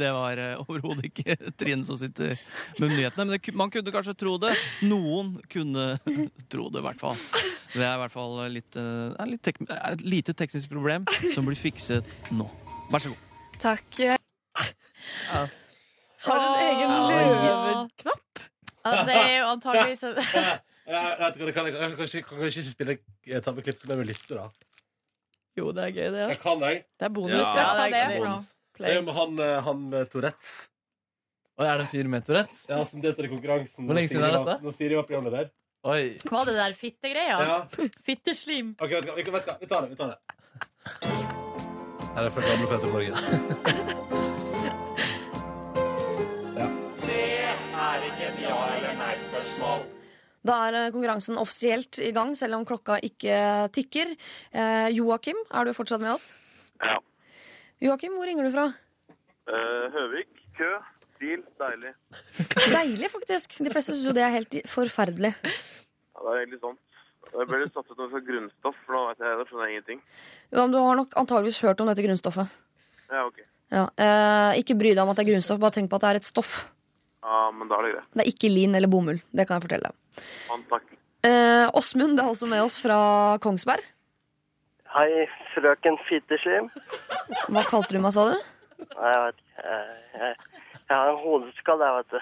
J: Det var eh, overhodet ikke Trine som sitter med nyhetene. Men det, ku- man kunne kanskje tro det. Noen kunne tro det, i hvert fall. Det er i hvert fall litt, eh, er litt tek er et lite teknisk problem som blir fikset nå. Vær så god.
K: Takk.
H: Har du en egen løveknapp?
C: Ja, det er jo antageligvis
B: Ja, vet du hva, det kan, jeg kan, kanskje- kan, kanskje ikke spille eh, tabbeklipp som jeg vil lytte, da.
H: Jo, det er gøy, det.
B: Jeg kan, jeg.
H: Det er bonus.
D: Ja,
C: Spørs hva det er
H: gøy.
C: for noe.
B: Det er
H: Play.
B: jo med han, eh, han eh, Tourettes.
D: Oi, er det en fyr med Tourettes?
B: Ja, som deltar i konkurransen.
D: Hvor lenge
B: når
D: siden er
B: Siri var-
D: dette?
B: Når Siri var programleder.
D: Oi.
C: Var det der fittegreia?
B: Ja.
C: Fitteslim.
B: Ok, vet du hva, vet du hva, vi tar det, vi tar det. Her er første gamle Petter Morgen.
K: Da er eh, konkurransen offisielt i gang, selv om klokka ikke tikker. Eh, Joakim, er du fortsatt med oss?
E: Ja.
K: Joakim, hvor ringer du fra?
E: Eh, Høvik. Kø. Bil. Deilig.
K: Deilig, faktisk. De fleste syns jo det er helt i- forferdelig.
E: Ja, det er egentlig sånn. Jeg ble litt satt ut over grunnstoff, for nå vet jeg, da skjønner jeg ingenting.
K: Ja, men Du har nok antageligvis hørt om dette grunnstoffet.
E: Ja, ok.
K: Ja, eh, ikke bry deg om at det er grunnstoff, bare tenk på at det er et stoff.
E: Ja, men da er det greit.
K: Det er ikke lin eller bomull. Det kan jeg fortelle deg.
E: Mann, takk.
K: Eh, Åsmund det er altså med oss fra Kongsberg.
E: Hei, frøken Fitteslim.
K: Hva kalte du meg, sa du?
E: Nei, jeg vet ikke. Jeg, jeg har en hodeskade, jeg, vet du.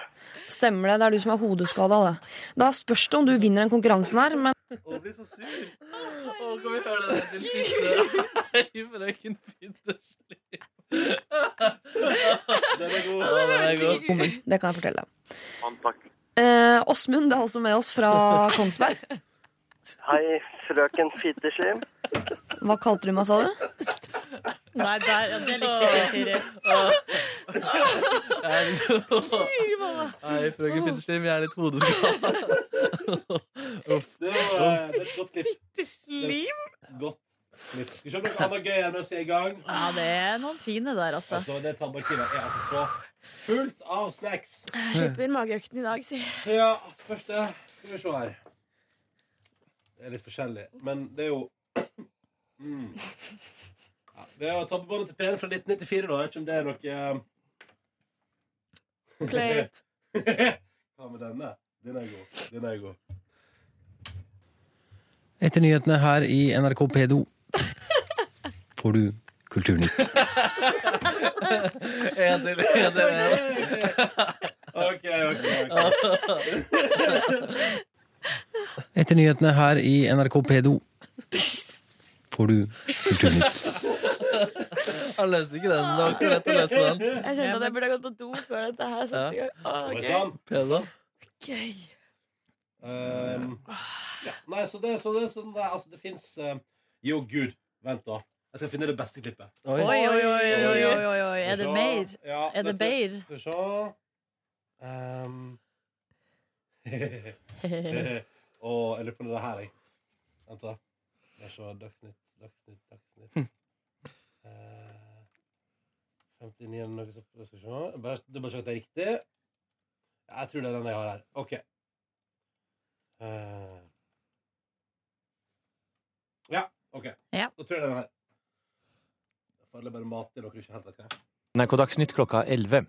K: Stemmer det. Det er du som er hodeskada. Det. Da spørs det om du vinner den konkurransen her, men
B: Å, jeg blir så sur.
D: Å, kan vi høre det til siste? Hei, frøken Petersen.
B: Den er god.
D: Ja, den er god.
K: det kan jeg fortelle deg.
E: Mann, takk.
K: Eh, Åsmund det er altså med oss fra Kongsberg.
E: Hei, frøken Fitteslim.
K: Hva kalte du meg, sa du?
C: Nei, der, ja, det likte jeg ikke, Siri.
D: Hei, frøken Petersen, vi er litt hodeskada.
B: Det var eh, det er et godt klipp.
H: Slim?
B: Godt klipp. Skal vi se om noe annet gøy er mens vi er i gang.
C: Ja, det er noen fine der, altså.
B: Altså, det tabbarkivet er altså så fullt av snacks.
H: Jeg slipper mageøkten i dag, si.
B: Ja, spørs det. Skal vi se her. Det er litt forskjellig, men det er jo mm. ja, Det er jo tabbebåndet til P1 fra 1994, da. Jeg vet ikke om det er noe eh,
H: Play it.
B: Hva med denne? Den er god. Den er god.
J: Etter nyhetene her i NRK P2 får du Kulturnytt.
D: En til, en til, en.
B: OK, OK.
J: Etter nyhetene her i NRK P2 får du Kulturnytt.
D: Han løste ikke den. Det var ikke så lett å løse den.
H: Jeg kjente at jeg burde ha gått på do før dette her satte i gang. Åh,
B: Oi, sånn.
H: gøy.
B: sann.
D: Pedo.
H: Gøy.
B: Um, ja. Nei, så det, så det, sånn det, altså, det fins Jo, gud, vent, da. Jeg skal finne det beste klippet.
C: Oi, oi, oi, oi, oi, oi, oi. Er det mer?
B: Ja,
C: Er det
B: dette-
C: beir?
B: Skal vi se um. Og jeg lurer på om det er her, jeg. Vent, da. Skal vi se Dagsnytt, Dagsnytt, Dagsnytt. Eh, 59 eller noe sånt. Skal vi se. Jeg Bare, du bare se at det er riktig. Ja, Jeg tror det er den jeg har her. OK. Eh. ja, OK.
C: Ja.
B: Da tror jeg det er den her. Jeg føler jeg bare mater dere ikke helt vet hva jeg er.
L: NRK Dagsnytt klokka 11.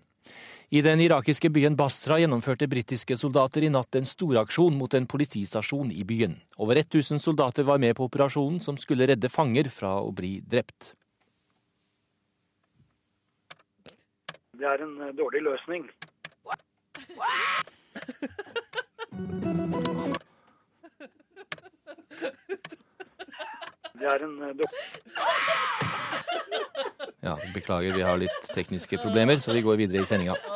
L: I den irakiske byen Basra gjennomførte britiske soldater i natt en storaksjon mot en politistasjon i byen. Over 1000 soldater var med på operasjonen, som skulle redde fanger fra å bli drept.
E: Det er en eh, dårlig løsning. Det er en eh, dårlig
L: Ja, Beklager, vi har litt tekniske problemer, så vi går videre i sendinga.
D: Det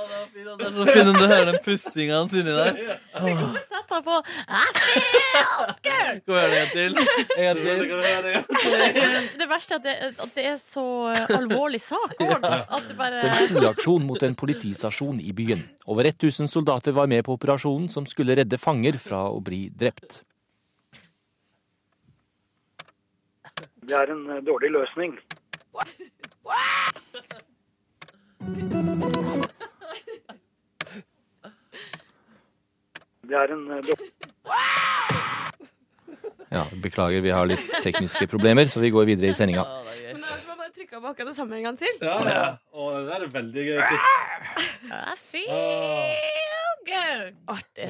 D: er så fint om du hører den pustinga hans inni der.
C: Sett deg på. Ah,
D: Skal vi gjøre det en til? En til.
C: Det verste er at det, at det er så eh, alvorlig sak òg. At det bare
L: En storaksjon mot en politistasjon i byen. Over 1000 soldater var med på operasjonen, som skulle redde fanger fra å bli drept.
E: Det er en eh, dårlig løsning. Det er en eh, dårlig
L: Ja, Beklager, vi har litt tekniske problemer, så vi går videre i sendinga.
H: Men det var som om jeg bare trykka på akkurat det samme en gang til.
B: Ja, ja. Å, det der er veldig gøy klipp.
C: I feel good. Artig.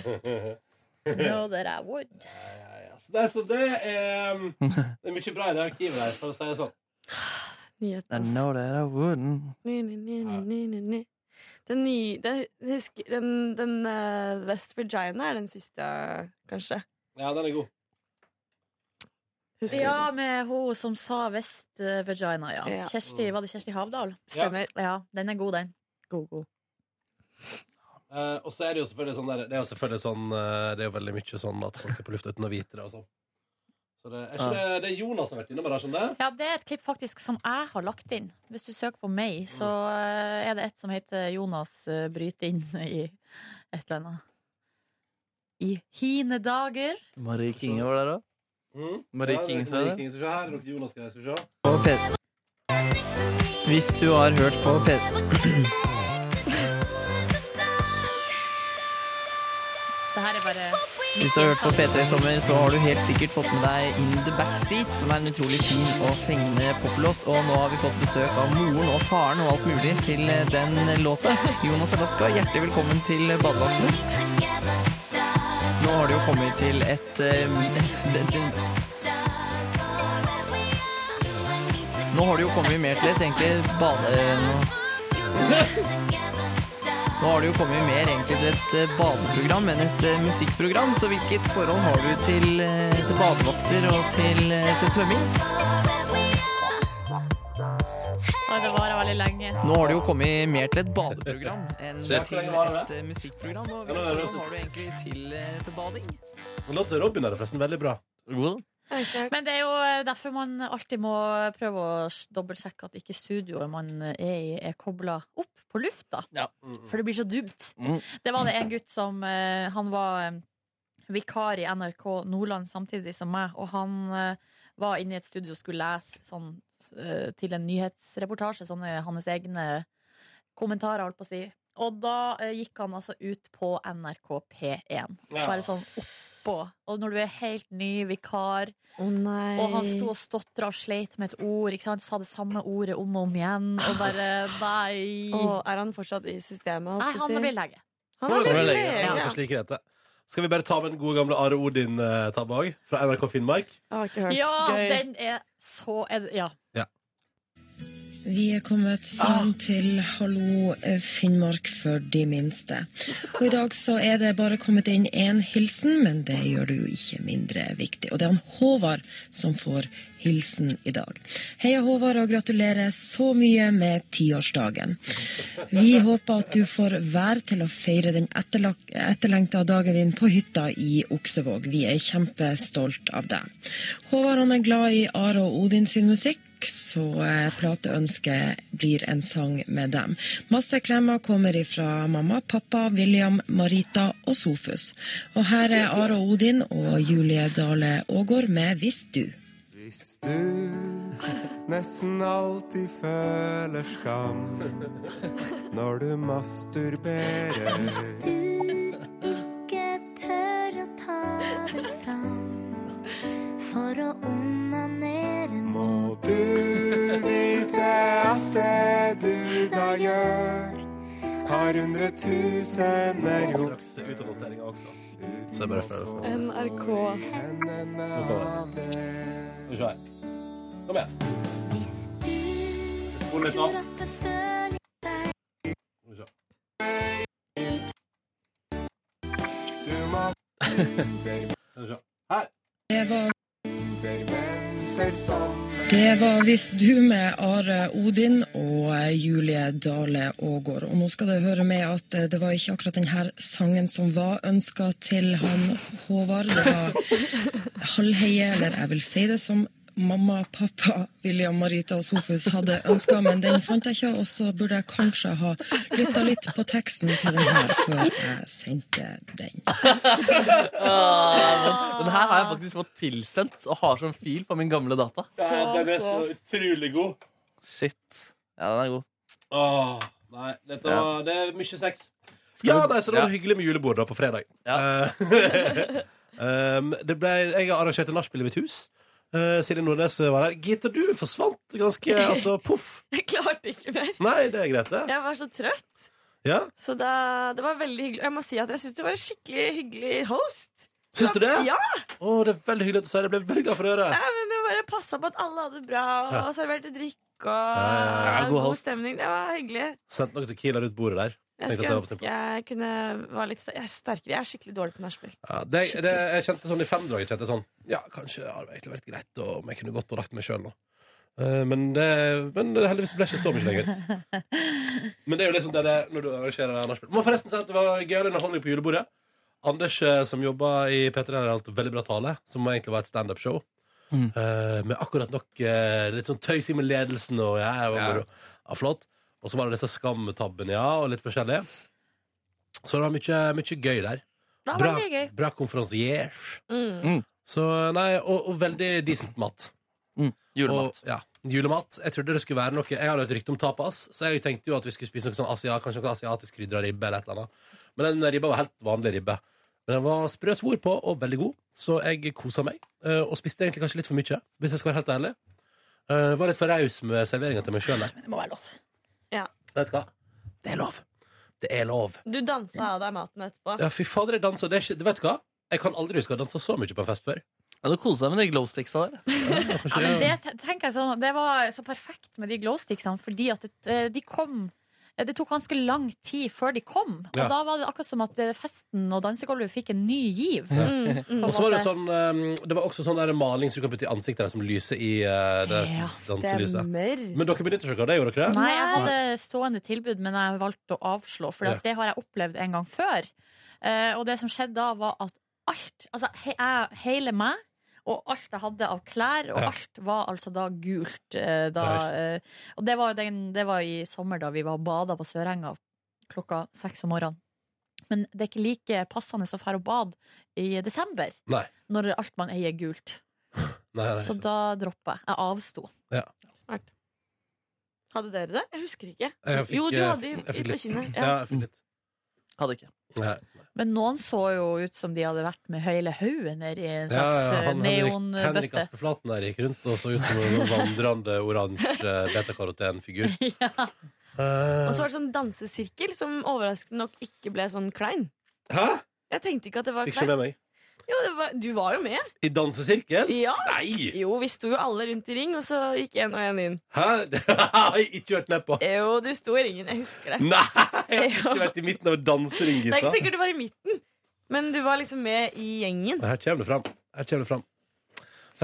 C: Know that I would.
B: Så det, så det er um, Det er mye bra i det arkivet der, for å si det sånn.
H: Nyhet,
D: I
H: ass.
D: know that I wouldn't.
H: Ni, ni, ni, ni, ni, ni, ni. Den nye den, husker, den, den eh, West Virginia er den siste, kanskje.
B: Ja, den er god.
H: Husker
C: Ja, med hun som sa West Vagina, ja. Mm.
H: Ja.
C: Kjersti, var det Kjersti Havdal?
H: du? Stemmer.
C: Ja, den er god, den.
H: God, god.
B: Eh, og så er det jo selvfølgelig sånn der, Det er jo selvfølgelig sånn eh, Det er jo veldig mye sånn at folk er på lufta uten å vite det og sånn. Så det er, ikke, det, det er Jonas som har vært sånn innom her, skjønner jeg.
C: Ja, det er et klipp faktisk som jeg har lagt inn. Hvis du søker på meg, så eh, er det et som heter Jonas eh, bryter inn i et eller annet. I hine dager.
D: Marie Kinge var der òg.
B: Mm.
D: Marie
B: Ja, det er
D: King, så er
B: Marie
D: det.
B: King, så se her. Er det noe Jonas greier, skal vi se.
J: På P... Hvis du har hørt på P...
C: Det her er bare
J: Hvis du har hørt på P3 i sommer, så har du helt sikkert fått med deg In The Backseat, som er en utrolig fin og fengende poplåt. Og nå har vi fått besøk av moren og faren og alt mulig til eh, den låta. Jonas Alaska, hjertelig velkommen til Badelandet. Nå har du jo kommet til et eh, Nå har du jo kommet mer til et egentlig bade... eh, Nå har du jo kommet mer egentlig til et eh, badeprogram enn et eh, musikkprogram, så hvilket forhold har du til, eh, til badevakter og til, eh, til svømming?
C: Oi, det varer veldig lenge.
J: Nå har du jo kommet mer til et badeprogram enn
B: Shit.
J: til et eh, musikkprogram, og
B: Ja, det er
J: hvilket
B: det.
J: forhold har du egentlig til, eh, til bading?
B: Men Låta til Robin er forresten veldig bra.
C: Men det er jo derfor man alltid må prøve å s- dobbeltsjekke at ikke studioet man er i, er kobla opp på lufta.
D: Ja.
B: Mm,
C: For det blir så dumt.
D: Mm.
C: Det var det en gutt som eh, Han var eh, vikar i NRK Nordland samtidig som meg, og han eh, var inne i et studio og skulle lese sånn, eh, til en nyhetsreportasje, sånne hans egne kommentarer, holdt på å si. Og da eh, gikk han altså ut på NRK P1.
K: Ja.
C: Bare sånn oppå. Og når du er helt ny vikar, og han sto og stotra og sleit med et ord, ikke sant? sa det samme ordet om og om igjen, og bare nei.
H: Og er han fortsatt i systemet?
C: Nei, han blir lege.
H: Han er
B: Hvor
H: blitt
B: lenge?
H: lege.
B: Ja,
H: Ja.
B: det er slik det heter. Skal vi bare ta med den gode gamle Are Odin-tabba òg, fra NRK Finnmark?
H: Jeg har ikke hørt.
C: Ja,
H: Gøy.
C: den er så er, det- Ja.
M: Vi er kommet fram til Hallo eh, Finnmark for de minste. Og i dag så er det bare kommet inn én hilsen, men det gjør det jo ikke mindre viktig. Og det er han Håvard som får hilsen i dag. Heia Håvard, og gratulerer så mye med tiårsdagen. Vi håper at du får være til å feire den etterlak- etterlengta dagen din på hytta i Oksevåg. Vi er kjempestolt av deg. Håvard han er glad i Are og Odin sin musikk så eh, plateønsket blir en sang med dem. Masse klemmer kommer ifra mamma, pappa, William, Marita og Sofus. Og her er Are og Odin og Julie Dale Aagaard med 'Hvis du'.
N: Hvis du nesten alltid føler skam når du masturberer
O: Hvis du ikke tør å ta den fram for å onanere
N: Må du vite at det du da gjør, har hundretusener gjort
B: Straks utannonseringa også. Så jeg bare følger på.
H: NRK.
B: Nå kommer den. Skal vi se her. Kom igjen. Spol litt av.
O: beføling deg
B: Skal vi se.
N: Du må
B: Skal vi se.
M: Det var
N: Interventer som
M: Det var 'Hvis du' med Are Odin og eh, Julie Dale Aagaard. Og nå skal det høre med at eh, det var ikke akkurat denne sangen som var ønska til han Håvard. Det var halvheie, eller jeg vil si det som mamma, pappa, William, Marita og Sofus hadde ønska, men den fant jeg ikke, og så burde jeg kanskje ha lytta litt på teksten til den her før jeg sendte den.
D: Ah, Den her har jeg faktisk fått tilsendt og har som fil på min gamle data.
B: Ja, den er så utrolig god.
D: Shit. Ja, den er god.
B: Åh, nei, dette
D: Ja.
B: var, det er mye sex.
D: Skal
B: Ja,
D: vi-
B: nei, så da var det
D: Ja.
B: hyggelig med julebord da på fredag. Eh, um, det ble, jeg har arrangert en nachspiel i mitt hus. Eh, Silje Nordnes var her. Gitta, du forsvant ganske Altså, poff.
H: Jeg klarte ikke mer.
B: Nei, det er greit, det.
H: Jeg var så trøtt.
B: Ja.
H: Så da, det var veldig hyggelig. Og jeg må si at jeg syns du var en skikkelig hyggelig host.
B: Syns du det?
H: Ja!
B: Å, det er veldig hyggelig at du sier det. Jeg ble veldig glad for å høre.
H: Nei, men Du bare passa på at alle hadde det bra, og
B: Ja.
H: serverte drikk og
B: Ja, ja, ja. God
H: god,
B: host.
H: stemning. Det var hyggelig.
B: Sendte noe tequila rundt bordet der.
H: Jeg
B: Tenkte at
H: skulle
B: det var på sin
H: ønske jeg kunne være litt ster- jeg er sterkere. Jeg er skikkelig dårlig på nachspiel.
B: Ja, det, det, jeg kjente sånn i femdraget kjente jeg sånn Ja, kanskje har det egentlig vært greit og- om jeg kunne gått og lagt meg sjøl nå. Eh, men, det, men det heldigvis ble ikke så mye lenger. Men det er jo liksom det, det når du arrangerer nachspiel. Må forresten si at det var gøyal underholdning på julebordet. Anders, eh, som jobba i P3, har holdt veldig bra tale, som egentlig var et standup-show.
D: Mm.
B: Eh, med akkurat nok eh, litt sånn tøysing med ledelsen og ja, det var
D: Ja.
B: moro. ja, flott. Og så var det disse skamtabbene, ja, og litt forskjellig. Så det var mye, mye gøy der.
C: Det var veldig gøy.
B: bra konferansier.
C: Mm.
B: Så nei, og, og veldig decent mat.
D: julemat.
B: Og, ja, julemat. Jeg trodde det skulle være noe Jeg hadde et rykte om tapas, så jeg tenkte jo at vi skulle spise noe sånn asia, kanskje noe asiatisk krydra ribbe eller et eller annet. Men den ribba var helt vanlig ribbe. Men den var sprø svor på og veldig god, så jeg kosa meg. eh, Og spiste egentlig kanskje litt for mye, hvis jeg skal være helt ærlig. Eh, var litt for raus med serveringa til meg sjøl der.
C: Det må være lov.
H: Ja.
B: Vet du hva? Det er lov. Det er lov.
H: Du dansa av deg maten etterpå.
B: Ja, fy fader, jeg dansa. Det er ikke, vet du hva? Jeg kan aldri huske å ha dansa så mye på en fest før.
D: Ja, Du koser deg med de glowsticksa der.
C: Ja, men det, te- tenker jeg sånn, det var så perfekt med de glowsticksene, fordi at det, eh, de kom eh, det tok ganske lang tid før de kom. Og
B: Ja.
C: da var det akkurat som at eh, festen og dansegulvet fikk en ny giv.
B: Ja.
C: Mm, mm, på en
B: Og så var det
C: måte.
B: sånn ehm, Det var også sånn der maling som du kan putte i ansiktet der, som lyser i eh, det
C: Ja,
B: danselyset.
H: stemmer.
B: Men dere benytter dere av det, gjorde dere det?
C: Nei, jeg hadde stående tilbud, men jeg valgte å avslå, for
B: Ja.
C: det har jeg opplevd en gang før. Eh, og det som skjedde da, var at alt, altså he, jeg, hele meg, og alt jeg hadde av klær, og
K: Ja.
C: alt var altså da gult. eh, da,
K: Ja, ikke
C: eh, og det var, jo den, det var i sommer, da vi var og bada på Sørenga klokka seks om morgenen. Men det er ikke like passende å dra og bade i desember,
B: Nei.
C: når alt man eier, er gult.
B: Nei, nei,
C: så da droppa jeg. Jeg avsto.
B: Ja.
H: Smart. Hadde dere det? Jeg husker ikke.
B: Jeg fikk,
H: jo, du
B: eh,
H: hadde i,
B: jeg
H: i
B: fikk
H: på
B: litt.
H: kinnet.
B: Ja, jeg fikk litt.
D: Hadde ikke.
B: Nei.
C: Men noen så jo ut som de hadde vært med hele haugen nedi en
B: Ja,
C: slags
B: ja,
C: eh,
B: han, Henrik, Henrik
C: neonbøtte.
B: Aspeflaten der gikk rundt og så ut som en sånn vandrende oransje betakarotenfigur.
H: Og
B: Eh,
H: så var det sånn dansesirkel som overraskende nok ikke ble sånn klein.
B: Hæ?
H: Jeg tenkte ikke at det var
B: Fikk ikke med
H: klein.
B: meg.
H: Jo, det var, du var jo med.
B: I dansesirkel?
H: Ja.
B: Nei!
H: Jo, vi sto jo alle rundt i ring, og så gikk en og en inn.
B: Hæ? Det har jeg ikke vært med på.
H: Jo, du sto i ringen. Jeg husker det.
B: Nei, jeg har ikke vært i midten av en dansering,
H: Det er ikke
B: gutta.
H: sikkert du var i midten, men du var liksom med i gjengen.
B: Her kommer det fram. Her kommer det fram.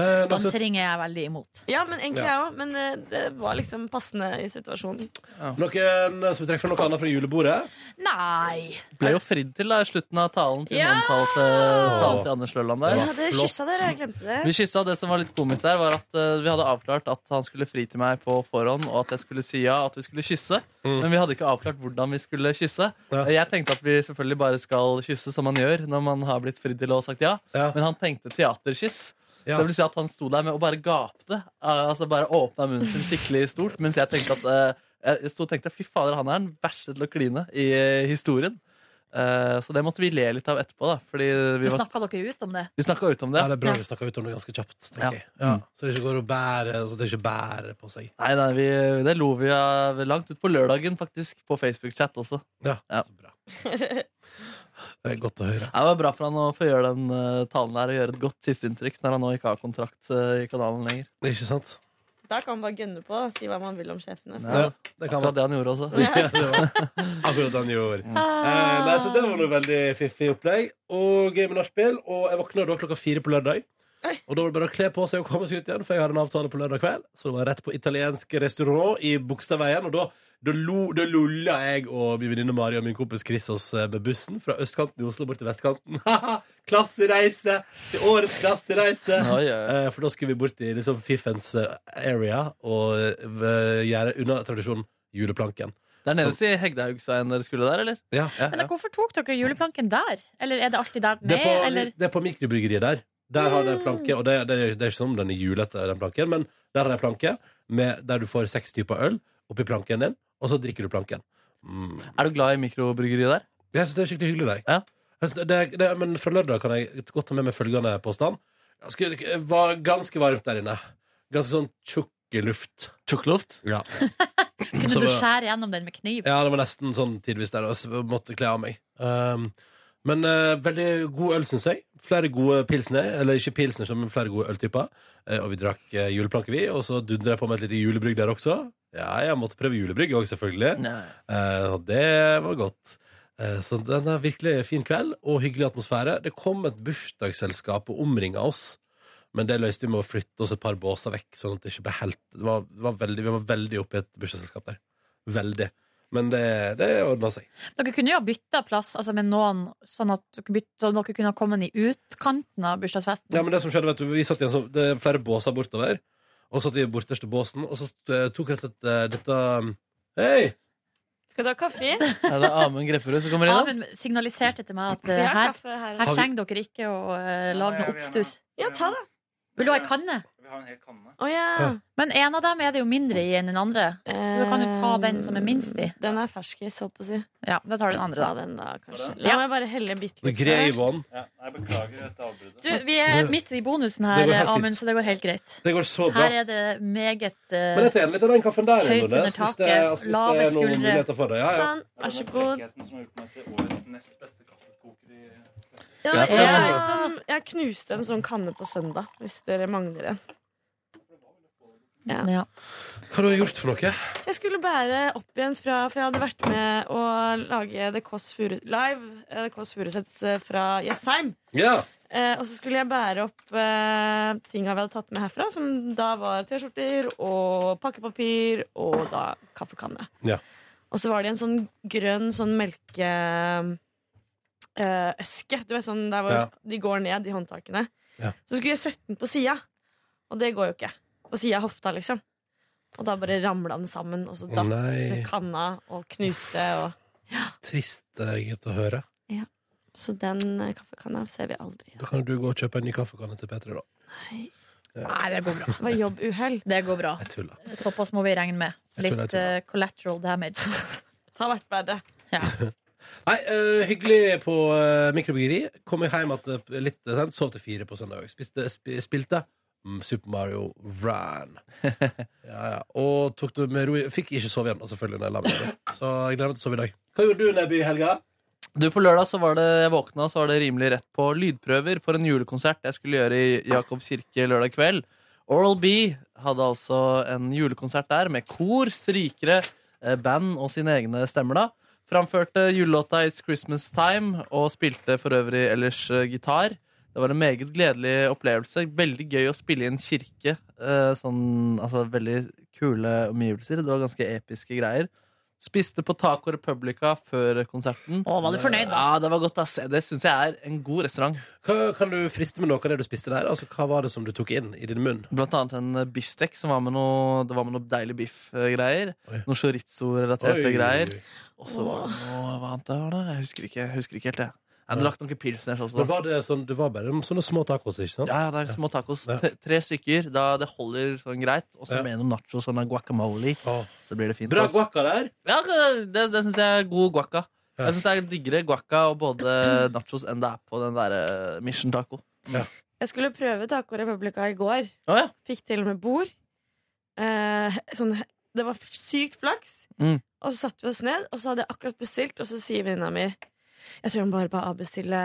B: Eh, men så-
C: Dansering er jeg veldig imot.
H: Ja, men egentlig jeg
B: Ja.
H: òg. Men eh, det var liksom passende i situasjonen.
B: Noen eh, som vil trekke fram noe annet fra julebordet?
C: Nei!
D: Ble jo fridd til da i slutten av talen til
C: Ja!
D: den talen til, talen til Anders Lørland der.
H: Jeg hadde kyssa dere, jeg glemte det.
D: Vi kyssa. Det som var litt komisk der, var at eh, vi hadde avklart at han skulle fri til meg på forhånd, og at jeg skulle si ja, at vi skulle kysse.
B: Mm.
D: Men vi hadde ikke avklart hvordan vi skulle kysse. Jeg tenkte at vi selvfølgelig bare skal kysse som man gjør når man har blitt fridd til og sagt ja. Men han tenkte teaterkyss.
B: Ja.
D: Det vil si at han sto der med og bare gapte. eh, Altså bare åpna munnen sin skikkelig stort, mens jeg tenkte at eh, jeg sto og tenkte, fy fader, han er den verste til å kline i eh, historien. Eh, så det måtte vi le litt av etterpå, da. Fordi vi var
C: Snakka dere ut om det?
D: vi snakka ut om det.
B: Ja, det er bra vi snakka ut om det ganske kjapt. tenker jeg. Ja. Så det ikke går og bærer, så det ikke bærer på seg.
D: Nei, nei, vi, det lo vi av langt ut på lørdagen, faktisk. På Facebook-chat også.
B: Ja,
D: så
B: bra. Det er godt å høre.
D: Det var bra for han å få gjøre den eh, talen der og gjøre et godt sisteinntrykk når han nå ikke har kontrakt eh, i kanalen lenger.
B: Ikke sant?
H: Da kan man bare gønne på og si hva man vil om sjefene.
D: Ja, akkurat det han gjorde også.
B: Ja, det var akkurat det han gjorde. Eh, nei, så det var noe veldig fiffig opplegg. Og game nachspiel. Og jeg våkna da klokka fire på lørdag. Og da var det bare å kle på seg og komme seg ut igjen, for jeg hadde en avtale på lørdag kveld. Så det var rett på italiensk restaurant i Bogstadveien. Og da, da, lo, da lulla jeg og min venninne Mari og min kompis Chris oss eh, med bussen fra østkanten i Oslo bort til vestkanten. klassereise! Til årets klassereise!
D: Oi, oi.
B: Eh, For da skulle vi bort i liksom fiffens eh, area og eh, gjøre unna tradisjonen juleplanken.
D: Det er nede
B: Som-
D: i Hegdehaugsveien dere skulle der, eller?
B: Ja.
C: Men da, hvorfor tok dere juleplanken der? Eller er det alltid der den
B: Det er, på,
C: er? Eller?
B: det er på mikrobryggeriet der. Der har de planke, og det, det, er- det er ikke som den er julete, den planken, men der har de planke med, der du får seks typer øl oppi planken din, og så drikker du planken.
D: Er du glad i mikrobryggeri der?
B: Jeg synes det er skikkelig hyggelig der. Jeg synes Det, det, det, men fra lørdag kan jeg godt ta med meg følgende påstand. Ganske, det var ganske varmt der inne. Ganske sånn tjukk luft.
D: Tjukk luft?
B: Ja.
C: Kunne
B: Så
C: du
B: det-
C: skjære gjennom den med kniv?
B: Ja, det var nesten sånn tidvis der. Og så måtte kle av meg. Um, men eh, veldig god øl, syns jeg. Flere gode pilsner. Eller ikke pilsner, men flere gode øltyper. Eh, og vi drakk eh, juleplanke, vi. Og så dundra jeg på med et lite julebrygg der også. Ja, jeg måtte prøve julebrygg òg, selvfølgelig. Eh, og det var godt. Eh, så den er virkelig fin kveld, og hyggelig atmosfære. Det kom et bursdagsselskap og omringa oss. Men det løste vi med å flytte oss et par båser vekk. Sånn at det ikke ble helt det var, det var veldig, Vi var veldig oppe i et bursdagsselskap der. Veldig. Men det, det ordna seg.
C: Dere kunne jo ha bytta plass altså med noen, sånn at dere, bytt, så dere kunne ha kommet i utkanten av bursdagsfesten.
B: Ja, men det som skjedde, vet du, vi satt i en sånn, det er flere båser bortover, og satt i borteste båsen, og så eh, tok jeg sett eh, dette Hei!
H: Skal du ha kaffe?
D: Er det Amund Grepperud som kommer inn? da?
C: Amund signaliserte til meg at
H: Vi
C: eh,
H: har
C: her,
H: kaffe her.
C: her
D: Har vi-
C: trenger dere ikke å eh, lage noe oppstuss.
H: Ja, ta det.
C: Vil du ha ei kanne?
D: Vi har en hel kanne.
H: Å ja.
C: Men en av dem er det jo mindre i enn den andre, så du kan jo ta den som er minst i.
H: Ehm, Den er ferskis, holdt på å si.
C: Ja, da tar du den andre,
H: Ta
C: da.
H: den da, kanskje.
C: Ja.
H: La meg bare helle bitte litt.
B: Grei
H: først.
B: vann.
P: Jeg beklager dette avbruddet.
C: Du, vi er
B: Det-
C: midt i bonusen
B: det
C: her,
B: går helt
C: eh, Amund,
B: fint.
C: så det går helt greit.
B: Det går så bra.
C: Her er det meget eh,
B: Men jeg tjener litt av den kaffen der.
C: høyt
B: Nordnes,
C: under
B: hvis
C: taket,
B: det- altså, hvis det
C: lave
B: er noen
C: skuldre.
B: muligheter for det. Ja, ja.
H: Sånn, vær så god. Ja,
B: Ja,
H: det
B: for
H: er
B: det er
H: jeg,
B: sant.
H: som, jeg knuste en sånn kanne på søndag, hvis dere mangler en.
C: Ja.
B: Hva har du gjort for noe?
H: Jeg skulle bære opp igjen fra For jeg hadde vært med å lage The Kåss Furus- Live eh, The Kåss Furuseths eh, fra Jessheim.
B: Ja.
H: Eh, og så skulle jeg bære opp eh, tinga vi hadde tatt med herfra, som da var T-skjorter og pakkepapir og da kaffekanne.
B: Ja.
H: Og så var det en sånn grønn sånn melkeeske. Du vet sånn der hvor
O: Ja.
H: de går ned i håndtakene.
B: Ja.
H: Så skulle jeg sette den på sida, og det går jo ikke. På sida av hofta, liksom. Og da bare ramla den sammen, og så
B: Å,
H: datt
B: nei.
H: kanna og knuste. Og,
B: Trist egentlig å høre.
H: ja. Så den eh, kaffekanna ser vi aldri.
B: Da kan du gå og kjøpe en ny kaffekanne til P3, da.
C: Nei, det går bra.
H: Det var jobbuhell.
C: Det går bra.
B: Jeg tuller.
C: Såpass må vi regne med.
B: Jeg
C: Litt
B: tuller, jeg tuller.
C: eh, collateral damage.
H: Har vært verre.
B: Nei, eh, hyggelig på uh, mikrobryggeri. Kom jeg hjem at det er litt sent, sov til fire på søndag. Spiste, sp spilte mm, Super Mario Ran. ja, ja. Og tok det med ro. i- Fikk ikke sove igjen, da, selvfølgelig, når jeg la meg ned. Så jeg gleder meg til å sove i dag. Hva gjorde du, Neby, i helga?
D: Du, På lørdag så var det, jeg våkna så var det rimelig rett på lydprøver for en julekonsert jeg skulle gjøre i Jakobs kirke lørdag kveld. Oral B hadde altså en julekonsert der med kor, strykere, eh, band og sine egne stemmer. da. Framførte julelåta It's Christmas Time og spilte for øvrig ellers eh, gitar. Det var en meget gledelig opplevelse. Veldig gøy å spille i en kirke. eh, Sånn, altså Veldig kule omgivelser. Det var ganske episke greier. Spiste på Taco Republica før konserten.
C: Å, var du fornøyd, da?
D: Ja, det var godt, ass. Det syns jeg er en god restaurant.
B: Hva, kan du friste med noe av det du spiste der? Altså, Hva var det som du tok inn i din munn?
D: Blant annet en eh, bistek som var med noe, det var med noe deilig biff-greier. Noe chorizo-relaterte
B: Oi.
D: greier. Og så var det noe hva annet det var da? Jeg husker ikke, jeg husker ikke helt, jeg. Jeg drakk noen pilsners også.
B: Men var det, sånn, det var bare sånne små tacos, ikke sant?
D: Ja, ja, det er små tacos.
B: Ja.
D: Tre- Tre stykker. Da det holder sånn greit. Og så
B: Ja.
D: med noen nachos og noe guacamole. Så blir det fint.
B: Bra
D: ass.
B: guacca der.
D: Ja, det, det syns jeg er god guacca. Jeg syns jeg diggere guacca og både nachos enn det er på den derre Mission Taco.
H: Jeg skulle prøve Taco Republica i går. Fikk til og med bord. Eh, sånn, det var sykt flaks.
D: Mm.
H: Og så satte vi oss ned, og så hadde jeg akkurat bestilt, og så sier venninna mi jeg tror jeg må bare bare avbestille,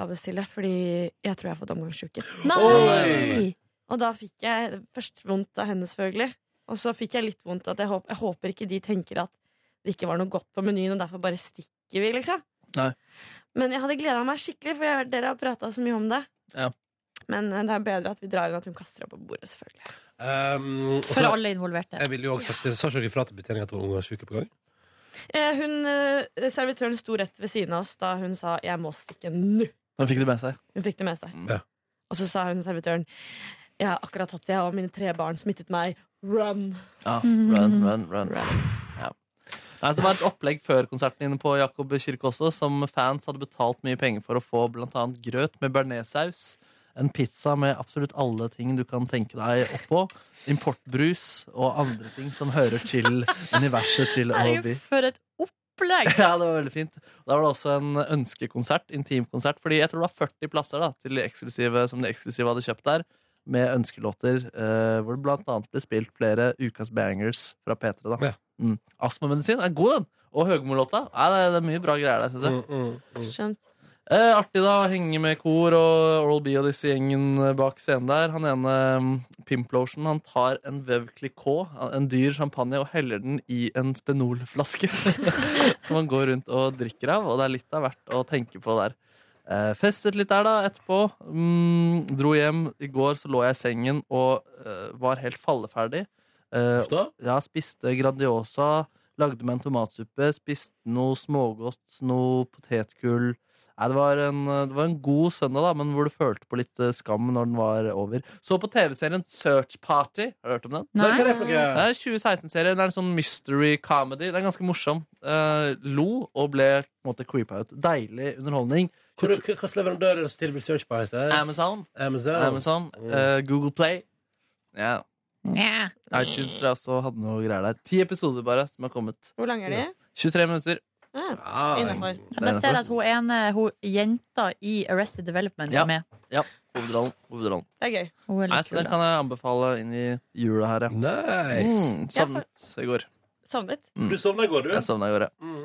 H: avbestille, fordi jeg tror jeg har fått omgangssjuke.
O: Nei!
H: Og da fikk jeg først vondt av henne, selvfølgelig. Og så fikk jeg litt vondt at jeg, håp, jeg håper ikke de tenker at det ikke var noe godt på menyen, og derfor bare stikker vi, liksom.
D: Nei.
H: Men jeg hadde gleda meg skikkelig, for jeg, dere har prata så mye om det.
D: Ja.
H: Men eh, det er bedre at vi drar enn at hun kaster opp på bordet, selvfølgelig.
B: Um, og
H: For
B: så-
H: alle involverte.
B: Jeg ville jo også sagt det. Sa ikke dere fra til betjeningen at det var omgangssyke på gang?
H: Eh, hun, eh, servitøren sto rett ved siden av oss da hun sa 'jeg må stikke nå'.
D: Hun fikk det med seg.
H: Hun fikk det med seg.
B: Ja.
H: Og så sa hun servitøren 'jeg har akkurat hatt det, og mine tre barn smittet meg'. Run!
D: Ja, run, run, run. Ja. Nei, så det var et opplegg før konserten inne på Jakob kirke også, som fans hadde betalt mye penger for å få blant annet grøt med bearnéssaus, en pizza med absolutt alle ting du kan tenke deg oppå, importbrus og andre ting som hører til universet til OB.
C: Herregud, for et opplegg!
D: Ja, det var veldig fint. Da var det også en ønskekonsert, intimkonsert, fordi jeg tror det var 40 plasser da, til de eksklusive, som de eksklusive hadde kjøpt der, med ønskelåter, eh, hvor det blant annet ble spilt flere ukas bangers fra P3 da. Mm. Astmamedisin er god, den! Og Høgmo-låta. Nei, det, er- det er mye bra greier der, synes
B: Mm,
D: jeg.
H: Skjønt.
D: Eh, artig da, å henge med kor og Oral B og disse gjengen eh, bak scenen der. Han ene, mm, Pimplotion, han tar en Veuve Clicquot, en dyr champagne, og heller den i en Spenol-flaske. som han går rundt og drikker av, og det er litt av hvert å tenke på der. Eh, festet litt der, da, etterpå. Mm, dro hjem. I går så lå jeg i sengen og eh, var helt falleferdig. Eh, ja, spiste Grandiosa, lagde meg en tomatsuppe, spiste noe smågodt, noe potetgull. Nei, det, var en, det var en god søndag, da, men hvor du følte på litt eh, skam når den var over. Så på TV-serien Search Party. Har du hørt om den?
B: Nei. Nei, hva er det for noe?
D: Det er en 2016-serie. Det er en sånn mystery comedy. Den er ganske morsom. Eh, lo og ble på en måte creepa ut. Deilig underholdning.
B: Hvor- hva- Hvilken leverandør er det som tilbyr search på heis?
D: Amazon.
B: Amazon.
D: Amazon, eh, Google Play. Ja. iTunes tror jeg også hadde noe greier der. Ti episoder bare som har kommet.
H: Hvor lange er de?
D: 23 minutter.
B: Ah,
H: Ja, innenfor.
C: Ja, Da ser jeg at hun ene hun jenta i Arrested Development
D: Ja.
C: er med.
D: Ja. Hovedrollen. hovedrollen.
H: Det er gøy.
C: Hun er
D: Nei,
C: litt
D: så
C: kul,
D: den
C: da.
D: kan jeg anbefale inn i jula her, ja.
B: Nice.
D: Mm, savnet i går.
H: Sovnet.
D: Mm.
B: Du sovna i går, du? Mm.
D: Jeg sovna i går, ja.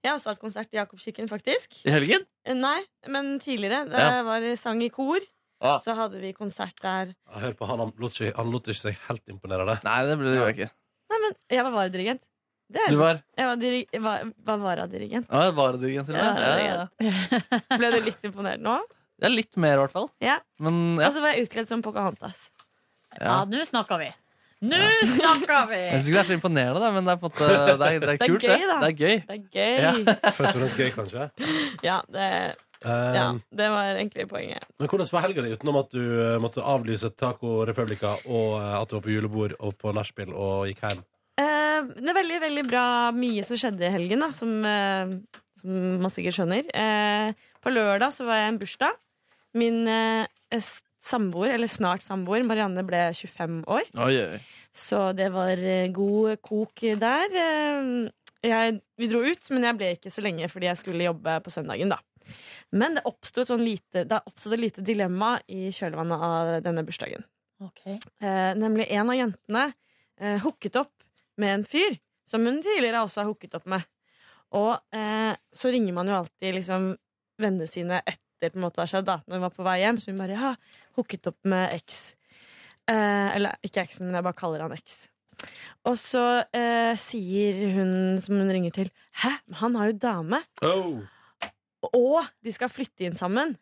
H: Jeg har også hatt konsert i Jakobskirken, faktisk.
D: I helgen?
H: Eh, Nei, men tidligere. Da
B: Ja.
H: jeg var i sang i kor,
D: Ja.
H: så hadde vi konsert der.
B: Ja, Hør på han, han lot ikke, han lot ikke seg helt imponere av det.
D: Nei, det ble det jo ikke.
H: Nei, men jeg var varedirigent. Det er-
D: Du var?
H: Jeg var, diri- jeg var, var varadirigent.
D: Ja, Varedirigent til og med. Ja, ja, ja.
H: ja. Ble du litt imponert nå?
D: Det er litt mer, i hvert fall.
H: Ja.
D: Men
H: Og
D: ja. Altså,
H: så var jeg utkledd som Pocahontas.
D: ja.
C: Ja, nå snakker vi! Nå snakker vi!
D: Jeg syns ikke det er så imponerende, da, men det er på en måte Det er, det er kult,
H: gøy,
D: det.
H: da.
D: Det er gøy.
H: Det er gøy.
D: Ja.
B: Først og fremst gøy, kanskje.
H: Ja, det,
B: Um,
H: ja, det var egentlig poenget.
B: Men hvordan var helga di, utenom at du eh, måtte avlyse Taco Republica, og eh, at du var på julebord og på nachspiel og gikk hjem?
H: Eh, det er veldig, veldig bra mye som skjedde i helgen, da, som, eh, som man sikkert skjønner. Eh, på lørdag så var jeg i en bursdag. Min eh, eh, s- samboer, eller snart samboer. Marianne ble 25 år.
D: Oi, oi.
H: Så det var eh, god kok der. Eh, Jeg, vi dro ut, men jeg ble ikke så lenge fordi jeg skulle jobbe på søndagen. da. Men det oppsto et sånn lite, det oppstod et lite dilemma i kjølvannet av denne bursdagen. Eh, nemlig en av jentene eh, hooket opp med en fyr som hun tidligere også har hooket opp med. Og eh, så ringer man jo alltid liksom vennene sine etter på en måte har skjedd, da, når hun var på vei hjem. Så hun bare ja, hooket opp med eks. Eh, eller ikke eksen, men jeg bare kaller han eks. Og så eh, sier hun som hun ringer til, hæ, men han har jo dame.
B: Oh.
H: Og de skal flytte inn sammen.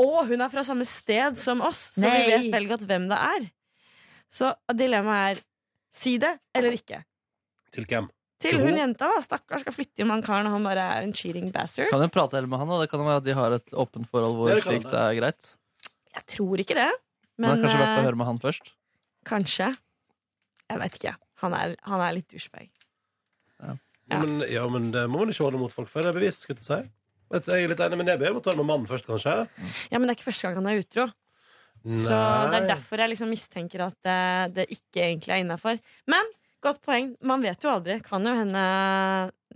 H: Og hun er fra samme sted som oss, så
C: Nei.
H: vi vet vel godt hvem det er. Så dilemmaet er si det eller ikke.
B: Til hvem?
H: Til hun jenta, da. Stakkars skal flytte inn med han karen, og han bare er en cheating bastard.
D: Kan jeg prate heller med han? da? Det kan jo være at de har et åpent forhold hvor
H: Det kan
D: slikt
H: det.
D: er greit.
H: Jeg tror ikke det.
D: Men,
H: Men
D: det er kanskje verdt å
H: eh,
D: høre med han først.
H: kanskje. Jeg vet ikke. Han er, han er litt douchebag.
B: Ja, men, ja, men det må man ikke holde mot folk før det er bevist, skulle jeg til å si. Vet du, Jeg er litt enig med Neby. Jeg må ta det med mannen først, kanskje.
H: Ja, men det er ikke første gang han er utro. Så
B: Nei.
H: det er derfor jeg liksom mistenker at det, det ikke egentlig er innafor. Men godt poeng. Man vet jo aldri. Kan jo hende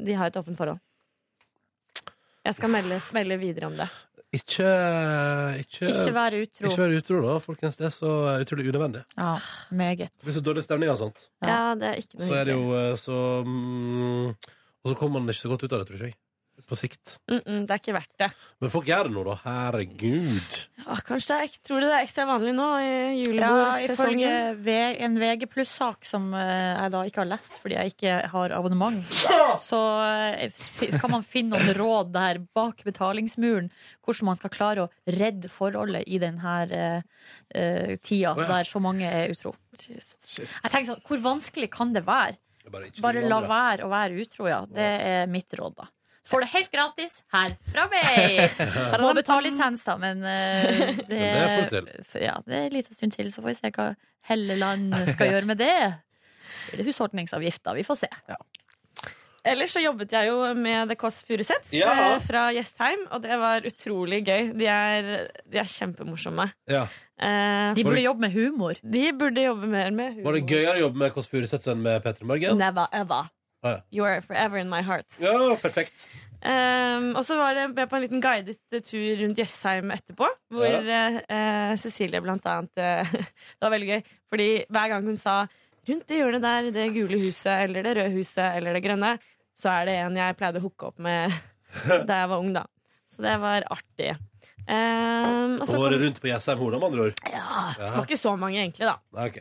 H: de har et åpent forhold. Jeg skal melde, melde videre om det.
B: Ikke Ikke,
H: Ikke være utro.
B: Ikke være utro, da, folkens. Det er så utrolig unødvendig.
C: Ja, meget.
B: Det blir så dårlig stemning av sånt.
H: Ja, det er ikke noe
B: Så er det jo eh, så mm, Og så kommer man ikke så godt ut av det, tror jeg. På sikt.
H: Mm -mm, det er ikke verdt det.
B: Men folk gjør det nå, da. Herregud.
H: Åh, kanskje det er, ek- tror du det er ekstra vanlig nå i
C: Ja, ifølge
H: julebordsesongen?
C: V- en VG pluss-sak som eh, jeg da ikke har lest fordi jeg ikke har abonnement, så eh, f- kan man finne noen råd der bak betalingsmuren hvordan man skal klare å redde forholdet i denne tida eh, der så mange er utro. Jeg tenker sånn, Hvor vanskelig kan det være?
B: Bare,
C: Bare la være å være utro, ja. Det er mitt råd, da. Får det helt gratis her fra meg! Må betale lisens, da, men eh, det,
B: Men det får du til.
C: f- Ja, det er en liten stund til, så får vi se hva Helleland skal gjøre med det. Blir det husholdningsavgifta? Vi får se.
H: Ellers så jobbet jeg jo med The Kåss Furuseths
C: Ja.
H: eh, fra Jessheim, og det var utrolig gøy. De er, de er kjempemorsomme.
B: Ja.
H: Eh,
B: De burde
H: så-
B: jobbe
C: med humor.
H: De burde jobbe mer med humor.
B: Var det gøyere å jobbe med Kåss Furuseth enn med Petter Morgen?
H: Never ever.
B: Ah, ja.
H: You are forever in my heart.
B: Ja, perfekt.
H: Ehm, og så var jeg med på en liten guidet eh, tur rundt Jessheim etterpå, hvor
B: Ja.
H: eh, eh, Cecilie blant annet eh, Det var veldig gøy, fordi hver gang hun sa 'rundt det hjørnet der, det gule huset, eller det røde huset, eller det grønne', så er det en jeg pleide å hooke opp med da jeg var ung, da. Så det var artig. Ehm, og så kom,
B: Året
H: det
B: rundt på Jessheim Horda, med andre ord. Ja.
H: var ikke så mange, egentlig, da.
B: Nei, ok.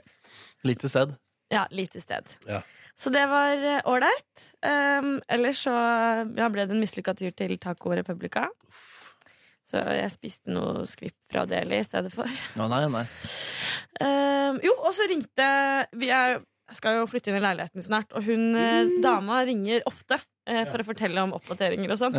B: Lite sedd.
H: Ja, lite sted.
B: Ja.
H: Så det var eh, ålreit. Um, ellers så ja, ble det en mislykka tur til Taco Republica. Så jeg spiste noe skvipp fra Deli i stedet for.
D: Å, nei, nei.
H: Um, jo, og så ringte vi er, Jeg skal jo flytte inn i leiligheten snart, og hun eh,
B: Mm.
H: dama ringer ofte eh, for å fortelle om oppdateringer og sånn.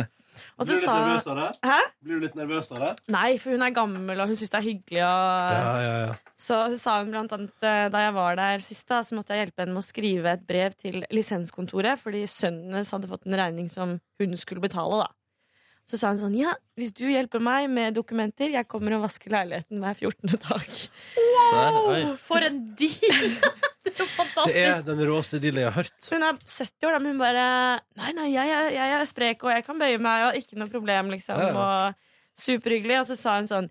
H: Og
B: Blir du litt nervøs av det?
H: Hæ?
B: Blir du litt nervøs av det?
H: Nei, for hun er gammel, og hun syns det er hyggelig. Og...
B: Ja, ja, ja.
H: Så sa hun blant annet eh, da jeg var der sist, da, så måtte jeg hjelpe henne med å skrive et brev til lisenskontoret, fordi sønnen hennes hadde fått en regning som hun skulle betale, da. Så sa hun sånn, ja, hvis du hjelper meg med dokumenter, jeg kommer og vasker leiligheten hver 14. dag.
B: Oi.
C: For en deal!
B: Det er den råeste dealen jeg har hørt.
H: Hun er 70 år, da, men hun bare Nei, nei, jeg, er- jeg er sprek, og jeg kan bøye meg, og ikke noe problem, liksom.
B: Ja, ja.
H: Og superhyggelig. Og så sa hun sånn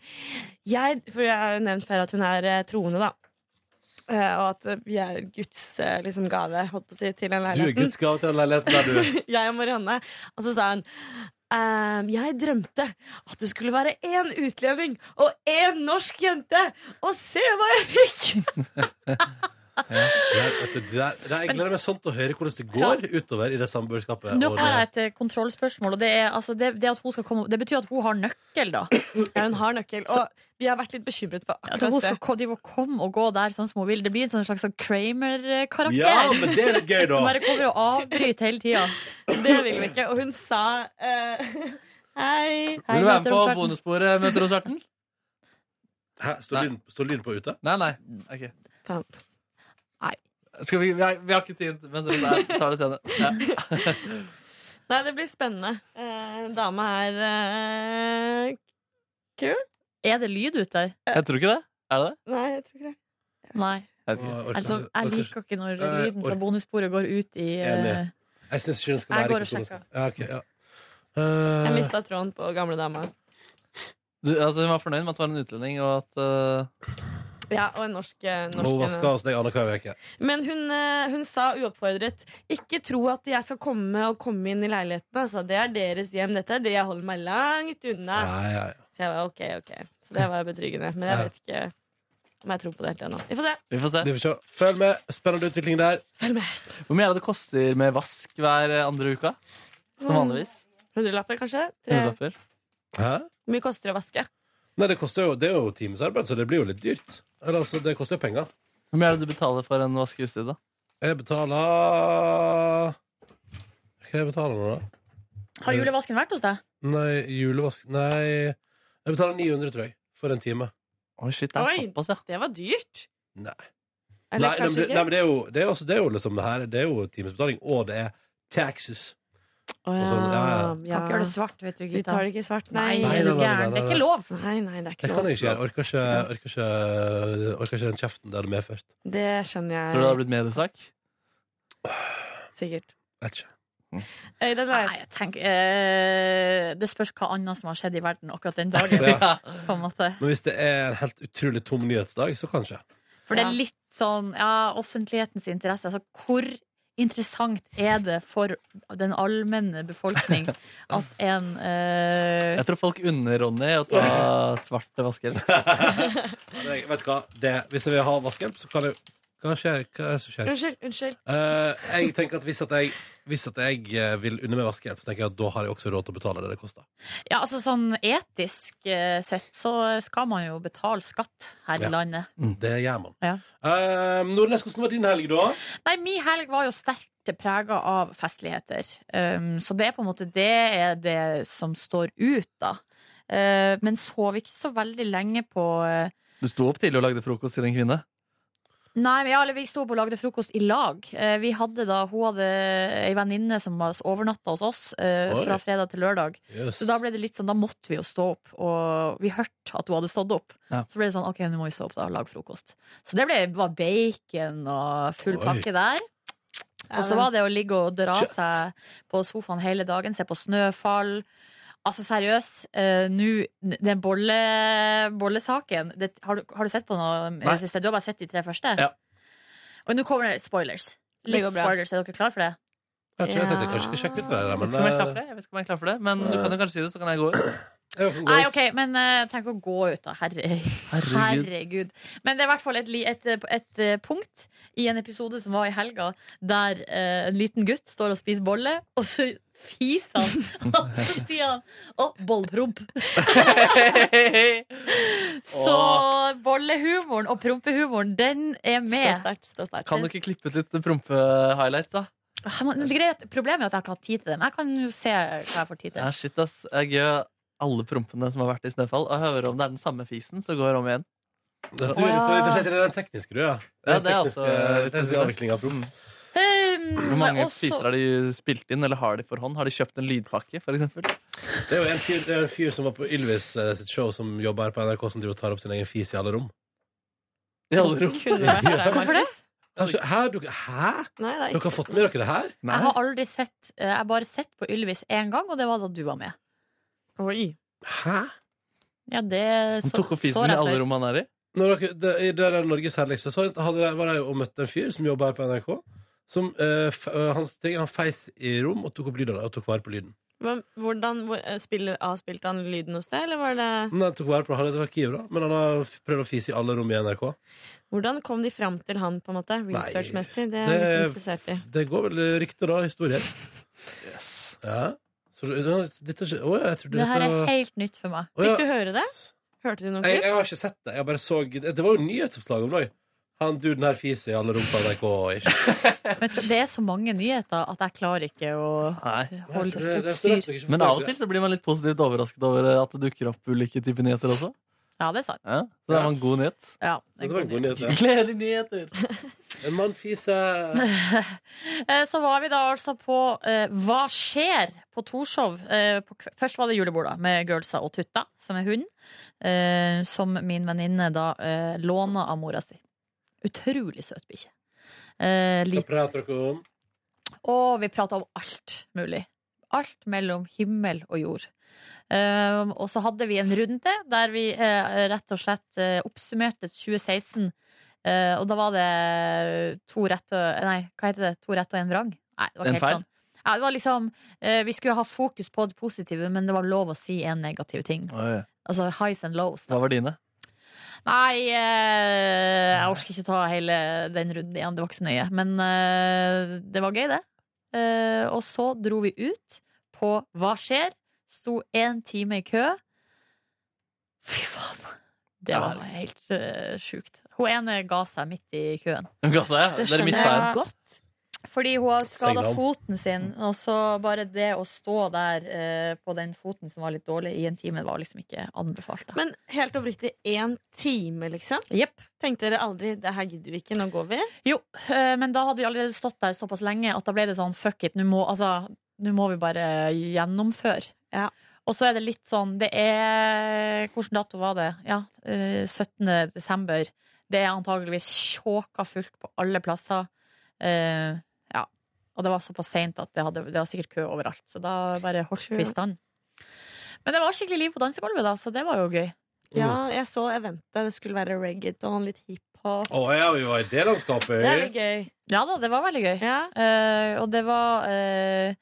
H: jeg, For jeg har jo nevnt før at hun er eh, troende, da. Eh, og at eh, vi er Guds eh, liksom, gave, holdt på å si, til den
B: Du er
H: leiligheten.
B: Guds gave til den leiligheten der, du.
H: jeg og Marianne. Og så sa hun «Ehm, jeg drømte at det skulle være én utlending og én norsk jente, og se hva jeg fikk!
B: Ja. Nei, altså, det er, det er, jeg gleder meg sånn til å høre hvordan det går utover i det samboerskapet.
C: Nå
B: og
C: har jeg
B: det-
C: et eh, kontrollspørsmål, og det, er, altså, det, det, at hun skal komme, det betyr at hun har nøkkel, da.
H: Ja, hun har nøkkel, og vi har vært litt bekymret for
C: At hun
H: akkurat
C: skal
H: det.
C: ko- drive og komme og gå der sånn som hun vil. Det blir en sånn slags sånn Kramer-karakter.
B: Ja, men det er litt gøy, da.
C: Som Liksom, bare kommer og avbryter hele tida.
H: Det vil vi ikke. Og hun sa eh, hei.
D: Vil du være med på bonussporet metrokonserten?
B: Hæ, står lyden- Står lyden på ute?
D: Nei, nei. ok.
C: Nei.
D: Skal vi, vi, har, vi har ikke tid, men vi tar det senere. Ja.
H: Nei, det blir spennende. Eh, dama er eh, kul.
C: Er det lyd ute der?
D: Jeg tror ikke det. Er det det?
H: Nei, jeg tror ikke det.
C: Nei.
D: Jeg vet ikke.
C: Jeg, liksom, jeg liker ikke når lyden fra
B: Eh, orker-
C: bonussporet går ut i eh,
B: Enig. Jeg syns ikke den skal
C: Jeg
B: være
C: går og
B: ikke sånn den
C: sjekker.
B: skal- Ja, ok, ja.
H: Jeg
B: Eh,
H: mista tråden på gamle dama.
D: Du, altså, hun var fornøyd med at det var en utlending, og at eh,
H: Ja, og en norsk, eh, norsk
B: Hun vasker hos deg annenhver uke.
H: Men hun, eh, hun sa uoppfordret Ikke tro at jeg skal komme og komme inn i leiligheten altså. Det er deres hjem dette det Jeg holder meg langt unna
B: Ja, ja, ja.
H: Så jeg var ok, ok Så det var betryggende Men jeg
B: Ja.
H: vet ikke om jeg tror på det helt ennå Vi får se
D: Vi får se.
B: Det får vi se. Følg med. Spennende utvikling der.
H: Følg med
D: Hvor mye er det det koster med vask hver eh, andre uka? Som vanligvis?
H: Hundrelapper kanskje? Tre.
D: Hundrelapper?
B: Hæ?
H: Hvor mye koster det å vaske?
B: Nei, det, koster jo, det er jo timesarbeid, så det blir jo litt dyrt. Eller, altså, det koster jo penger.
D: Hvor mye er det du betaler for en vaskeutstyr, da?
B: Jeg betaler Hva jeg betaler nå, da?
C: Har julevasken vært hos deg?
B: Nei, julevask Nei, jeg betaler 900, tror jeg, for en time.
D: Oi, shit,
H: Oi, det var dyrt
B: Nei.
H: Eller
B: nei, nei, men
H: kanskje
B: det, nei,
H: ikke
B: men det er jo, det er jo, også- det er jo liksom det her Det er jo timesbetaling, og det er taxes.
H: Å
B: og sånn, ja,
H: ja.
C: Kan ikke gjøre det svart, vet du,
H: Du
C: gutta.
H: tar det ikke svart Nei,
B: Nei,
C: er du
B: nei, nei, nei,
C: gæren? Det er
B: nei,
C: ikke
B: nei.
C: lov!
H: nei, nei det er
B: Det
H: ikke
B: kan
H: lov
B: jeg ikke gjøre. Orker ikke, orker ikke, orker ikke den kjeften det hadde medført.
H: Det skjønner jeg
D: Tror du det hadde blitt mediesak?
H: Sikkert
B: Vet ikke.
H: Eh, den
C: Nei,
H: leiligheten
C: jeg tenker eh, Det spørs hva annet som har skjedd i verden akkurat den dagen.
B: Ja.
C: På en måte.
B: Men hvis det er en helt utrolig tom nyhetsdag, så kanskje.
C: For det er litt sånn ja, offentlighetens interesse. Altså, hvor interessant er det for den allmenne befolkning at en eh,
D: Jeg tror folk unner Ronny å ta svarte vaskehjelp.
B: Jeg, vet du hva? Det, hvis jeg vil ha vaskehjelp, så kan jeg Hva skjer? Hva er det som skjer?
H: Unnskyld, unnskyld
B: Eh, jeg tenker at hvis at jeg, hvis at jeg eh, vil unne meg vaskehjelp, så tenker jeg at da har jeg også råd til å betale det det koster.
C: Ja, altså sånn etisk eh, sett så skal man jo betale skatt her
B: Ja.
C: i landet.
B: Det gjør man.
C: Ja.
B: Eh, Nordnes, hvordan var din helg, da?
C: Nei, mi helg var jo sterkt prega av festligheter. Um, så det er på en måte det er det som står ut, da. Uh, men sov ikke så veldig lenge på uh,
D: Du sto opp tidlig og lagde frokost til en kvinne.
C: Nei, men ja, eller vi sto opp og lagde frokost i lag. Eh, vi hadde da, Hun hadde ei venninne som var- overnatta hos oss eh,
B: Oi.
C: fra fredag til lørdag.
B: Jøss.
C: Så da ble det litt sånn, da måtte vi jo stå opp, og vi hørte at hun hadde stått opp.
D: Ja.
C: Så ble det sånn, ok, nå må vi stå opp da og lage frokost. Så det ble, var bacon og full
B: Oi.
C: pakke der. Og så var det å ligge og dra seg på sofaen hele dagen, se på snøfall. Altså seriøst, eh, nå Den bolle, bollesaken det, har, du, har du sett på noe i
D: Nei.
C: det siste? Du har bare sett de tre første?
D: Ja.
C: Og nå kommer det spoilers.
H: Det
C: Litt
H: går bra.
C: spoilers. Er dere klare for det?
B: Kanskje, Jeg tenkte kanskje jeg skulle sjekke ut det der,
D: Jeg vet
B: men
D: ikke om jeg er klar for
B: eh,
D: det, jeg vet ikke om jeg er klar for det men du kan jo kanskje si det, så kan jeg gå ut.
B: jeg kan gå
C: Nei,
B: ut.
C: ok, men eh, jeg trenger ikke å gå ut da Herre,
D: Herregud.
C: herregud Men det er i hvert fall et, li- et, et, eh, punkt I en episode som var i helga Der eh, en liten gutt står og spiser bolle Og så fiser han Og så sier han Å, bollpromp Så bollehumoren og prompehumoren Den er
H: Stå
C: med
H: sterkt, stå sterkt
D: Kan du ikke klippe ut litt prompe-highlights, da?
C: Ah, men det greie er at Problemet er at jeg ikke har tid til det Men jeg kan jo se hva jeg får tid
D: Ja,
C: til
D: shit, ass. Jeg gjør alle prompene som har vært i Snøfall, og hører om det er den samme fisen, så går jeg om igjen.
B: Du er litt så interessert i den tekniske, du, ja.
D: Ja, det er
C: altså
D: også-
B: avviklinga av promp.
C: Um,
D: Hvor mange
C: og så-
D: fiser har de spilt inn, eller har de for hånd? Har de kjøpt en lydpakke, for eksempel?
B: Det er jo en fyr, det er en fyr som var på Ylvis eh, sitt show, som jobber her på NRK, som driver og tar opp sin egen fis i alle rom.
D: I alle rom?
H: Kunne vært der,
C: Hvorfor det?
B: Kanskje, hæ? Altså, Du, hæ?
H: Nei, nei
B: Dere har fått med dere det her?
D: Nei.
C: Jeg har aldri sett eh, Jeg har bare sett på Ylvis én gang, og det var da du var med.
H: Oi
B: Hæ?
C: Ja, det
D: Han
C: så,
D: tok opp fisen
C: står
D: i
C: jeg
D: alle
C: for.
D: rom han er i?
B: Når dere, det, I det der Norges herligste så hadde, de- var jeg og møtte en fyr som jobba her på NRK. Som, eh, f, eh, hans ting, han feis i rom og tok opp lyden, og tok vare på lyden.
H: Men hvordan hvor, eh, spiller, avspilte han lyden hos deg, eller var det
B: Men han tok vare på det, han hadde vært kiv, da. Men han har f- prøvd å fise i alle rom i NRK.
H: Hvordan kom de fram til han, på en måte? Researchmessig? Det er jeg litt interessert i.
B: det, det går vel rykter, da. Historier. Ja. Så, det- det- dette, er ikke- å, ja, jeg trodde
C: Det her
B: dette
C: er
B: var-
C: helt nytt for meg.
B: Å,
H: Fikk
B: ja.
H: du høre det? Hørte du noe
B: Jeg, jeg
H: klipp?
B: har ikke sett det. Jeg bare så, det var jo nyhetsoppslag om det òg. Han duden her fiser i alle rom på NRK. Ikke?
C: Vet du hva, det er så mange nyheter at jeg klarer ikke å
D: Nei.
B: Jeg tror
C: holde
B: det- det er så rett
C: oppstyr.
B: og slett ikke
D: Men av og
B: forståelig.
D: til så blir man litt positivt overrasket over eh, at det dukker opp ulike typer nyheter også.
C: Ja, det er sant.
D: Ja, så det var en god nyhet.
C: Ja, det
B: Det var en god nyhet. ja.
D: Gledelige nyheter!
B: En mannfise.
C: Eh, Så var vi da altså på eh, Hva skjer? på Torshov. Eh, på kve- Først var det julebord da, med girlsa og Tutta, som er hund, eh, som min venninne da eh, låna av mora si. Utrolig søt bikkje. Eh,
B: Hva
C: lit-
B: prater dere om?
C: og vi prata om alt mulig. Alt mellom himmel og jord. Ehm, og så hadde vi en runde der vi eh, rett og slett eh, oppsummerte 2016. Eh, og da var det to rett og Nei, hva heter det? To rett og en vrang? Nei, det var
D: En
C: ikke helt
D: feil?
C: sånn. Ja, det var liksom, eh, vi skulle ha fokus på det positive, men det var lov å si en negativ ting.
D: Oi.
C: Altså highs and lows.
D: Hva var dine?
C: Nei, eh, jeg orker ikke ta hele den runden igjen. Det var ikke så nøye. Men eh, det var gøy, det. Eh, og så dro vi ut på Hva skjer? Sto én time i kø. Fy faen! Det var helt eh, sjukt. Hun ene ga seg midt i køen.
D: Gassa, ja.
H: Det
D: Dere
H: skjønner
D: mista
H: jeg
D: en.
H: godt.
C: Fordi hun har skada
D: Stengdal.
C: foten sin, og så bare det å stå der eh, på den foten som var litt dårlig, i en time, var liksom ikke anbefalt. da.
H: Men helt oppriktig, én time, liksom? Tenkte dere aldri 'det her gidder vi ikke, nå går vi'?
C: Jo, eh, men da hadde vi allerede stått der såpass lenge at da ble det sånn fuck it, nå må, altså, nå må vi bare gjennomføre. Og så er det litt sånn Det er Hvilken dato var det? Ja, eh, 17. desember. Det er antageligvis sjåka fullt på alle plasser. Eh, ja. Og det var såpass seint at det, hadde, det var sikkert kø overalt. Så da bare holdt vi stand. Men det var skikkelig liv på dansegulvet, da, så det var jo gøy.
H: Ja, jeg så eventet. Det skulle være reggaeton, litt hiphop.
B: Å ja, vi var i det landskapet.
H: Det er litt gøy.
C: Ja da, det var veldig gøy. Eh, og det var eh,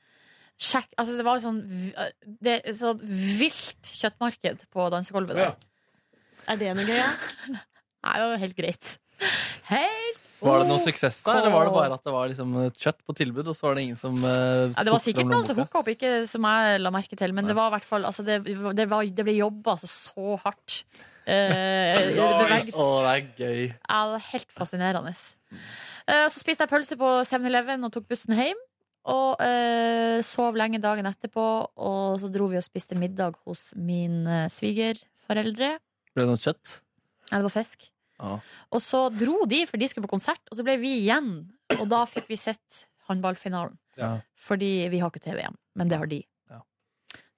C: sjekk, altså Det var sånn, v- eh, det, er sånn vilt kjøttmarked på dansegulvet der.
H: Er det noe gøy, ja?
C: Nei, det var helt greit. Helt
D: Var det noe suksess da, eller var det
C: OK.
D: bare at det var liksom et kjøtt på tilbud, og så var det ingen som eh,
C: Ja, det var
D: tok
C: sikkert
D: fram
C: noen som
D: lommeboka?
C: hooka opp, ikke som jeg la merke til, men det var i hvert fall altså, det, det, var, det ble jobba altså, så hardt. Eh, det beveget-
D: Å, det er gøy.
C: Ja, det er helt fascinerende. Eh, så spiste jeg pølse på 7-Eleven og tok bussen hjem. Og eh, sov lenge dagen etterpå, og så dro vi og spiste middag hos min eh, svigerforeldre.
D: Ble det noe kjøtt?
C: Ja, det var fisk.
D: Ja.
C: Og så dro de, for de skulle på konsert, og så ble vi igjen. Og da fikk vi sett håndballfinalen.
D: Ja.
C: Fordi vi har ikke TV-VM, men det har de.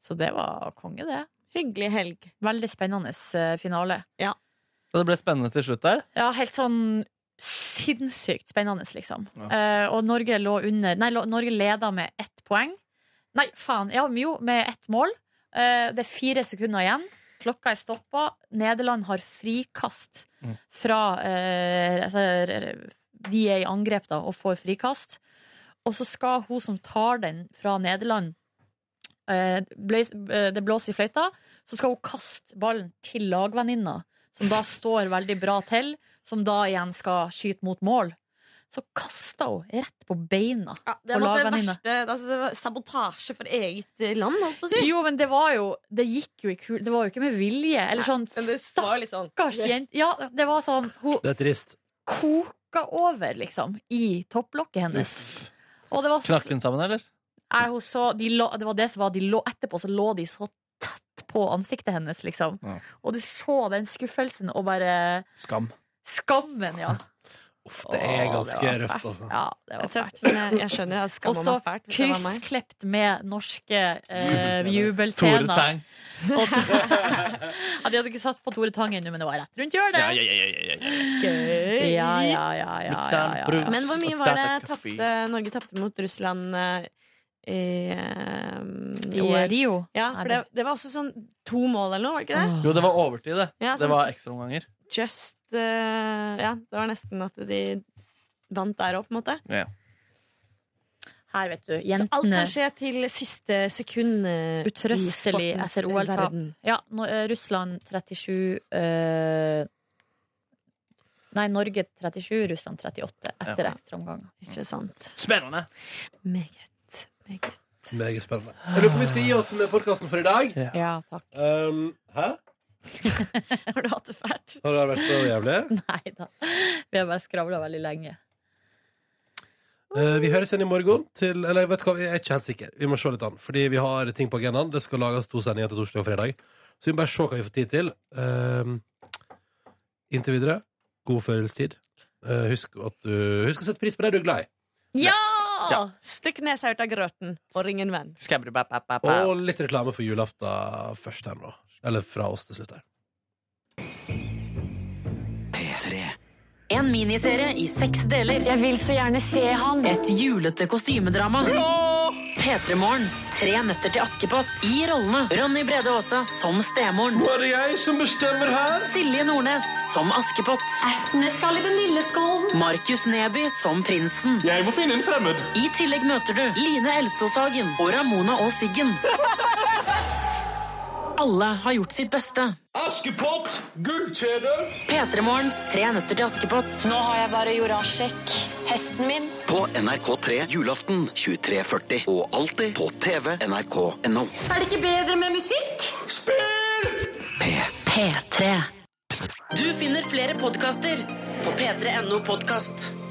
C: Så det var konge, det.
H: Hyggelig helg.
C: Veldig spennende eh, finale.
H: Ja.
D: Så det ble spennende til slutt der?
C: Ja, helt sånn sinnssykt spennende, liksom. Eh, og Norge lå under Nei, lå- Norge leda med ett poeng. Nei, faen. Ja, men jo, med ett mål. Eh, det er fire sekunder igjen. Klokka er stoppa. Nederland har frikast
O: Mm.
C: fra eh, altså, r- r- De er i angrep, da, og får frikast. Og så skal hun som tar den fra Nederland eh, bløys, eh, Det blåser i fløyta, så skal hun kaste ballen til lagvenninna, som da står veldig bra til, som da igjen skal skyte mot mål. Så kaster hun rett på beina
H: Det var
C: på
H: det
C: lagvenninna.
H: verste altså, det var Sabotasje for eget eh, land, holdt på å si.
C: Jo, men det var jo Det gikk jo i kul Det var jo ikke med vilje. Eller sånn
H: Men det var litt sånn
C: stakkars jente Ja, det var sånn Hun
B: Det er trist.
C: koka over, liksom, i topplokket hennes. Og det var så
D: Knakk hun sammen, eller?
C: Nei, hun så, de lå, det var det som var de lå, Etterpå så lå de så tett på ansiktet hennes, liksom.
D: Ja.
C: Og du så den skuffelsen og bare
D: Skam.
C: Skammen, ja.
B: Uff, det er ganske
C: det var
B: røft,
C: fælt.
B: altså.
C: Ja, det
H: Det
C: var
H: er tøft,
C: fælt.
H: men jeg- jeg skjønner, jeg skammer
C: Og så
H: meg fælt hvis det var meg.
C: kryssklipt med norske eh,
D: Tore
C: jubelscener.
D: Tang.
C: Og to- ja, de hadde ikke satt på Tore Tang ennå, men det var rett rundt hjørnet.
D: Ja, ja, ja, ja, ja, ja.
C: Gøy. Ja, ja, ja, ja, ja, ja.
D: Brus
H: Men hvor mye
D: og
H: var det
D: tata kaffe.
H: tapte, Norge tapte mot Russland eh, i, eh,
C: I
H: OL?
C: Rio?
H: Ja, for det, Mhm. det var også sånn to mål eller noe, var det ikke det?
D: Jo, det var overtid, det.
H: Ja,
D: Det
H: sånn-
D: var ekstraomganger.
H: Just eh, Ja, det var nesten at de vant der òg, på en måte.
D: Ja.
C: Her, vet du.
H: Så alt
C: Jentene
H: kan skje til siste sekund. eh,
C: utrøstelig
H: i sportens
C: etter OL-tap.
H: verden.
C: Ja, nå- eh, Russland 37 eh, Nei, Norge 37, Russland 38 etter
H: Ja.
C: ekstraomganger.
H: Ikke sant.
D: Spennende.
H: Meget. Meget.
B: Meget spennende. Jeg lurer på om vi skal gi oss med podkasten for i dag.
C: Ja, takk.
B: Um, hæ?
H: Har du hatt det fælt?
B: Har det vært så jævlig?
C: Nei da. Vi har bare skravla veldig lenge.
B: Eh, vi høres igjen i morgen til Eller vet du hva, jeg er ikke helt sikker. Vi må se litt an. Fordi vi har ting på agendaen. Det skal lages to sendinger til torsdag og fredag. Så vi må bare Ehm, se hva vi får tid til. Eh, inntil videre, god førjulstid. Eh, husk, at du, husk å sette pris på det du er glad i.
H: Ja! Stikk nesa ut av grøten og ring en venn.
B: Og litt reklame for julaften først her nå. Eller fra oss til slutt her.
A: En miniserie i seks deler.
C: Jeg vil så gjerne se han.
A: Et julete kostymedrama. P3 Morgens Tre nøtter til Askepott. I rollene Ronny Brede Aase som stemoren.
P: Nå er det jeg som bestemmer her.
A: Silje Nordnes som Askepott.
O: Ertene skal i den lille skålen.
A: Markus Neby som prinsen.
P: Jeg må finne en fremmed.
A: I tillegg møter du Line Elsåshagen og Ramona og Siggen. Alle har gjort sitt beste.
P: Askepott! Gullkjede!
A: P3 Morgens Tre nøtter til Askepott.
C: Nå har jeg bare jorda sjekk. Hesten min.
Q: På NRK3 julaften 23.40 og alltid på TV NRK.no.
O: Er det ikke bedre med musikk?
P: Spill!
A: P3. Du finner flere podkaster på p3.no podkast.